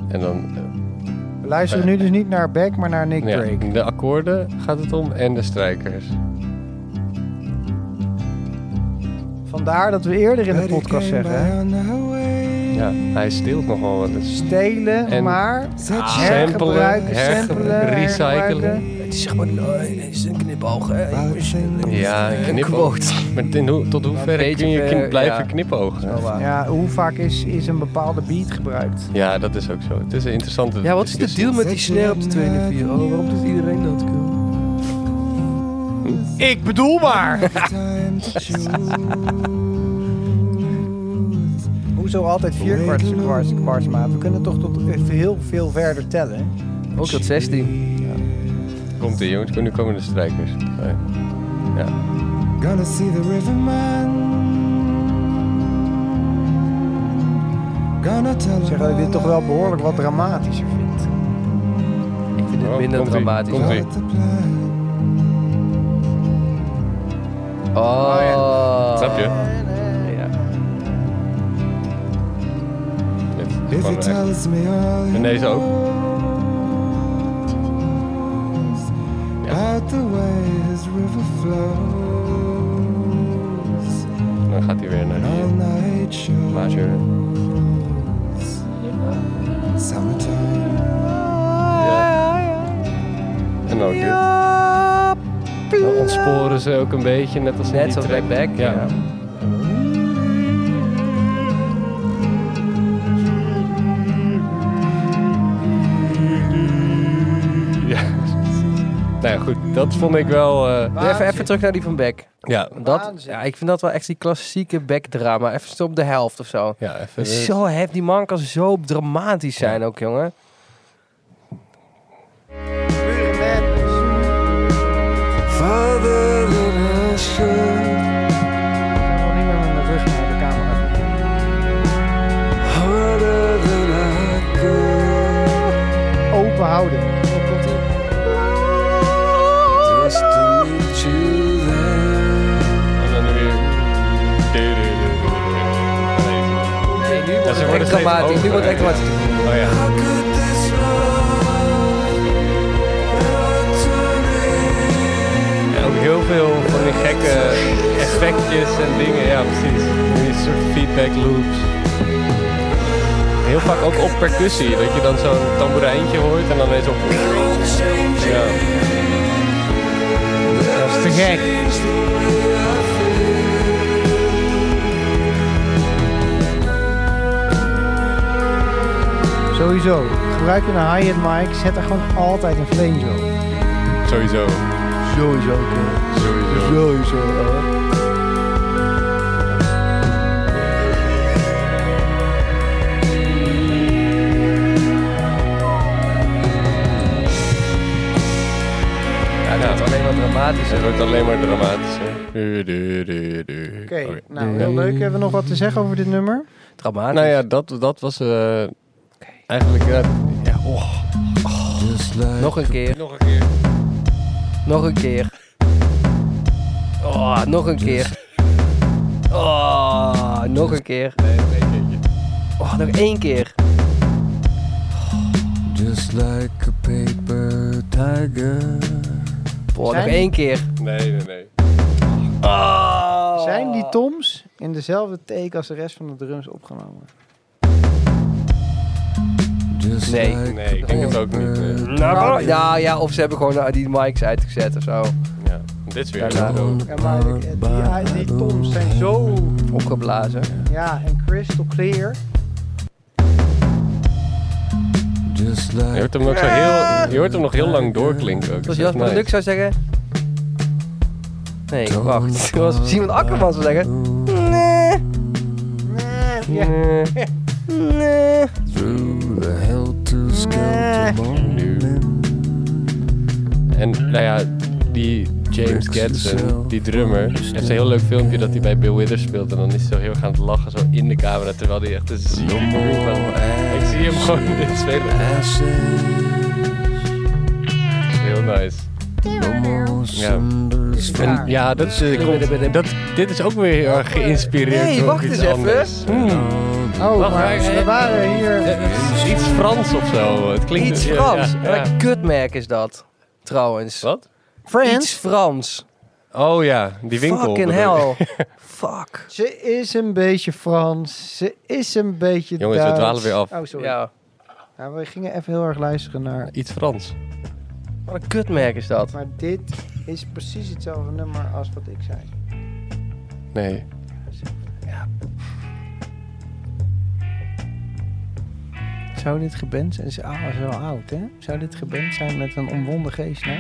[SPEAKER 2] En dan eh,
[SPEAKER 3] We luisteren nu dus niet naar Beck, maar naar Nick
[SPEAKER 2] ja,
[SPEAKER 3] Drake.
[SPEAKER 2] de akkoorden gaat het om en de strijkers.
[SPEAKER 3] Vandaar dat we eerder in de podcast zeggen, hè.
[SPEAKER 2] Ja, hij steelt nogal wat. eens.
[SPEAKER 3] stelen,
[SPEAKER 2] En-
[SPEAKER 3] maar hergebruiken,
[SPEAKER 2] Samplen,
[SPEAKER 3] samplen,
[SPEAKER 2] her-
[SPEAKER 3] hergebruiken.
[SPEAKER 2] recyclen.
[SPEAKER 5] Het is zeg maar het is een knipoog.
[SPEAKER 2] Ja, een knipoog. Maar ten hoe- tot hoeverre
[SPEAKER 5] Een
[SPEAKER 2] kun je
[SPEAKER 5] beetje
[SPEAKER 2] kn-
[SPEAKER 5] ver,
[SPEAKER 2] blijven
[SPEAKER 5] ja. Oh,
[SPEAKER 2] knipogen?
[SPEAKER 3] Ja, hoe vaak is, is een bepaalde beat gebruikt?
[SPEAKER 2] Ja, dat is ook zo. Het is een interessante
[SPEAKER 5] Ja, wat is de
[SPEAKER 2] discussie.
[SPEAKER 5] deal met die snare op de tweede vier? Oh, waarom doet iedereen dat?
[SPEAKER 3] Ik bedoel maar! Hoezo altijd vier kwarts, kwarts, kwarts maat? We kunnen toch tot heel veel verder tellen.
[SPEAKER 5] Ook tot 16.
[SPEAKER 2] Komt ie jongens, nu komen de strijkers. Nee. Ja.
[SPEAKER 7] Gonna see the river man. Gonna tell
[SPEAKER 3] Ik zeg dat ik dit toch wel behoorlijk wat dramatischer vind.
[SPEAKER 5] Ik vind het
[SPEAKER 2] Oh,
[SPEAKER 5] minder
[SPEAKER 2] komt-ie,
[SPEAKER 5] dramatisch.
[SPEAKER 2] komt-ie. Ah,
[SPEAKER 5] Oh.
[SPEAKER 2] Snap je?
[SPEAKER 5] Ja.
[SPEAKER 2] Dit is gewoon echt- En deze ook.
[SPEAKER 7] the way his river flows.
[SPEAKER 2] Dan gaat hij weer naar die
[SPEAKER 7] All night show.
[SPEAKER 2] major.
[SPEAKER 7] Summertime.
[SPEAKER 2] Ja. En ook dit. Dan ontsporen ze ook een beetje, net als in
[SPEAKER 5] Net
[SPEAKER 2] die
[SPEAKER 5] zoals bij
[SPEAKER 2] track.
[SPEAKER 5] Beck.
[SPEAKER 2] Ja.
[SPEAKER 5] Ja.
[SPEAKER 2] Ja. Nou ja, goed. Dat vond ik wel... eh,
[SPEAKER 5] Even, even terug naar die van Beck.
[SPEAKER 2] ja.
[SPEAKER 5] Dat,
[SPEAKER 3] Waanzin.
[SPEAKER 5] ja, ik vind dat wel echt die klassieke Beck-drama. Even zo op de helft of zo.
[SPEAKER 2] Ja, even...
[SPEAKER 7] Eh,
[SPEAKER 5] Zo hef, die man kan zo dramatisch zijn ook, jongen.
[SPEAKER 7] Father in ashes.
[SPEAKER 3] Nog niet meer met mijn rug naar de camera.
[SPEAKER 7] Harder than I could.
[SPEAKER 3] Open houden.
[SPEAKER 7] Just to meet you there.
[SPEAKER 2] En dan weer... Ja, ze worden
[SPEAKER 5] Echt
[SPEAKER 2] steeds
[SPEAKER 5] dramatisch. Nu
[SPEAKER 2] hoger,
[SPEAKER 5] wordt het
[SPEAKER 2] hè.
[SPEAKER 5] echt dramatisch.
[SPEAKER 2] Oh ja.
[SPEAKER 7] How could this love ever turn in?
[SPEAKER 2] En ook heel veel van die gekke effectjes en dingen. Ja, precies. Die soort feedback loops. Heel vaak ook op percussie. Dat je dan zo'n tamboerijntje hoort en dan ineens op... Ja.
[SPEAKER 3] Dat is te gek. Sowieso, gebruik je een high-end mic, zet er gewoon altijd een flanger op.
[SPEAKER 2] Sowieso.
[SPEAKER 3] Sowieso.
[SPEAKER 2] Sowieso.
[SPEAKER 3] Sowieso.
[SPEAKER 5] Ja, het wordt alleen wat
[SPEAKER 2] Dus Het
[SPEAKER 5] dramatischer.
[SPEAKER 2] wordt alleen maar dramatischer. Du- du- du- du.
[SPEAKER 3] Oké,
[SPEAKER 2] Oké.
[SPEAKER 3] nou heel leuk. Hebben we nog wat te zeggen over dit nummer?
[SPEAKER 5] Dramatisch.
[SPEAKER 2] Nou ja, dat, dat was eh, eigenlijk... ja, ja, oh.
[SPEAKER 5] Nog een keer.
[SPEAKER 2] Nog een keer.
[SPEAKER 5] Nog een keer. Oh, nog een keer.
[SPEAKER 7] Dus-
[SPEAKER 5] Oh, nog een keer. Oh, nog één keer.
[SPEAKER 7] Just like a paper tiger.
[SPEAKER 5] Oh, nog
[SPEAKER 3] Zijn-
[SPEAKER 5] één keer.
[SPEAKER 2] Nee, nee, nee.
[SPEAKER 5] Oh.
[SPEAKER 3] Zijn die toms in dezelfde take als de rest van de drums opgenomen?
[SPEAKER 7] Just
[SPEAKER 5] Nee.
[SPEAKER 7] like
[SPEAKER 2] Nee, ik denk het ook niet. nee.
[SPEAKER 5] Nou, nou ja, of ze hebben gewoon eh, die mics uitgezet of zo.
[SPEAKER 2] Ja. Dit is weer
[SPEAKER 5] Ja,
[SPEAKER 2] zo.
[SPEAKER 3] Ja, maar eh, die, die toms zijn zo...
[SPEAKER 5] Opgeblazen.
[SPEAKER 3] Ja, en crystal clear.
[SPEAKER 7] Just
[SPEAKER 2] Je
[SPEAKER 7] like
[SPEAKER 2] hoort hem, ook zo heel, je hoort hem nog heel lang doorklinken. Ook. Dat
[SPEAKER 5] Zoals
[SPEAKER 2] is echt
[SPEAKER 5] Jasper Lux
[SPEAKER 2] nice.
[SPEAKER 5] zou zeggen. Nee, wacht. Zoals Simon Akkerman zou zeggen. Nee. Nee.
[SPEAKER 7] through the helter-skelter morning.
[SPEAKER 2] En nou ja, die James Gadsden, die drummer, heeft een heel leuk filmpje dat hij bij Bill Withers speelt. En dan is hij zo heel erg aan het lachen, zo in de camera, terwijl hij echt een zieke groove aan het maken is. Ik zie hem gewoon dit spelen.
[SPEAKER 7] Ashes.
[SPEAKER 2] Heel nice. Ja. En ja, dat, is, eh, komt- dat, dit is ook weer heel erg geïnspireerd
[SPEAKER 5] Nee,
[SPEAKER 2] door
[SPEAKER 5] wacht
[SPEAKER 2] iets
[SPEAKER 5] eens even.
[SPEAKER 2] anders.
[SPEAKER 3] Oh,
[SPEAKER 2] Wacht,
[SPEAKER 3] maar
[SPEAKER 2] hij is-
[SPEAKER 3] we waren hier...
[SPEAKER 2] Iets Frans of zo. Het klinkt
[SPEAKER 5] Eh, Iets
[SPEAKER 2] ja,
[SPEAKER 5] Frans.
[SPEAKER 2] ja, ja.
[SPEAKER 5] Wat een kutmerk is dat, trouwens.
[SPEAKER 2] Wat?
[SPEAKER 5] Iets Frans.
[SPEAKER 2] Oh ja, die winkel.
[SPEAKER 5] Fucking
[SPEAKER 2] bedoel ik.
[SPEAKER 5] hell. Fuck.
[SPEAKER 3] Ze is een beetje Frans. Ze is een beetje
[SPEAKER 2] Jongens, we
[SPEAKER 3] Duits.
[SPEAKER 2] dwalen weer af.
[SPEAKER 3] Oh, sorry. Ja.
[SPEAKER 5] Ja.
[SPEAKER 3] we gingen even heel erg luisteren naar...
[SPEAKER 2] Iets Frans.
[SPEAKER 5] Wat een kutmerk is dat.
[SPEAKER 3] Maar dit is precies hetzelfde nummer als wat ik zei.
[SPEAKER 2] Nee.
[SPEAKER 3] Zou dit geband zijn? Ze ah, is wel oud, hè? Zou dit geband zijn met een omwonden geest, nou?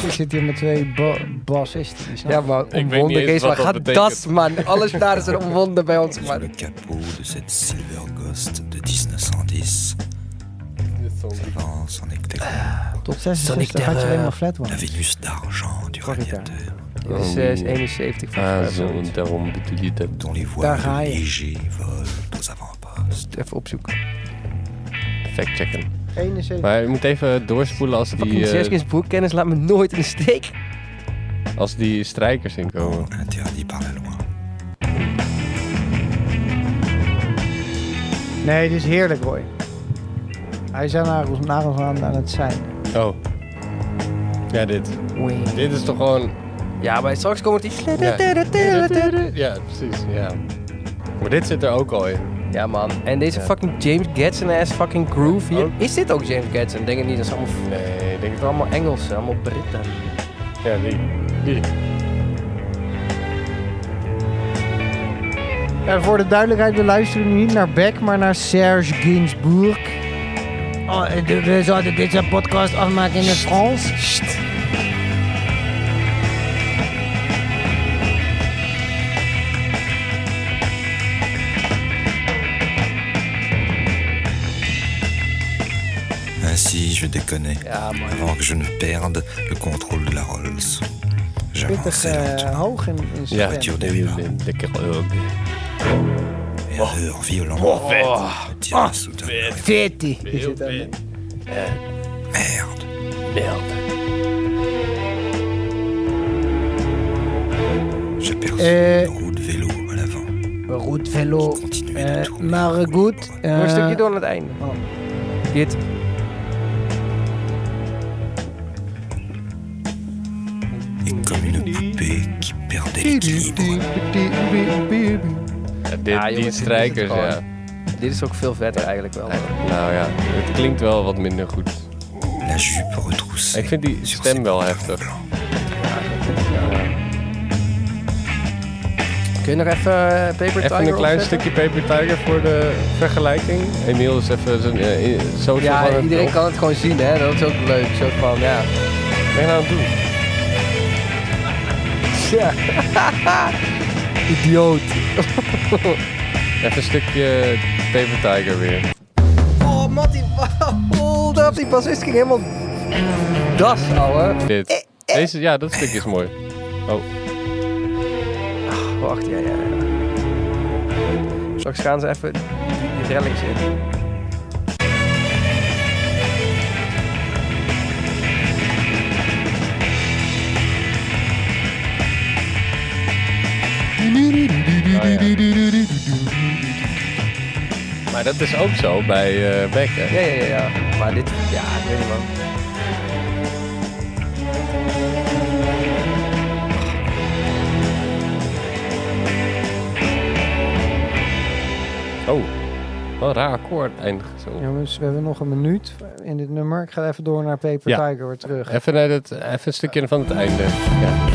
[SPEAKER 3] Ze zit hier met twee ba- bassisten. die snappen.
[SPEAKER 5] maar
[SPEAKER 2] niet omwonden eens geest, wat waar dat gaat betekent. dat,
[SPEAKER 5] man? Alles daar is er omwonden bij ons, man.
[SPEAKER 7] capot de cette Silver Ghost de 1910 avance en
[SPEAKER 3] Tot
[SPEAKER 5] Sonic
[SPEAKER 3] 66 had je
[SPEAKER 5] Terror.
[SPEAKER 3] helemaal flat one.
[SPEAKER 7] Vénus d'argent du radiateur
[SPEAKER 5] Dit is eh, is
[SPEAKER 2] Oh,
[SPEAKER 5] 71
[SPEAKER 2] Ah,
[SPEAKER 5] volgens mij.
[SPEAKER 2] zo, daarom bedoel je dat.
[SPEAKER 7] dont les
[SPEAKER 3] Daar
[SPEAKER 7] voiles
[SPEAKER 3] ga je.
[SPEAKER 7] légers volent aux avant-postes.
[SPEAKER 5] Even opzoeken.
[SPEAKER 2] Fact checken.
[SPEAKER 3] 71.
[SPEAKER 2] Maar je moet even doorspoelen als die,
[SPEAKER 5] Fucking
[SPEAKER 2] eh,
[SPEAKER 5] Zeskins broekkennis laat me nooit in de steek.
[SPEAKER 2] als die strijkers inkomen.
[SPEAKER 7] Interdit par la loi.
[SPEAKER 3] Nee, dit is heerlijk, Roy. Hij is aan nagels, nagels aan, aan het zijn.
[SPEAKER 2] Oh. Ja, dit. Dit is toch gewoon...
[SPEAKER 5] Ja, maar straks komt het
[SPEAKER 2] Ja.
[SPEAKER 5] die...
[SPEAKER 2] Ja, precies. Ja. Maar dit zit er ook al in.
[SPEAKER 5] Ja, man. En deze fucking James Gadsden-ass fucking groove hier.
[SPEAKER 2] Oh.
[SPEAKER 5] Is dit ook James Gadsden? Denk het niet. Dat is allemaal,
[SPEAKER 2] Nee, ik denk
[SPEAKER 5] dat is allemaal Engelsen, allemaal Britten.
[SPEAKER 2] Ja, die. die.
[SPEAKER 3] En voor de duidelijkheid, we luisteren nu niet naar Beck, maar naar Serge Gainsbourg.
[SPEAKER 11] Oh, eh, we zouden deze podcast afmaken in het Frans.
[SPEAKER 7] Ainsi, je déconnais
[SPEAKER 5] Ja, man.
[SPEAKER 7] avant que je ne perde le contrôle de la Rolls.
[SPEAKER 3] Pittig
[SPEAKER 7] J'avançais
[SPEAKER 3] eh,
[SPEAKER 7] lentement.
[SPEAKER 3] hoog in,
[SPEAKER 2] Ja,
[SPEAKER 3] in zijn stem.
[SPEAKER 7] Voiture
[SPEAKER 2] die-
[SPEAKER 7] dériva.
[SPEAKER 2] die- Lekker ook.
[SPEAKER 7] Erreur violente. Me tira soudain.
[SPEAKER 11] Vetti.
[SPEAKER 3] Is dit dan-
[SPEAKER 7] Merde. J'aperçus
[SPEAKER 3] Euh,
[SPEAKER 7] une roue de vélo à l'avant.
[SPEAKER 11] Goed velo.
[SPEAKER 7] Continuait de
[SPEAKER 11] Eh,
[SPEAKER 7] tourner.
[SPEAKER 11] maar goed.
[SPEAKER 5] Nog een stukje
[SPEAKER 11] eh,
[SPEAKER 5] door naar het einde. Dit.
[SPEAKER 7] Et comme une poupée qui perdait l'équilibre.
[SPEAKER 2] Ja, Ah, dit,
[SPEAKER 5] Ja,
[SPEAKER 2] die
[SPEAKER 5] jongens, dit
[SPEAKER 2] strijkers,
[SPEAKER 5] is het
[SPEAKER 2] ja.
[SPEAKER 5] gewoon. Dit is ook veel vetter eigenlijk wel.
[SPEAKER 2] Nou ja, het klinkt wel wat minder goed.
[SPEAKER 7] La jupe retroussée.
[SPEAKER 2] Ik vind die
[SPEAKER 7] sur ses
[SPEAKER 2] stem wel
[SPEAKER 7] pantalons
[SPEAKER 2] heftig.
[SPEAKER 7] blancs.
[SPEAKER 5] Kun je nog even eh, Paper Tiger
[SPEAKER 2] Even een klein stukje
[SPEAKER 5] opzetten?
[SPEAKER 2] Paper Tiger voor de vergelijking. Emiel is even zijn eh, i- social aan
[SPEAKER 5] Ja,
[SPEAKER 2] het
[SPEAKER 5] iedereen
[SPEAKER 2] op-
[SPEAKER 5] kan het gewoon zien, hè. Dat is ook leuk. Zo van, ja.
[SPEAKER 2] Ben je nou aan het doen?
[SPEAKER 5] Idioot.
[SPEAKER 2] Even een stukje Paper Tiger weer.
[SPEAKER 5] Oh, Matty. Oh, dat die bassist ging helemaal... Das, ouwe.
[SPEAKER 2] Dit.
[SPEAKER 5] eh.
[SPEAKER 2] Deze, ja, dat stukje is mooi. Oh,
[SPEAKER 5] Wacht, ja, ja, ja. Straks gaan ze even die rellings in.
[SPEAKER 2] maar dat is ook zo bij eh Beck, hè?
[SPEAKER 5] Ja, ja, ja, ja. Maar dit... Ja, ik weet niet, man.
[SPEAKER 2] Oh, wat een raar akkoord eindigen zo.
[SPEAKER 3] Jongens, we hebben nog een minuut in dit nummer. Ik ga even door naar Paper
[SPEAKER 2] Ja.
[SPEAKER 3] Tiger weer terug.
[SPEAKER 2] Even, naar het, even een stukje van het einde. Ja.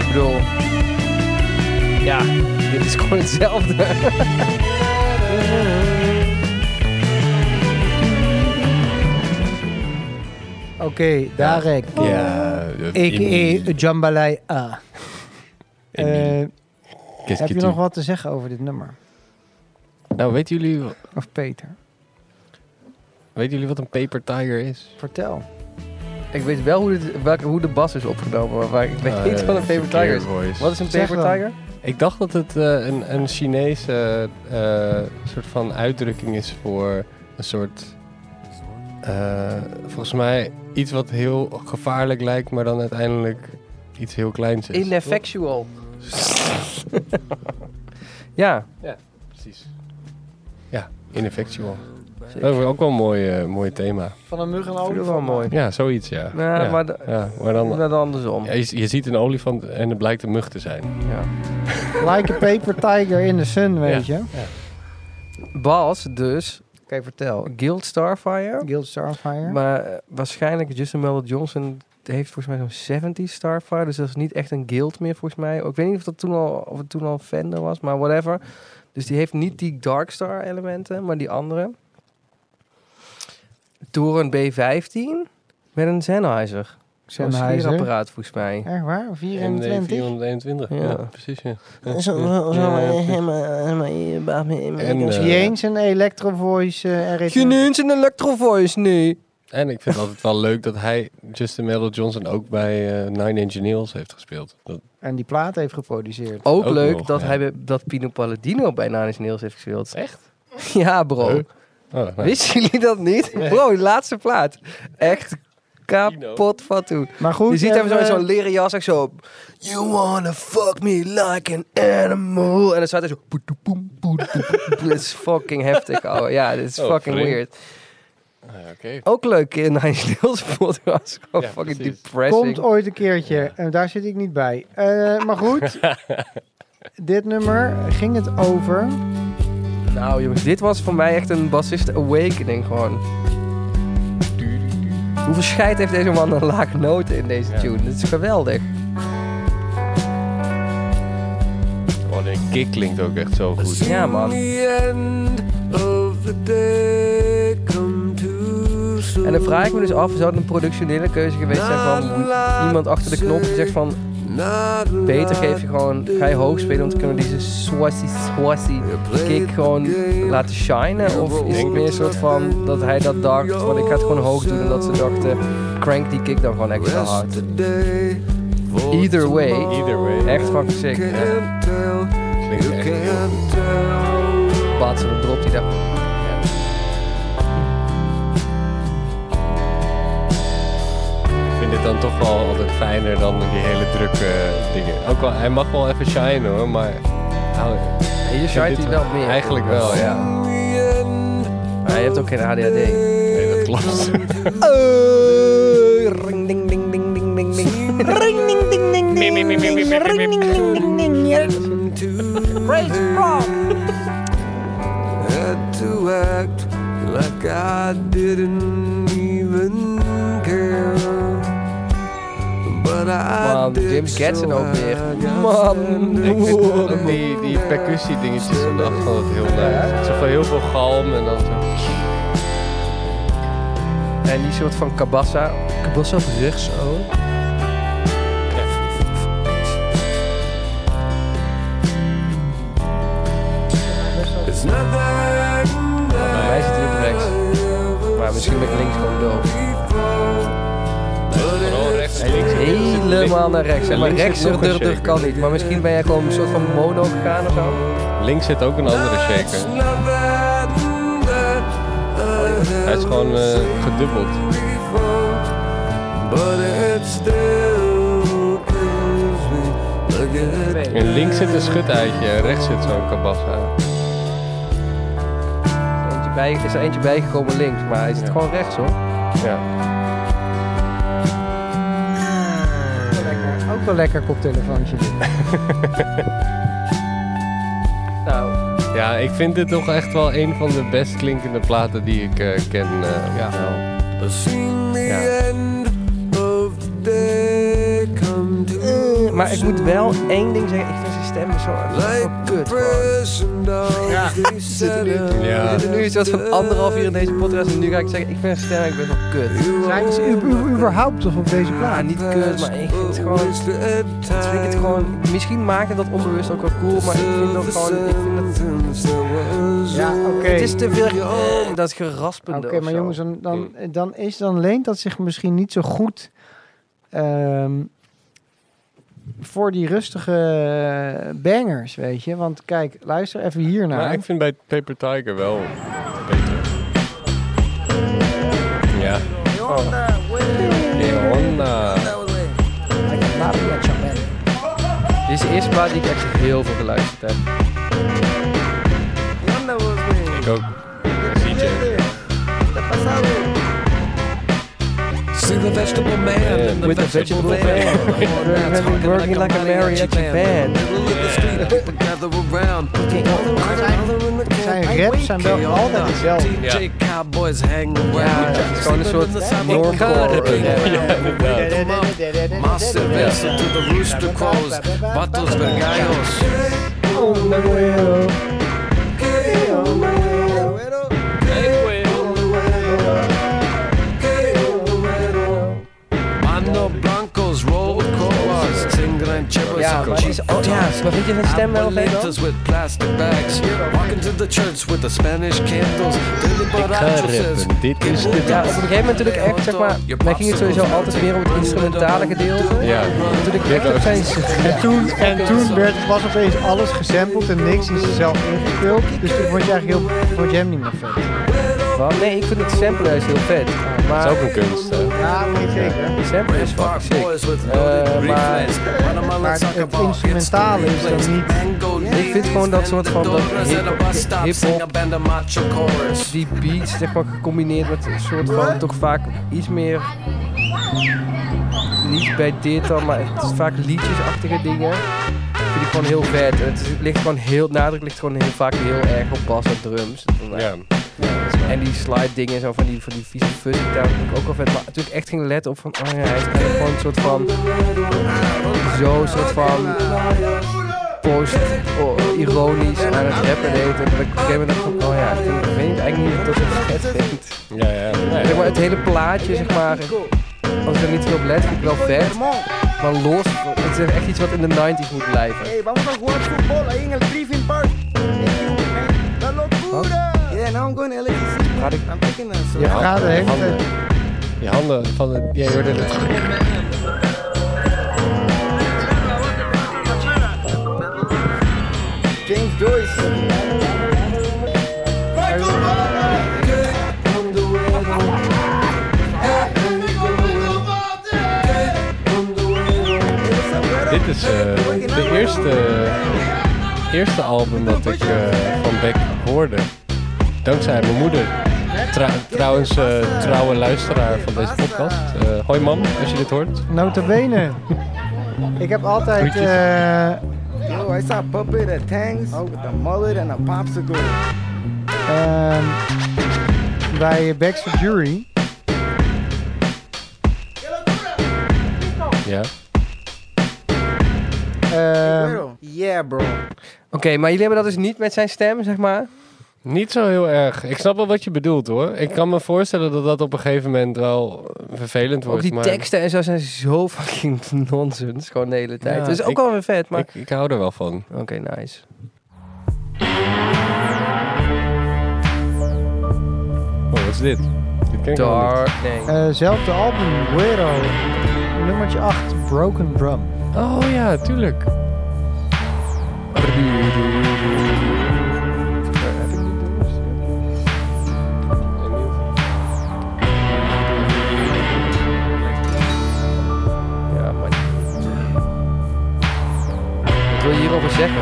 [SPEAKER 5] Ik bedoel... Ja, dit is gewoon hetzelfde.
[SPEAKER 3] Darek.
[SPEAKER 12] Ja,
[SPEAKER 3] A.k.a.
[SPEAKER 12] eh, Emily.
[SPEAKER 3] Jambalaya. Eh,
[SPEAKER 12] Emily. Qu'est-ce
[SPEAKER 3] heb
[SPEAKER 12] que
[SPEAKER 3] je
[SPEAKER 12] tu-
[SPEAKER 3] nog wat te zeggen over dit nummer?
[SPEAKER 2] Nou, weten jullie,
[SPEAKER 3] Of Peter?
[SPEAKER 2] weten jullie wat een paper tiger is?
[SPEAKER 3] Vertel.
[SPEAKER 5] Ik weet wel hoe, dit, welke, hoe de bas is opgenomen, maar waar- ik weet
[SPEAKER 2] Eh,
[SPEAKER 5] niet wat een Paper Tiger Ah, is. Wat is een Paper Tiger?
[SPEAKER 2] Ik dacht dat het eh, een, een Chinese eh, soort van uitdrukking is voor een soort. eh, volgens mij iets wat heel gevaarlijk lijkt, maar dan uiteindelijk iets heel kleins is.
[SPEAKER 5] Ineffectual. ja.
[SPEAKER 2] Ja, precies. Ja, ineffectual.
[SPEAKER 5] Zeker.
[SPEAKER 2] Dat is ook wel een mooi, eh, mooi thema.
[SPEAKER 3] Van een mug en
[SPEAKER 5] Vind ik wel mooi.
[SPEAKER 2] Ja, zoiets, ja.
[SPEAKER 5] Ja, Nou, maar de-
[SPEAKER 2] ja, maar dan,
[SPEAKER 5] maar dan andersom.
[SPEAKER 2] Ja, je, je ziet een olifant en het blijkt een mug te zijn.
[SPEAKER 5] Ja.
[SPEAKER 3] Like a paper tiger in the sun, weet
[SPEAKER 2] Ja.
[SPEAKER 3] je?
[SPEAKER 5] Bas, dus. Oké, vertel. Guild Starfire.
[SPEAKER 3] Guild Starfire.
[SPEAKER 5] Maar eh, waarschijnlijk Justin Mel Johnson heeft volgens mij zo'n 70 Starfire. Dus dat is niet echt een guild meer volgens mij. Ik weet niet of, dat toen al, of het toen al Fender was, maar whatever. Dus die heeft niet die Dark Star elementen, maar die andere. Toren B15 met een Sennheiser. Zo'n
[SPEAKER 3] Sennheiser.
[SPEAKER 5] sfeerapparaat volgens mij.
[SPEAKER 3] Echt waar? 24?
[SPEAKER 2] 421, eh, ja,
[SPEAKER 5] Ja.
[SPEAKER 2] precies. Ja.
[SPEAKER 5] Zo-
[SPEAKER 3] zo-
[SPEAKER 2] Ja, ja, precies. En,
[SPEAKER 3] Is
[SPEAKER 2] eh,
[SPEAKER 3] je eens een Electro Voice eh RS?
[SPEAKER 5] eens een Electro Voice nu.
[SPEAKER 2] En ik vind het altijd wel leuk dat hij Justin Metal Johnson ook bij eh, Nine Inch Nails heeft gespeeld. Dat,
[SPEAKER 3] En die plaat heeft geproduceerd.
[SPEAKER 5] Ook,
[SPEAKER 2] Ook
[SPEAKER 5] leuk
[SPEAKER 2] nog,
[SPEAKER 5] dat,
[SPEAKER 2] ja.
[SPEAKER 5] hij, bij- dat Pino Palladino bij Nanis Neels heeft gespeeld.
[SPEAKER 2] Echt?
[SPEAKER 5] Ja, bro.
[SPEAKER 2] Huh? oh, nou.
[SPEAKER 5] Wisten jullie dat niet?
[SPEAKER 2] Nee.
[SPEAKER 5] Bro, die laatste plaat. Echt kapot van toen.
[SPEAKER 3] Maar goed,
[SPEAKER 5] Je ziet hem zo in
[SPEAKER 3] eh,
[SPEAKER 5] zo'n leren jas, echt zo... You wanna fuck me like an animal. En dan staat hij zo... poet, poet, poet, poet, poet, poet. Dit is fucking heftig, ouwe. Ja, dit is
[SPEAKER 2] Oh,
[SPEAKER 5] fucking
[SPEAKER 2] vreemd.
[SPEAKER 5] weird.
[SPEAKER 2] Ah, ja, Oké.
[SPEAKER 5] Ook leuk in Nine Nails podcast. Gewoon
[SPEAKER 2] Ja,
[SPEAKER 5] fucking
[SPEAKER 2] precies.
[SPEAKER 5] depressing.
[SPEAKER 3] Komt ooit een keertje. En daar zit ik niet bij. Eh, maar goed. dit nummer ging het over.
[SPEAKER 5] Nou jongens, dit was voor mij echt een bassist awakening gewoon. Hoeveel scheid heeft deze man een lage noten in deze
[SPEAKER 2] Ja.
[SPEAKER 5] tune? Dit is geweldig.
[SPEAKER 2] Oh, de kick klinkt ook echt zo goed.
[SPEAKER 5] Ja man. En dan vraag ik me dus af, zou het een productionele keuze geweest zijn van iemand achter de knop die zegt van beter geef je gewoon, ga je hoog spelen om te kunnen deze swashy swashy kick gewoon laten shinen? Of is het meer een soort van dat hij dat dacht van ik ga het gewoon hoog doen en dat ze dachten crank die kick dan gewoon extra hard. Either way,
[SPEAKER 2] Either way.
[SPEAKER 5] echt fucking sick.
[SPEAKER 2] Ja. Klinkt echt heel goed.
[SPEAKER 5] Plaats dan dropt hij daar.
[SPEAKER 2] Ik vind dit dan toch wel altijd fijner dan die hele drukke eh, dingen. Ook al, hij mag wel even shine hoor, maar... Nou,
[SPEAKER 5] En je
[SPEAKER 2] ik vind
[SPEAKER 5] shined
[SPEAKER 2] dit
[SPEAKER 5] hij wel meer.
[SPEAKER 2] Eigenlijk wel, ja.
[SPEAKER 5] Maar hij heeft ook geen ADHD.
[SPEAKER 2] Nee, dat klopt.
[SPEAKER 5] Eh, ring ding ding ding ding ding ding. Ring ding ding ding ding. Ring ding ding ding ding. Praise God.
[SPEAKER 7] had to act like I didn't even care. But I
[SPEAKER 5] Man,
[SPEAKER 7] did,
[SPEAKER 5] Jim Catson
[SPEAKER 7] so
[SPEAKER 5] ook weer.
[SPEAKER 7] I got
[SPEAKER 5] Man.
[SPEAKER 2] Ik vind ook dat die, die percussie dingetjes van de achtergrond heel leuk. Zo van heel veel galm en dan zo...
[SPEAKER 5] En die soort van kabassa. Kabassa op rechts ook.
[SPEAKER 7] It's nothing
[SPEAKER 5] Bij mij zit hij op rechts. Maar misschien ben ik links gewoon doof.
[SPEAKER 2] Vooral rechts en links.
[SPEAKER 5] Helemaal naar rechts. En maar
[SPEAKER 2] Links zit
[SPEAKER 5] rechts
[SPEAKER 2] nog een
[SPEAKER 5] durf
[SPEAKER 2] shaker.
[SPEAKER 5] kan niet. Maar misschien ben jij gewoon een soort van mono gegaan of zo.
[SPEAKER 2] Links zit ook een andere shaker. Hij is gewoon eh, gedubbeld.
[SPEAKER 7] But it still kills me. Look at
[SPEAKER 2] En links zit een schutuitje en rechts zit zo'n kabassa.
[SPEAKER 5] Eentje bij, is er eentje bijgekomen links, maar hij zit
[SPEAKER 2] Ja.
[SPEAKER 5] gewoon rechts hoor.
[SPEAKER 2] Ja.
[SPEAKER 3] Ook wel lekker koptelefoontje. dit.
[SPEAKER 5] Nou,
[SPEAKER 2] ja, ik vind dit toch echt wel een van de best klinkende platen die ik eh, ken. eh,
[SPEAKER 5] Ja.
[SPEAKER 2] wel.
[SPEAKER 5] Eh, maar ik moet wel één ding zeggen. Ik vind zijn stem is zo
[SPEAKER 7] Like
[SPEAKER 5] kut. Ja.
[SPEAKER 7] Ja.
[SPEAKER 5] We zitten nu iets van anderhalf uur in deze podcast en nu ga ik zeggen, ik vind stem eigenlijk best wel kut.
[SPEAKER 3] Zijn ze u- u- überhaupt of op deze plaat?
[SPEAKER 5] Ja, Ah, niet kut, maar ik vind het gewoon... Ik Dus vind het gewoon... Misschien maakt het dat onbewust ook wel cool, maar ik vind dat gewoon... Ik vind dat,
[SPEAKER 3] Ja, oké.
[SPEAKER 5] Het is te veel... eh, dat geraspende
[SPEAKER 3] Oké,
[SPEAKER 5] of
[SPEAKER 3] maar
[SPEAKER 5] zo.
[SPEAKER 3] jongens, dan, dan,
[SPEAKER 2] Hmm.
[SPEAKER 3] dan, is, dan leent dat zich misschien niet zo goed ehm, voor die rustige bangers, weet je. Want kijk, luister even hiernaar.
[SPEAKER 2] Maar ik vind bij Paper Tiger wel beter. Ja. Oh. Leona.
[SPEAKER 5] Dit is de eerste plaat die ik echt heel veel geluisterd heb.
[SPEAKER 2] Ik ook. DJ.
[SPEAKER 7] See the vegetable man and the
[SPEAKER 5] With the
[SPEAKER 7] vegetable
[SPEAKER 5] vegetable
[SPEAKER 7] man.
[SPEAKER 5] man. Working like a mariachi band. Oh,
[SPEAKER 7] Middle of the street, people gather around.
[SPEAKER 3] Zijn raps zijn wel altijd hetzelfde.
[SPEAKER 7] DJ Cowboys hang around.
[SPEAKER 5] het is gewoon een soort normcore rap.
[SPEAKER 7] Más cerveza to the rooster crows. Vatos vergallos. Mando blancos, roll colas, tingling chippers.
[SPEAKER 5] Ja, maar die is- oh, ja, maar vind je zijn stem wel oké dan?
[SPEAKER 7] Abuelitas with plastic bags, walking to the church with the Spanish candles. Dilly Baracho says,
[SPEAKER 2] Dit is
[SPEAKER 7] de
[SPEAKER 5] Ja, op een gegeven moment toen ik echt, zeg maar, wij gingen sowieso altijd meer om het instrumentale gedeelte.
[SPEAKER 2] Ja.
[SPEAKER 5] Toen ik echt op zijn
[SPEAKER 3] En toen, en toen werd, was opeens alles gesampled en niks is zelf ingespeeld. Dus toen vond je eigenlijk heel, vond je hem niet meer vet.
[SPEAKER 5] Wat? Nee, ik vind het sample juist heel vet. Maar
[SPEAKER 2] Dat is ook een kunst, hè.
[SPEAKER 3] Ja, weet zeker.
[SPEAKER 5] sample is fucking sick. Eh, maar
[SPEAKER 3] Maar het instrumentale is dan niet...
[SPEAKER 5] ik vind gewoon dat soort van dat hip- hip-hop,
[SPEAKER 7] and a macho chorus.
[SPEAKER 5] die beats, zeg maar, gecombineerd met een soort van toch vaak iets meer. Niet bij dit dan, maar het is vaak liedjesachtige dingen. Vind ik gewoon heel vet. En het, is- het ligt gewoon heel, nadruk ligt gewoon heel vaak heel erg op bas en drums.
[SPEAKER 2] Ja.
[SPEAKER 5] En die slide dingen en zo van die, van die vieze fuzzy daar vind ik ook wel vet. Maar toen ik echt ging letten op van, oh ja, hij is eigenlijk gewoon een soort van, zo een soort van post-ironisch aan het rappen deed. En dat ik op een gegeven moment dacht van, oh ja, ik vind- ik weet niet, eigenlijk niet of ik dat zo vet vind.
[SPEAKER 2] Ja, ja. Nee.
[SPEAKER 5] Zeg maar, het hele plaatje, zeg maar, als ik er niet veel op let, vind ik wel vet. Maar los, het is echt iets wat in de 90s moet blijven.
[SPEAKER 13] Hey, vamos a jugar fútbol ahí en el Griffin Park. ¡La locura! Yeah, now I'm going to LA.
[SPEAKER 5] Praat ik-
[SPEAKER 13] I'm picking us.
[SPEAKER 3] Je gaat de hele
[SPEAKER 2] handen.
[SPEAKER 3] tijd-
[SPEAKER 2] Je handen van het... Ja, je hoorde het.
[SPEAKER 13] James Joyce.
[SPEAKER 2] Dit is eh, de eerste, eerste album dat ik eh, van Beck hoorde. Dankzij mijn moeder. Trou- trouwens, eh, trouwe luisteraar van deze podcast. Eh, hoi mam, als je dit hoort.
[SPEAKER 3] Nota bene. Ik heb altijd...
[SPEAKER 2] Groetjes.
[SPEAKER 3] eh,
[SPEAKER 13] Yo, I saw Puppet at Tang's oh, with a mullet and a popsicle.
[SPEAKER 3] Ehm, bij Backstreet Jury.
[SPEAKER 2] Ja.
[SPEAKER 3] ehm,
[SPEAKER 13] Yeah, bro.
[SPEAKER 5] Oké, maar jullie hebben dat dus niet met zijn stem, zeg maar?
[SPEAKER 2] Niet zo heel erg. Ik snap wel wat je bedoelt hoor. Ik kan me voorstellen dat dat op een gegeven moment wel vervelend wordt.
[SPEAKER 5] Ook die
[SPEAKER 2] maar
[SPEAKER 5] teksten en zo zijn zo fucking nonsens, gewoon de hele tijd.
[SPEAKER 2] Ja,
[SPEAKER 5] dus ook
[SPEAKER 2] ik-
[SPEAKER 5] wel weer vet, maar...
[SPEAKER 2] Ik, ik hou er wel van.
[SPEAKER 5] Oké, nice.
[SPEAKER 2] Oh, wat is dit? Dit ken ik helemaal niet.
[SPEAKER 5] Dark, nee.
[SPEAKER 3] eh, zelfde album, Guero. Nummertje 8, Broken Drum.
[SPEAKER 2] Oh ja, tuurlijk.
[SPEAKER 5] Ja, maar... Wat wil je hierover zeggen?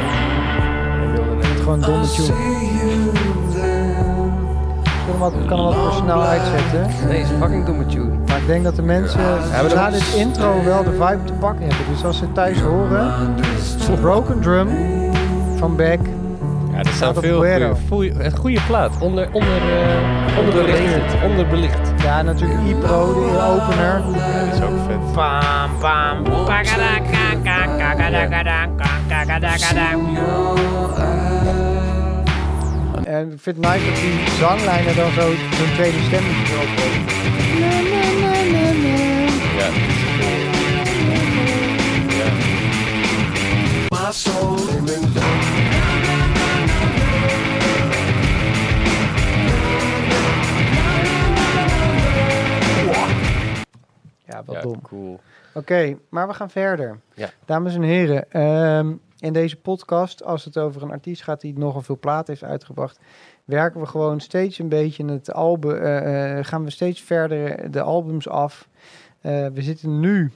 [SPEAKER 5] Ik wilde net-
[SPEAKER 3] Gewoon een domme tune. Ik kan hem wat, kan hem wat voor snel uitzetten.
[SPEAKER 5] Nee, het is een fucking domme tune.
[SPEAKER 3] Maar ik denk dat de mensen
[SPEAKER 5] we
[SPEAKER 3] na
[SPEAKER 5] dat-
[SPEAKER 3] dit intro wel de vibe te pakken hebben. Dus als ze thuis horen, Broken Drum van Beck.
[SPEAKER 2] Ja, dat zijn veel
[SPEAKER 3] Guerrero.
[SPEAKER 2] goede, goede, goede plaat. Onder, onder, eh, onderbelicht. Onderbelicht.
[SPEAKER 3] Ja, natuurlijk Ipro, de opener.
[SPEAKER 2] Ja, dat is ook vet.
[SPEAKER 3] Bam, bam. En ik vind nice dat die zanglijnen dan zo hun tweede stemmetje erop heeft.
[SPEAKER 2] Ja.
[SPEAKER 7] My soul in the dark.
[SPEAKER 3] Ja,
[SPEAKER 2] wat dom. Cool.
[SPEAKER 3] Oké, maar we gaan verder.
[SPEAKER 2] Ja.
[SPEAKER 3] Dames en heren, ehm, in deze podcast, als het over een artiest gaat die nogal veel plaat heeft uitgebracht, werken we gewoon steeds een beetje in het album, eh, eh, gaan we steeds verder de albums af. Eh, we zitten nu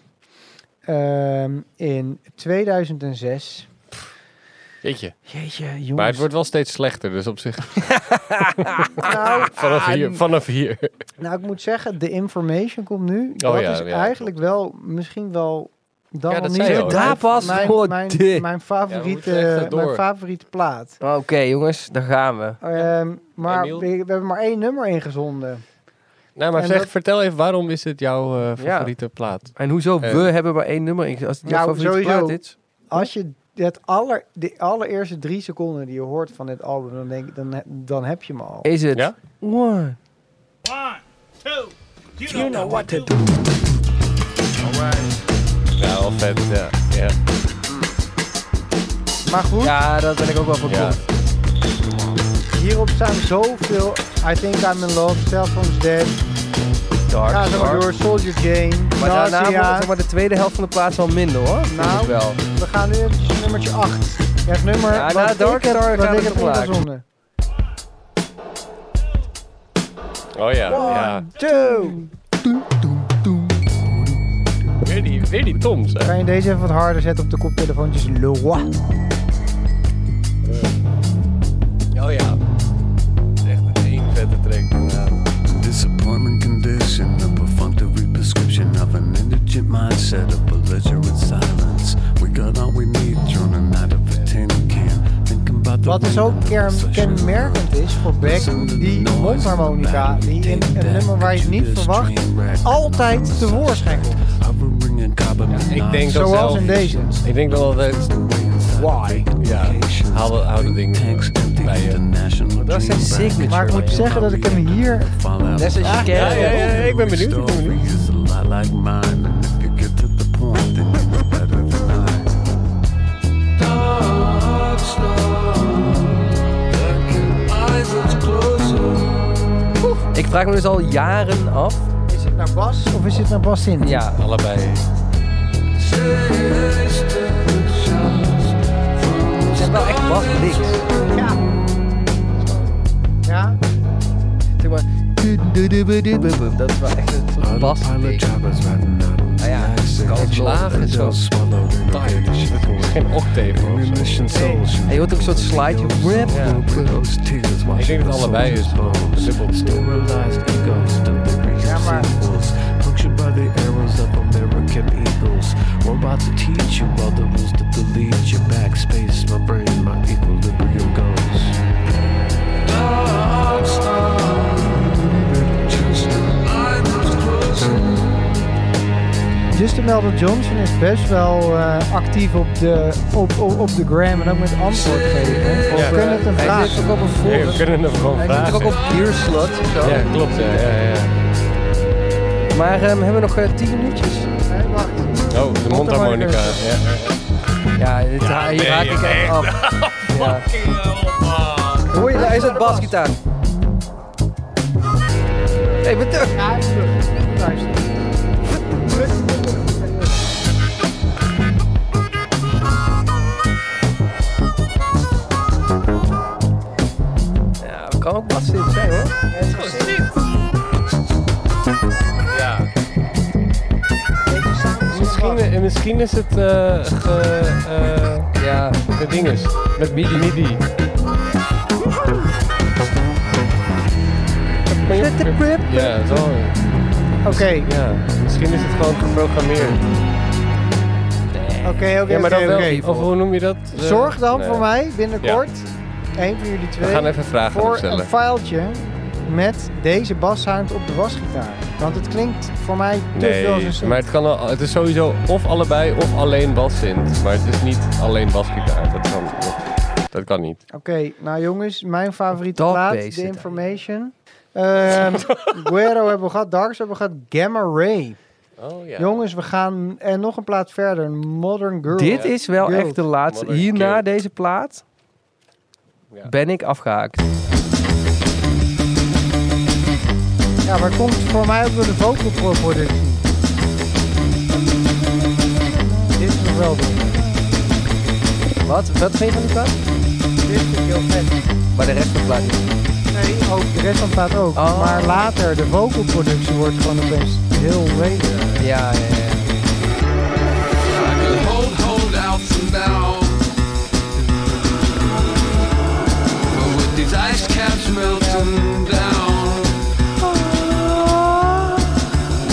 [SPEAKER 3] ehm, in 2006.
[SPEAKER 2] Jeetje.
[SPEAKER 3] Jeetje, jongens.
[SPEAKER 2] Maar het wordt wel steeds slechter, dus op zich.
[SPEAKER 3] Nou,
[SPEAKER 2] vanaf hier. Vanaf hier.
[SPEAKER 3] Nou, ik moet zeggen, de information komt nu. Dat
[SPEAKER 2] Oh ja,
[SPEAKER 3] is
[SPEAKER 2] ja,
[SPEAKER 3] eigenlijk wel, misschien wel. Dan
[SPEAKER 2] Ja,
[SPEAKER 3] wel
[SPEAKER 2] dat
[SPEAKER 3] niet
[SPEAKER 2] zei je al,
[SPEAKER 5] Daar
[SPEAKER 3] mijn-
[SPEAKER 5] pas voor
[SPEAKER 3] mijn,
[SPEAKER 5] dit.
[SPEAKER 3] mijn, mijn, favoriete,
[SPEAKER 5] Ja, we moeten echt door.
[SPEAKER 3] mijn favoriete plaat.
[SPEAKER 5] Ah, Oké, jongens, daar gaan we.
[SPEAKER 3] Ehm, maar we,
[SPEAKER 2] Emiel?
[SPEAKER 3] we hebben maar één nummer ingezonden.
[SPEAKER 2] Nou, maar
[SPEAKER 3] En
[SPEAKER 2] zeg,
[SPEAKER 3] dat-
[SPEAKER 2] vertel even, waarom is dit jouw eh,
[SPEAKER 5] Ja.
[SPEAKER 2] favoriete plaat?
[SPEAKER 5] En hoezo?
[SPEAKER 2] Eh.
[SPEAKER 5] we hebben maar één nummer. inge- Als het jouw
[SPEAKER 3] Nou,
[SPEAKER 5] favoriete
[SPEAKER 3] sowieso.
[SPEAKER 5] plaat is.
[SPEAKER 3] Als je het aller, de allereerste drie seconden die je hoort van dit album, dan, denk, ik, dan, he- dan heb je hem al.
[SPEAKER 5] Is het?
[SPEAKER 2] Ja?
[SPEAKER 5] One.
[SPEAKER 13] You know what to do.
[SPEAKER 2] Ja, wel vet, ja. ja.
[SPEAKER 3] Maar goed,
[SPEAKER 5] Ja, dat ben ik ook wel voor
[SPEAKER 2] Ja.
[SPEAKER 3] hierop staan zoveel. I think I'm in love, Cell Phone's Dead.
[SPEAKER 5] Dark.
[SPEAKER 3] Ga zo maar
[SPEAKER 5] dark.
[SPEAKER 3] door, Soldier Jane.
[SPEAKER 5] Maar daarna
[SPEAKER 3] Nausea.
[SPEAKER 5] wordt zeg maar, de tweede helft van de plaats wel minder hoor. Vind
[SPEAKER 3] Nou,
[SPEAKER 5] ik wel.
[SPEAKER 3] we gaan nu eventjes nummertje 8. Ja, het nummer
[SPEAKER 5] Ja,
[SPEAKER 3] wat
[SPEAKER 5] na Dark
[SPEAKER 3] ik heb,
[SPEAKER 5] Star
[SPEAKER 3] wat
[SPEAKER 5] gaat
[SPEAKER 3] ik
[SPEAKER 5] het
[SPEAKER 3] heb
[SPEAKER 5] omlaag.
[SPEAKER 3] ingezonden.
[SPEAKER 2] Oh ja, ja.
[SPEAKER 3] Two.
[SPEAKER 2] Weer die, weer die toms, hè.
[SPEAKER 3] Kan je deze even wat harder zetten op de koptelefoontjes? Loa.
[SPEAKER 2] Oh ja. Het is Echt één vette track. inderdaad.
[SPEAKER 14] Disappointment condition, a perfunctory prescription of an indigent mindset, of belligerent silence. We got all we need during a night of a tin can. Thinking about the
[SPEAKER 3] Wat dus ook ker- kenmerkend is voor Beck, die mondharmonica, die in een nummer waar je het niet verwacht, altijd tevoorschijn komt.
[SPEAKER 2] Ik denk dat
[SPEAKER 3] Zoals
[SPEAKER 2] zelf-
[SPEAKER 3] in deze.
[SPEAKER 2] Ik denk dat het... Why? Ja, haal dat oude ding bij je.
[SPEAKER 14] Dat
[SPEAKER 2] zijn signature.
[SPEAKER 3] Maar ik moet zeggen dat ik hem hier...
[SPEAKER 14] Fallout.
[SPEAKER 3] Net zoals je
[SPEAKER 14] Ah,
[SPEAKER 3] kent.
[SPEAKER 14] ja, ja, ja,
[SPEAKER 2] ik ben benieuwd, ik ben
[SPEAKER 14] Story is a lot like mine, and if you get to the point, then you know better than I.
[SPEAKER 7] Dark eyes that's closer.
[SPEAKER 5] Ik vraag me dus al jaren af.
[SPEAKER 3] Is het naar Bas of is het naar Bas in?
[SPEAKER 5] Ja.
[SPEAKER 2] Allebei.
[SPEAKER 5] Het zijn wel echt Bas niks.
[SPEAKER 3] Ja. Ja?
[SPEAKER 5] Zeg maar. Dat is wel echt een soort Bas. Nou Ah ja, laag en zo.
[SPEAKER 2] Geen octave of zo.
[SPEAKER 5] En je hoort ook een soort slide. Rip.
[SPEAKER 2] Ik denk dat het allebei is. Dubbel.
[SPEAKER 3] Ja, maar...
[SPEAKER 14] Punctured by the arrows of American eagles. Robots to teach you all the rules to delete your backspace, my brain, my equilibrium goes.
[SPEAKER 7] Dark eyes that's closer.
[SPEAKER 3] Justin Melvin Johnson is best wel eh, actief op de, op, op, op de gram en ook met antwoord geven. We
[SPEAKER 2] Ja.
[SPEAKER 3] kunnen het een
[SPEAKER 5] Hij
[SPEAKER 3] vraag.
[SPEAKER 5] zit ook op een
[SPEAKER 2] Nee, we
[SPEAKER 5] forum.
[SPEAKER 2] kunnen hem gewoon
[SPEAKER 5] Hij zit er ook
[SPEAKER 2] vragen.
[SPEAKER 5] op Deerslot of zo.
[SPEAKER 2] Ja, klopt. Ja, ja, ja.
[SPEAKER 5] Maar ehm, hebben we nog eh, 10 minuutjes?
[SPEAKER 3] Nee, wacht.
[SPEAKER 2] Oh, de mondharmonica. Ja.
[SPEAKER 5] Ja, dit, hier haak ik echt af. Ja. Hoor je, daar is het basgitaar. Hé, hey, wat terug.
[SPEAKER 3] Ja, luister.
[SPEAKER 5] Ja, kan ook bas dit zijn hoor.
[SPEAKER 2] Ja. Misschien, eh, misschien is het eh ge, eh,
[SPEAKER 5] Ja,
[SPEAKER 2] de dinges. Met midi midi. Ja, zo.
[SPEAKER 3] Oké,
[SPEAKER 2] Ja. Misschien is het gewoon geprogrammeerd.
[SPEAKER 3] oké, oké,
[SPEAKER 2] ja, maar dan
[SPEAKER 3] oké,
[SPEAKER 2] wel.
[SPEAKER 3] oké.
[SPEAKER 2] Of hoe noem je dat? Eh,
[SPEAKER 3] Zorg dan
[SPEAKER 2] nee.
[SPEAKER 3] voor mij binnenkort Eén van jullie twee.
[SPEAKER 2] gaan even vragen aan hem
[SPEAKER 3] voor
[SPEAKER 2] stellen.
[SPEAKER 3] een vuiltje met deze bassound op de wasgitaar. Want het klinkt voor mij te veel als een
[SPEAKER 2] Nee,
[SPEAKER 3] synth.
[SPEAKER 2] maar het, kan wel, het is sowieso of allebei of alleen bassynth. Maar het is niet alleen basgitaar. Dat kan, dat, dat kan niet.
[SPEAKER 3] Oké, nou jongens, mijn favoriete
[SPEAKER 2] Dog
[SPEAKER 3] plaat,
[SPEAKER 2] bass
[SPEAKER 3] The
[SPEAKER 2] zit
[SPEAKER 3] Information. Ehm Guero hebben we gehad, Darks hebben we gehad, Gamma Ray.
[SPEAKER 2] Oh ja.
[SPEAKER 3] Jongens, we gaan en nog een plaat verder, Modern Girl.
[SPEAKER 5] Dit is wel
[SPEAKER 3] Girl.
[SPEAKER 5] echt de laatste. Hierna deze plaat ben ik afgehaakt.
[SPEAKER 3] Ja, maar komt voor mij ook door de vocal productie. Dit is nog wel
[SPEAKER 5] Wat? Wat vind je van die plaat?
[SPEAKER 3] Dit vind ik heel vet.
[SPEAKER 5] Maar de rest van de plaat niet.
[SPEAKER 3] Nee, ook de rest van de plaat ook.
[SPEAKER 2] Oh.
[SPEAKER 3] Maar later, de vocal productie wordt gewoon opeens heel weder.
[SPEAKER 5] Ja, ja, ja.
[SPEAKER 7] I can hold, hold out from now. But with these ice caps melting down,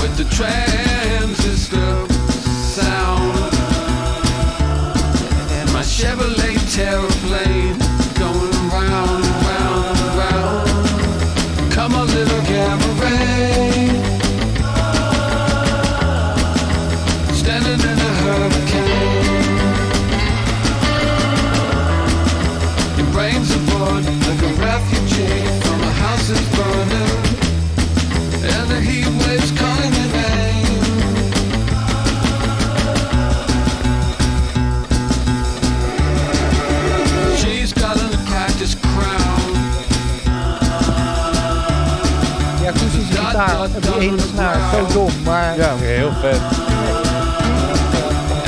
[SPEAKER 7] with the transistor sound, and my Chevrolet Terraplane going round, round, round. Come a little cabaret. Standing in a hurricane. Your brain's aboard like a refugee from a house that's burning. And the heat waves calling your name. She's got a cactus crown.
[SPEAKER 3] Ja, akoestische gitaar op die ene snaar. Zo dom, maar...
[SPEAKER 2] Ja, heel vet.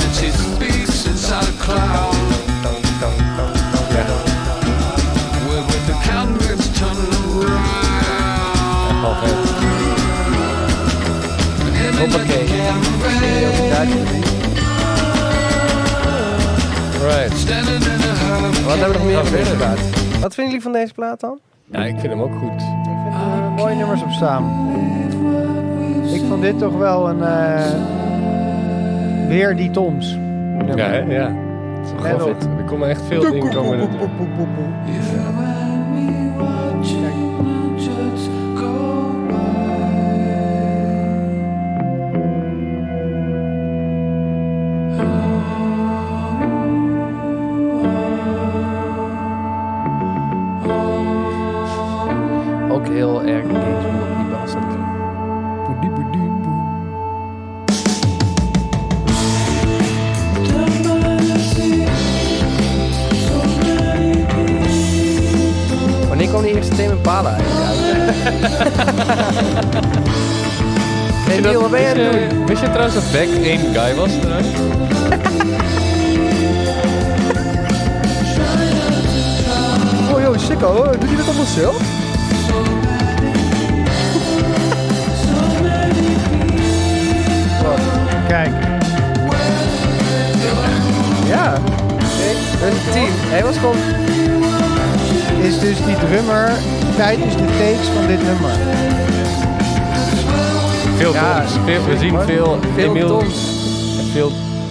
[SPEAKER 7] And she speaks inside a cloud. With, with the cowbirds turning around. Hoppakee.
[SPEAKER 2] Right.
[SPEAKER 7] Standing in a hurricane.
[SPEAKER 5] Wat hebben we nog meer van deze
[SPEAKER 2] plaat?
[SPEAKER 5] Wat vinden jullie van deze plaat dan?
[SPEAKER 2] Ja, ik vind hem ook goed.
[SPEAKER 3] eh, mooie nummers op staan. Ik vond dit toch wel een... eh, weer die toms.
[SPEAKER 2] Ja, hè? ja. Het is wel
[SPEAKER 3] Let
[SPEAKER 2] grappig. Er komen echt veel dingen komen er.
[SPEAKER 5] Ook heel erg Gainsbourg op die bas. Boedie, boedie, boe. Wanneer kwam die eerste Tame Impala eigenlijk uit? Hey, Miel, wat ben jij aan het doen?
[SPEAKER 2] Wist je trouwens dat Beck één guy was? trouwens?
[SPEAKER 5] Oh joh, sicko, hoor. doet hij dat allemaal zelf?
[SPEAKER 3] Kijk. Ja.
[SPEAKER 5] Een team. Hij was gewoon...
[SPEAKER 3] Is dus die drummer tijdens de takes van dit nummer.
[SPEAKER 2] Veel Toms. Veel, we zien veel,
[SPEAKER 3] Veel
[SPEAKER 2] Emil
[SPEAKER 3] Toms.
[SPEAKER 2] en veel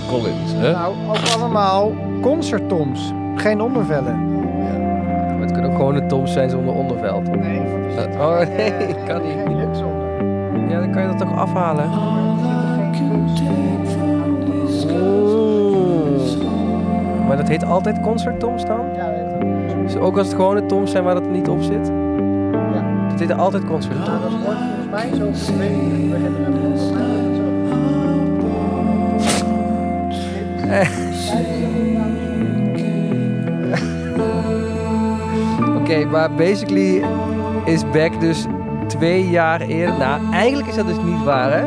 [SPEAKER 2] Collins. Hè?
[SPEAKER 3] Nou, ook allemaal concerttoms. Geen ondervellen.
[SPEAKER 5] Maar het kunnen ook gewoon een Toms zijn zonder onderveld.
[SPEAKER 3] Nee.
[SPEAKER 5] Oh nee, kan niet. Ja, dan kan je dat toch afhalen. Oeh. Maar dat heet altijd concert Toms dan?
[SPEAKER 3] Ja,
[SPEAKER 5] Dus ook als het gewone Toms zijn waar dat niet op zit? Ja. Het heet altijd concert Toms.
[SPEAKER 3] Volgens mij zo vervelend. We hebben hem volgens mij
[SPEAKER 5] Oké, maar basically is Beck dus twee jaar eerder. Nou, eigenlijk is dat dus niet waar, hè?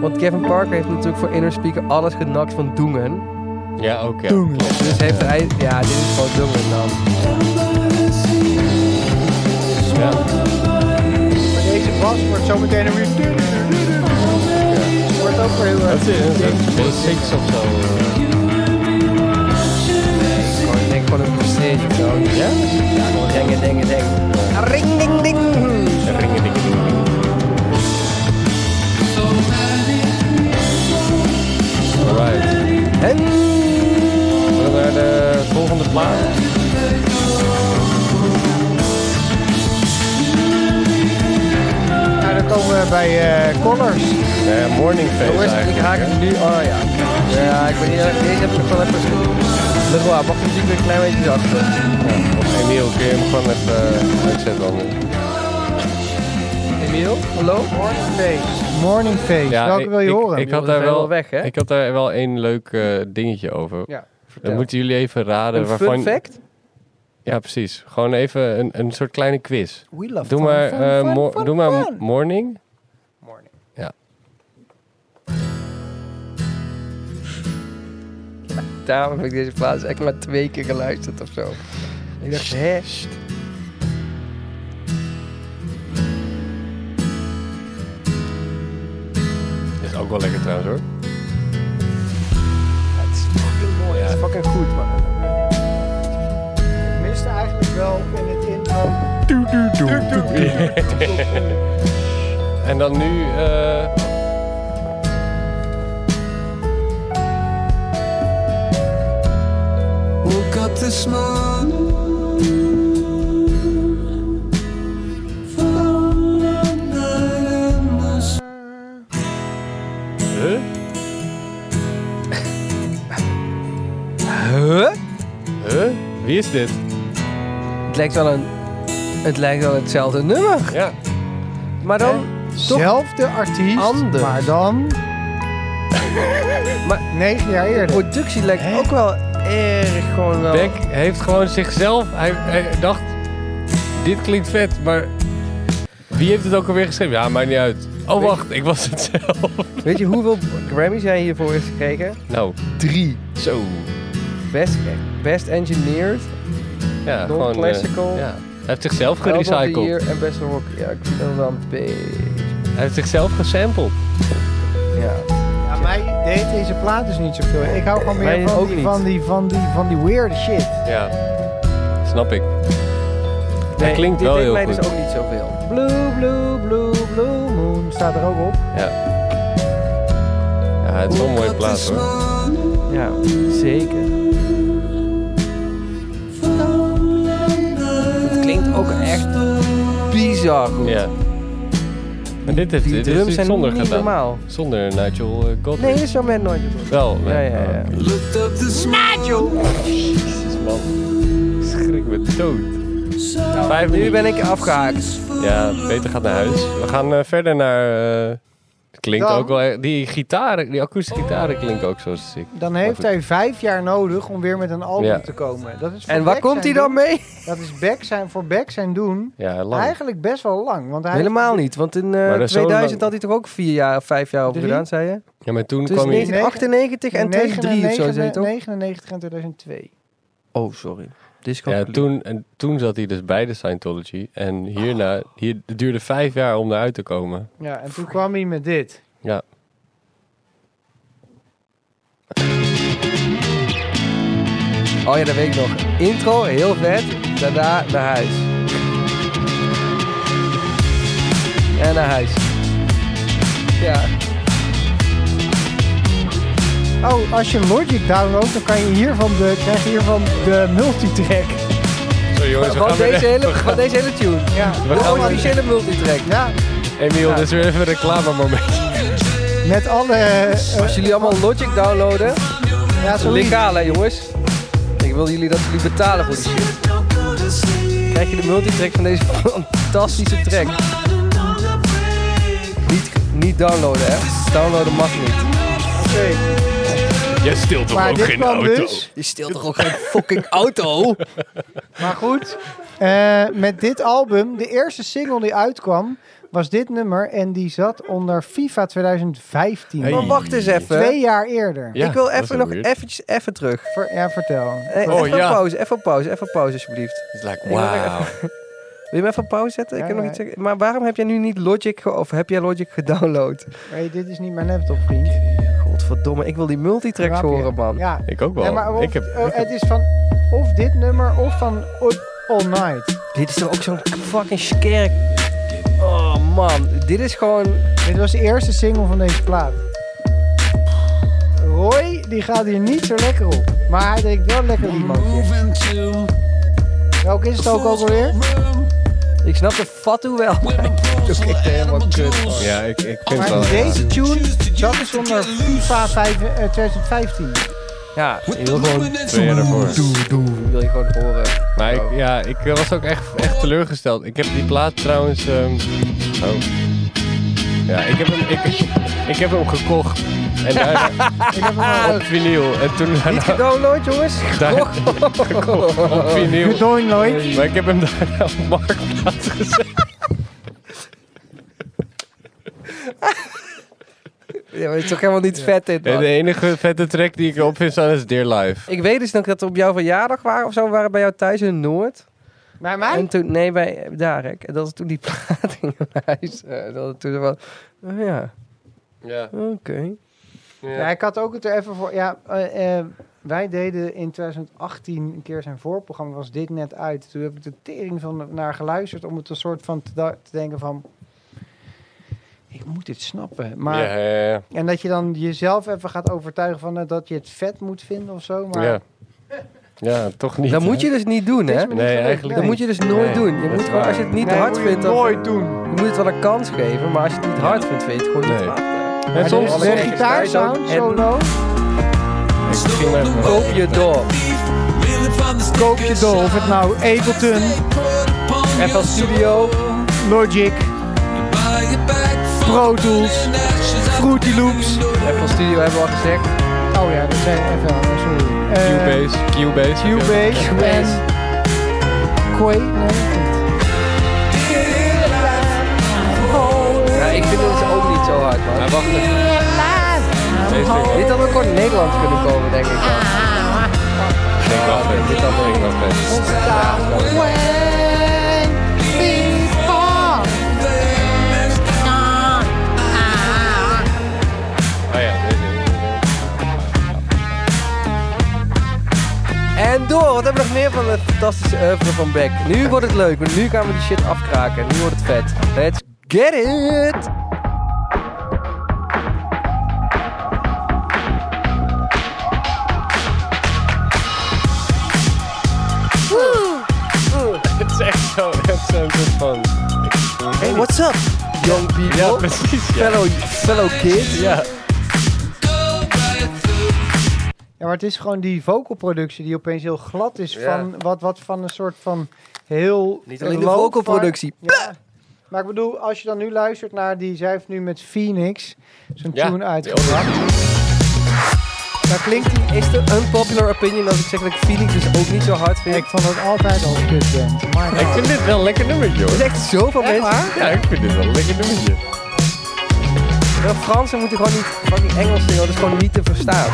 [SPEAKER 5] Want Kevin Parker heeft natuurlijk voor Inner Speaker alles genakt van Doengen.
[SPEAKER 2] Ja, ook ja.
[SPEAKER 5] Doengen. Dus heeft hij. Ja, dit is gewoon Doengen dan.
[SPEAKER 2] Ja.
[SPEAKER 3] Maar Deze bas wordt zo meteen een weer... Wordt ook weer heel erg...
[SPEAKER 2] Veel six of zo.
[SPEAKER 5] Gewoon, ik denk gewoon een prestige of zo. Ja? Ja, gewoon dingen, dingen, dingen. Ring, ding, ding.
[SPEAKER 2] Ring, ding, ding. Alright.
[SPEAKER 5] En...
[SPEAKER 2] Zullen we naar de volgende plaat?
[SPEAKER 3] eh, bij eh, Collars.
[SPEAKER 2] Eh, morning face
[SPEAKER 3] Hoe is het? Ik
[SPEAKER 2] eigenlijk,
[SPEAKER 3] haak
[SPEAKER 2] hè?
[SPEAKER 3] nu... Oh ja. Ja, ik ben niet... Deze heb ik wel even...
[SPEAKER 5] Dus
[SPEAKER 3] Dat is waar. Mag ik natuurlijk een klein beetje zachter?
[SPEAKER 2] Emiel, kun je hem gewoon even eh, uitzetten dan nu?
[SPEAKER 3] Emiel, hallo? Morning Face. Morning Face. Welke
[SPEAKER 2] ik-
[SPEAKER 3] wil je
[SPEAKER 2] ik,
[SPEAKER 3] horen?
[SPEAKER 2] Ik had, daar wel, ik had daar wel één leuk eh, dingetje over.
[SPEAKER 3] Ja, vertel.
[SPEAKER 2] dan moeten jullie even raden
[SPEAKER 5] Een fun
[SPEAKER 2] waarvan...
[SPEAKER 5] fact?
[SPEAKER 2] Ja, precies. Gewoon even een, een soort kleine quiz.
[SPEAKER 3] We love
[SPEAKER 2] doe
[SPEAKER 3] fun,
[SPEAKER 2] maar,
[SPEAKER 3] fun,
[SPEAKER 2] eh,
[SPEAKER 3] fun,
[SPEAKER 2] mo-
[SPEAKER 3] fun,
[SPEAKER 2] Doe maar
[SPEAKER 3] fun.
[SPEAKER 2] morning. Morning. Ja.
[SPEAKER 5] Daarom heb ik deze plaats echt maar twee keer geluisterd of zo. Ik dacht, hè?
[SPEAKER 2] Is ook wel lekker trouwens hoor.
[SPEAKER 3] Het is fucking mooi. Het is fucking goed, man. Ik miste eigenlijk wel in het intro...
[SPEAKER 2] en dan nu... eh,
[SPEAKER 7] Woke up this morning. Found a night in the s-
[SPEAKER 2] Huh?
[SPEAKER 5] Huh?
[SPEAKER 2] Huh? Wie is dit?
[SPEAKER 5] Het lijkt wel een... Het lijkt wel hetzelfde nummer.
[SPEAKER 2] Ja.
[SPEAKER 5] Maar dan... toch
[SPEAKER 3] Zelfde artiest,
[SPEAKER 5] Anders.
[SPEAKER 3] maar dan...
[SPEAKER 5] Maar
[SPEAKER 3] negen jaar eerder.
[SPEAKER 5] De productie lijkt ook wel erg gewoon wel...
[SPEAKER 2] Beck heeft gewoon zichzelf. Hij, hij dacht: dit klinkt vet, maar. Wie heeft het ook alweer geschreven? Ja, maakt niet uit. Oh, wacht, ik was het zelf.
[SPEAKER 5] Weet je hoeveel Grammys hij hiervoor heeft gekregen?
[SPEAKER 2] Nou,
[SPEAKER 5] Drie.
[SPEAKER 2] Zo.
[SPEAKER 5] Best, best engineered.
[SPEAKER 2] Ja, gewoon. eh,
[SPEAKER 5] Non-classical.
[SPEAKER 2] ja. Hij heeft zichzelf
[SPEAKER 5] Album of the
[SPEAKER 2] gerecycled.
[SPEAKER 5] Year En best rock. Ja, ik vind dat wel een beetje...
[SPEAKER 2] Hij heeft zichzelf gesampled.
[SPEAKER 5] Ja.
[SPEAKER 3] Ja, mij deed deze plaat dus niet zoveel. Ik hou gewoon
[SPEAKER 2] Mij
[SPEAKER 3] meer van
[SPEAKER 2] ook
[SPEAKER 3] die,
[SPEAKER 2] niet.
[SPEAKER 3] van, die, van, die, van die weird shit.
[SPEAKER 2] Ja, snap ik. hij
[SPEAKER 5] Nee,
[SPEAKER 2] klinkt
[SPEAKER 5] dit
[SPEAKER 2] wel
[SPEAKER 5] deed
[SPEAKER 2] heel
[SPEAKER 5] mij
[SPEAKER 2] goed.
[SPEAKER 5] dus ook niet zoveel.
[SPEAKER 3] Blue, blue, blue, blue moon staat er ook op.
[SPEAKER 2] Ja. ja, het is wel een mooie plaat hoor.
[SPEAKER 5] Ja, zeker. Het klinkt ook echt bizar goed.
[SPEAKER 2] Ja. En dit heeft
[SPEAKER 5] Die
[SPEAKER 2] dit
[SPEAKER 5] drums
[SPEAKER 2] is
[SPEAKER 5] zijn
[SPEAKER 2] zonder
[SPEAKER 5] niet
[SPEAKER 2] gedaan.
[SPEAKER 5] normaal.
[SPEAKER 2] Zonder Nigel eh, Godrich.
[SPEAKER 5] Nee, dat is jammer nooit.
[SPEAKER 2] Wel,
[SPEAKER 5] Ja, ja, ja.
[SPEAKER 7] Looked up this
[SPEAKER 5] Nigel!
[SPEAKER 7] Jezus
[SPEAKER 2] man. Schrik me dood. Vijf
[SPEAKER 5] Nu
[SPEAKER 2] minuten.
[SPEAKER 5] ben ik afgehaakt.
[SPEAKER 2] Ja, Peter gaat naar huis. We gaan eh, verder naar... eh, het klinkt
[SPEAKER 3] Dan.
[SPEAKER 2] ook wel... e- Die gitaren, die akoestische gitaren klinken ook zo sick.
[SPEAKER 3] Dan heeft hij vijf jaar nodig om weer met een album
[SPEAKER 2] Ja.
[SPEAKER 3] te komen. Dat is voor
[SPEAKER 5] En waar
[SPEAKER 3] Beck
[SPEAKER 5] komt hij
[SPEAKER 3] zijn
[SPEAKER 5] dan
[SPEAKER 3] doen-
[SPEAKER 5] mee?
[SPEAKER 3] Dat is Beck zijn, voor Beck zijn doen
[SPEAKER 2] Ja, lang.
[SPEAKER 3] eigenlijk best wel lang. Want hij
[SPEAKER 5] Helemaal niet, want in eh,
[SPEAKER 2] Maar dat is zo
[SPEAKER 5] 2000
[SPEAKER 2] lang.
[SPEAKER 5] had hij toch ook vier jaar of vijf jaar over
[SPEAKER 3] Drie?
[SPEAKER 5] gedaan, zei je?
[SPEAKER 2] Ja, maar toen
[SPEAKER 5] Tussen
[SPEAKER 2] kwam je...
[SPEAKER 5] 1998 en 2003 of zo, zei je toch?
[SPEAKER 3] 99 en 2002.
[SPEAKER 5] Oh, sorry.
[SPEAKER 2] Ja, toen, en toen zat hij dus bij de Scientology. En hierna... Hier, het duurde vijf jaar om eruit te komen.
[SPEAKER 3] Ja, en toen kwam hij met dit.
[SPEAKER 2] Ja.
[SPEAKER 5] Oh ja, dat weet ik nog. Intro, heel vet. Daarna naar huis. En naar huis. Ja.
[SPEAKER 3] Oh, als je Logic downloadt, dan kan je hiervan de, krijg je hiervan de multitrack.
[SPEAKER 2] Zo jongens, we
[SPEAKER 5] Van
[SPEAKER 2] gaan
[SPEAKER 5] deze,
[SPEAKER 2] weer...
[SPEAKER 5] hele, van deze hele tune.
[SPEAKER 3] Ja.
[SPEAKER 2] We
[SPEAKER 5] De
[SPEAKER 2] gaan weer-
[SPEAKER 5] officiële multitrack.
[SPEAKER 3] Ja.
[SPEAKER 2] Emiel, dit is weer even een reclamemoment.
[SPEAKER 3] Met alle... eh,
[SPEAKER 5] Als jullie allemaal Logic downloaden.
[SPEAKER 3] Ja, sorry.
[SPEAKER 5] Legaal hè jongens. Ik wil jullie dat jullie betalen voor die shit. Krijg je de multitrack van deze fantastische track. Niet, niet downloaden hè. Downloaden mag niet.
[SPEAKER 3] Oké.
[SPEAKER 2] Jij stilt
[SPEAKER 3] Maar dit kwam dus...
[SPEAKER 5] Je stilt toch ook geen fucking auto?
[SPEAKER 3] Maar goed, eh, met dit album, de eerste single die uitkwam, was dit nummer. En die zat onder FIFA 2015.
[SPEAKER 5] Maar wacht eens even.
[SPEAKER 3] Twee jaar eerder.
[SPEAKER 5] ik wil
[SPEAKER 2] dat is
[SPEAKER 5] even
[SPEAKER 2] wel
[SPEAKER 5] nog
[SPEAKER 2] weird.
[SPEAKER 5] eventjes even terug.
[SPEAKER 3] Ver- ja, vertel.
[SPEAKER 5] Eh,
[SPEAKER 2] Oh,
[SPEAKER 5] even
[SPEAKER 2] ja.
[SPEAKER 5] pauze, even pauze, even pauze alsjeblieft.
[SPEAKER 2] Het lijkt
[SPEAKER 5] Ik wil nog
[SPEAKER 2] wauw.
[SPEAKER 5] Wil je me even op pauze zetten? Ik
[SPEAKER 3] Ja,
[SPEAKER 5] heb nog
[SPEAKER 3] ja.
[SPEAKER 5] iets zeggen. Maar waarom heb jij nu niet Logic ge- of heb jij Logic gedownload?
[SPEAKER 3] Hey, dit is niet mijn laptop, vriend.
[SPEAKER 5] Godverdomme, ik wil die multitracks
[SPEAKER 3] Grapje.
[SPEAKER 5] horen man.
[SPEAKER 3] Ja.
[SPEAKER 2] Ik ook wel.
[SPEAKER 3] Nee, maar of-
[SPEAKER 2] ik heb,
[SPEAKER 3] eh, het is van of dit nummer of van O- All Night.
[SPEAKER 5] Dit is toch ook zo'n fucking skerk. Oh man, dit is gewoon.
[SPEAKER 3] Dit was de eerste single van deze plaat. Roy, die gaat hier niet zo lekker op. Maar hij drinkt wel lekker limootje. Welke is het ook alweer?
[SPEAKER 5] Ik snap de fatu wel.
[SPEAKER 15] vind het ook echt helemaal kut.
[SPEAKER 2] Ja, ik, ik vind
[SPEAKER 3] Maar
[SPEAKER 2] het wel.
[SPEAKER 3] deze tune, dat is onder FIFA 5, eh, 2015.
[SPEAKER 5] Ja, je wil gewoon
[SPEAKER 2] Twee jaar daarvoor.
[SPEAKER 5] Wil je gewoon horen.
[SPEAKER 2] Maar ik, ja, ik eh, was ook echt, echt teleurgesteld. Ik heb die plaat trouwens. ehm, oh. Ja, ik heb hem, ik, ik heb hem gekocht. En daar, op vinyl. En toen
[SPEAKER 5] Niet
[SPEAKER 2] daarna-
[SPEAKER 5] gedownload, jongens.
[SPEAKER 2] Daar-
[SPEAKER 5] Gekocht.
[SPEAKER 2] op vinyl.
[SPEAKER 3] Gedownload.
[SPEAKER 2] Maar ik heb hem daarna op marktplaats gezet.
[SPEAKER 5] Ja, maar het is toch helemaal niet vet dit,
[SPEAKER 2] En
[SPEAKER 5] man.
[SPEAKER 2] de enige vette track die ik op vind staan is Dear Life.
[SPEAKER 5] Ik weet dus nog dat we op jouw verjaardag waren of zo. We waren bij jou thuis in Noord.
[SPEAKER 3] Bij mij?
[SPEAKER 5] En toen, nee, bij eh, Darek. En dat is toen die plaat in huis. eh, dat het toen was. Oh ja,
[SPEAKER 2] Ja.
[SPEAKER 5] oké.
[SPEAKER 3] Ja, ik had ook het er even voor. Ja, eh, eh, wij deden in 2018 een keer zijn voorprogramma, was dit net uit. Toen heb ik de tering van naar geluisterd om het een soort van te, da- te denken van. Ik moet dit snappen. Maar,
[SPEAKER 2] Ja, ja, ja.
[SPEAKER 3] En dat je dan jezelf even gaat overtuigen van eh, dat je het vet moet vinden of zo. Maar
[SPEAKER 2] Ja. Ja, toch niet.
[SPEAKER 5] dat moet je dus niet doen, hè?
[SPEAKER 2] Nee, eigenlijk
[SPEAKER 5] Dat moet je dus nooit
[SPEAKER 2] Nee,
[SPEAKER 5] doen. Je
[SPEAKER 2] dat
[SPEAKER 5] moet
[SPEAKER 2] is
[SPEAKER 5] gewoon,
[SPEAKER 2] waar.
[SPEAKER 5] als je het niet
[SPEAKER 2] Nee,
[SPEAKER 5] hard
[SPEAKER 2] moet je
[SPEAKER 5] vindt... dan-
[SPEAKER 2] nooit doen.
[SPEAKER 5] Je moet het wel een kans geven, maar als je het niet hard vindt, weet je het gewoon niet.
[SPEAKER 2] En soms-
[SPEAKER 5] de
[SPEAKER 2] de gitaarsound,
[SPEAKER 3] solo.
[SPEAKER 5] Koop je door.
[SPEAKER 3] Koop je door. Of het nou Ableton,
[SPEAKER 5] FL Studio,
[SPEAKER 3] Logic, Pro Tools, Fruity Loops.
[SPEAKER 5] FL Studio hebben we al gezegd.
[SPEAKER 3] Oh ja, dat zijn FL, sorry. Eh,
[SPEAKER 2] Cubase, Cubase.
[SPEAKER 3] Cubase en Quay.
[SPEAKER 5] Ja, ik vind het dus ook niet zo hard, man.
[SPEAKER 2] Maar wacht
[SPEAKER 5] Dit had ook gewoon in Nederland kunnen komen, denk ik. dan.
[SPEAKER 2] Ik denk wel vet. Dit had ik wel vet. Oh ja, dit is het.
[SPEAKER 5] En door, wat hebben we nog meer van het fantastische oeuvre van Beck? Nu wordt het leuk, want nu gaan we die shit afkraken. Nu wordt het vet. Let's get it!
[SPEAKER 2] Het is echt zo, het is zo'n soort van.
[SPEAKER 5] Hey, what's up, young people?
[SPEAKER 2] Ja,
[SPEAKER 3] Oh,
[SPEAKER 2] precies. Ja.
[SPEAKER 5] Fellow, fellow kids?
[SPEAKER 2] Ja.
[SPEAKER 3] Ja, maar het is gewoon die vocalproductie die opeens heel glad is
[SPEAKER 5] Ja.
[SPEAKER 3] van wat, wat van een soort van heel...
[SPEAKER 5] Niet alleen de
[SPEAKER 3] low-fi-
[SPEAKER 5] vocalproductie.
[SPEAKER 3] Ja. Maar ik bedoel, als je dan nu luistert naar die... Zij heeft nu met Phoenix zijn
[SPEAKER 5] Ja.
[SPEAKER 3] tune uitgebracht.
[SPEAKER 5] Daar klinkt die, is de unpopular opinion als ik zeg dat ik Phoenix dus ook niet zo hard vind?
[SPEAKER 3] Ik vond het altijd al een kutband.
[SPEAKER 2] Ik vind dit wel een lekker nummertje hoor.
[SPEAKER 5] Er zijn echt zoveel
[SPEAKER 2] Echt
[SPEAKER 5] mensen.
[SPEAKER 2] waar? Ja, ik vind dit wel een lekker nummertje.
[SPEAKER 5] De Fransen moeten gewoon niet fucking Engels zingen, dat is gewoon niet te verstaan.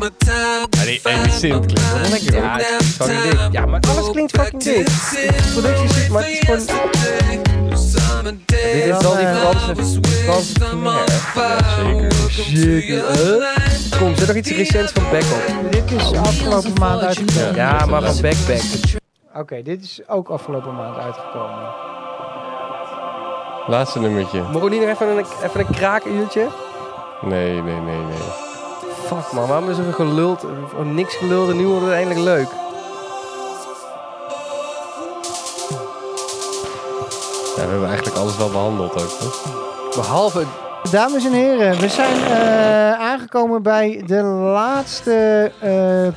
[SPEAKER 2] Ja, die Amy Sint klinkt wel lekker hoor.
[SPEAKER 5] Ja, het is fucking dik. Ja, maar alles klinkt fucking dik. De productie is dik, maar het is gewoon... Dus Dit is wel die Franse... Franse culinair. Zeker. Zeker. Kom, zet nog iets recents van Beck op.
[SPEAKER 3] Dit is afgelopen maand uitgekomen.
[SPEAKER 5] Ja, maar van Beck Beck.
[SPEAKER 3] Oké, dit is ook afgelopen maand uitgekomen.
[SPEAKER 2] Laatste nummertje.
[SPEAKER 5] Mogen we niet nog even een, even een kraakuurtje?
[SPEAKER 2] Nee, nee, nee, nee.
[SPEAKER 5] Fuck man, waarom is er geluld? Of niks geluld en nu wordt het eindelijk leuk.
[SPEAKER 2] Ja, we hebben eigenlijk alles wel behandeld ook. Toch?
[SPEAKER 5] Behalve het
[SPEAKER 3] Dames en heren, we zijn eh, aangekomen bij de laatste eh,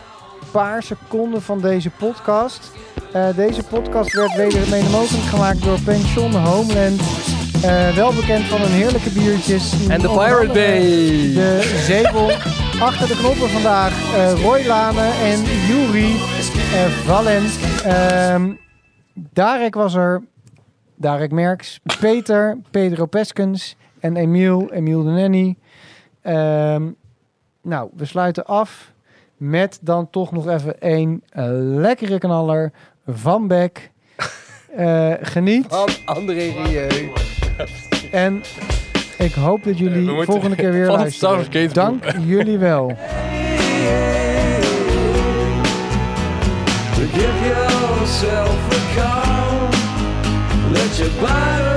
[SPEAKER 3] paar seconden van deze podcast. Eh, deze podcast werd weder mede mogelijk gemaakt door Pension Homeland. Eh, wel bekend van hun heerlijke biertjes.
[SPEAKER 5] En de
[SPEAKER 3] Onder
[SPEAKER 5] Pirate
[SPEAKER 3] andere
[SPEAKER 5] Bay.
[SPEAKER 3] De Zebel. Achter de knoppen vandaag eh Roy Lane en Yuri eh, Valent. Ehm, Darek was er. Darek Merks, Peter, Pedro Peskens en Emiel, Emiel de Nenny. Ehm, nou, we sluiten af met dan toch nog even één eh, lekkere knaller van Beck. Eh, geniet.
[SPEAKER 5] Van André Rieu.
[SPEAKER 3] En ik hoop dat jullie
[SPEAKER 2] moeten
[SPEAKER 3] volgende keer weer
[SPEAKER 2] van het
[SPEAKER 3] luisteren.
[SPEAKER 2] Stargate
[SPEAKER 3] Dank jullie wel.
[SPEAKER 7] Give yourself a call. Let your body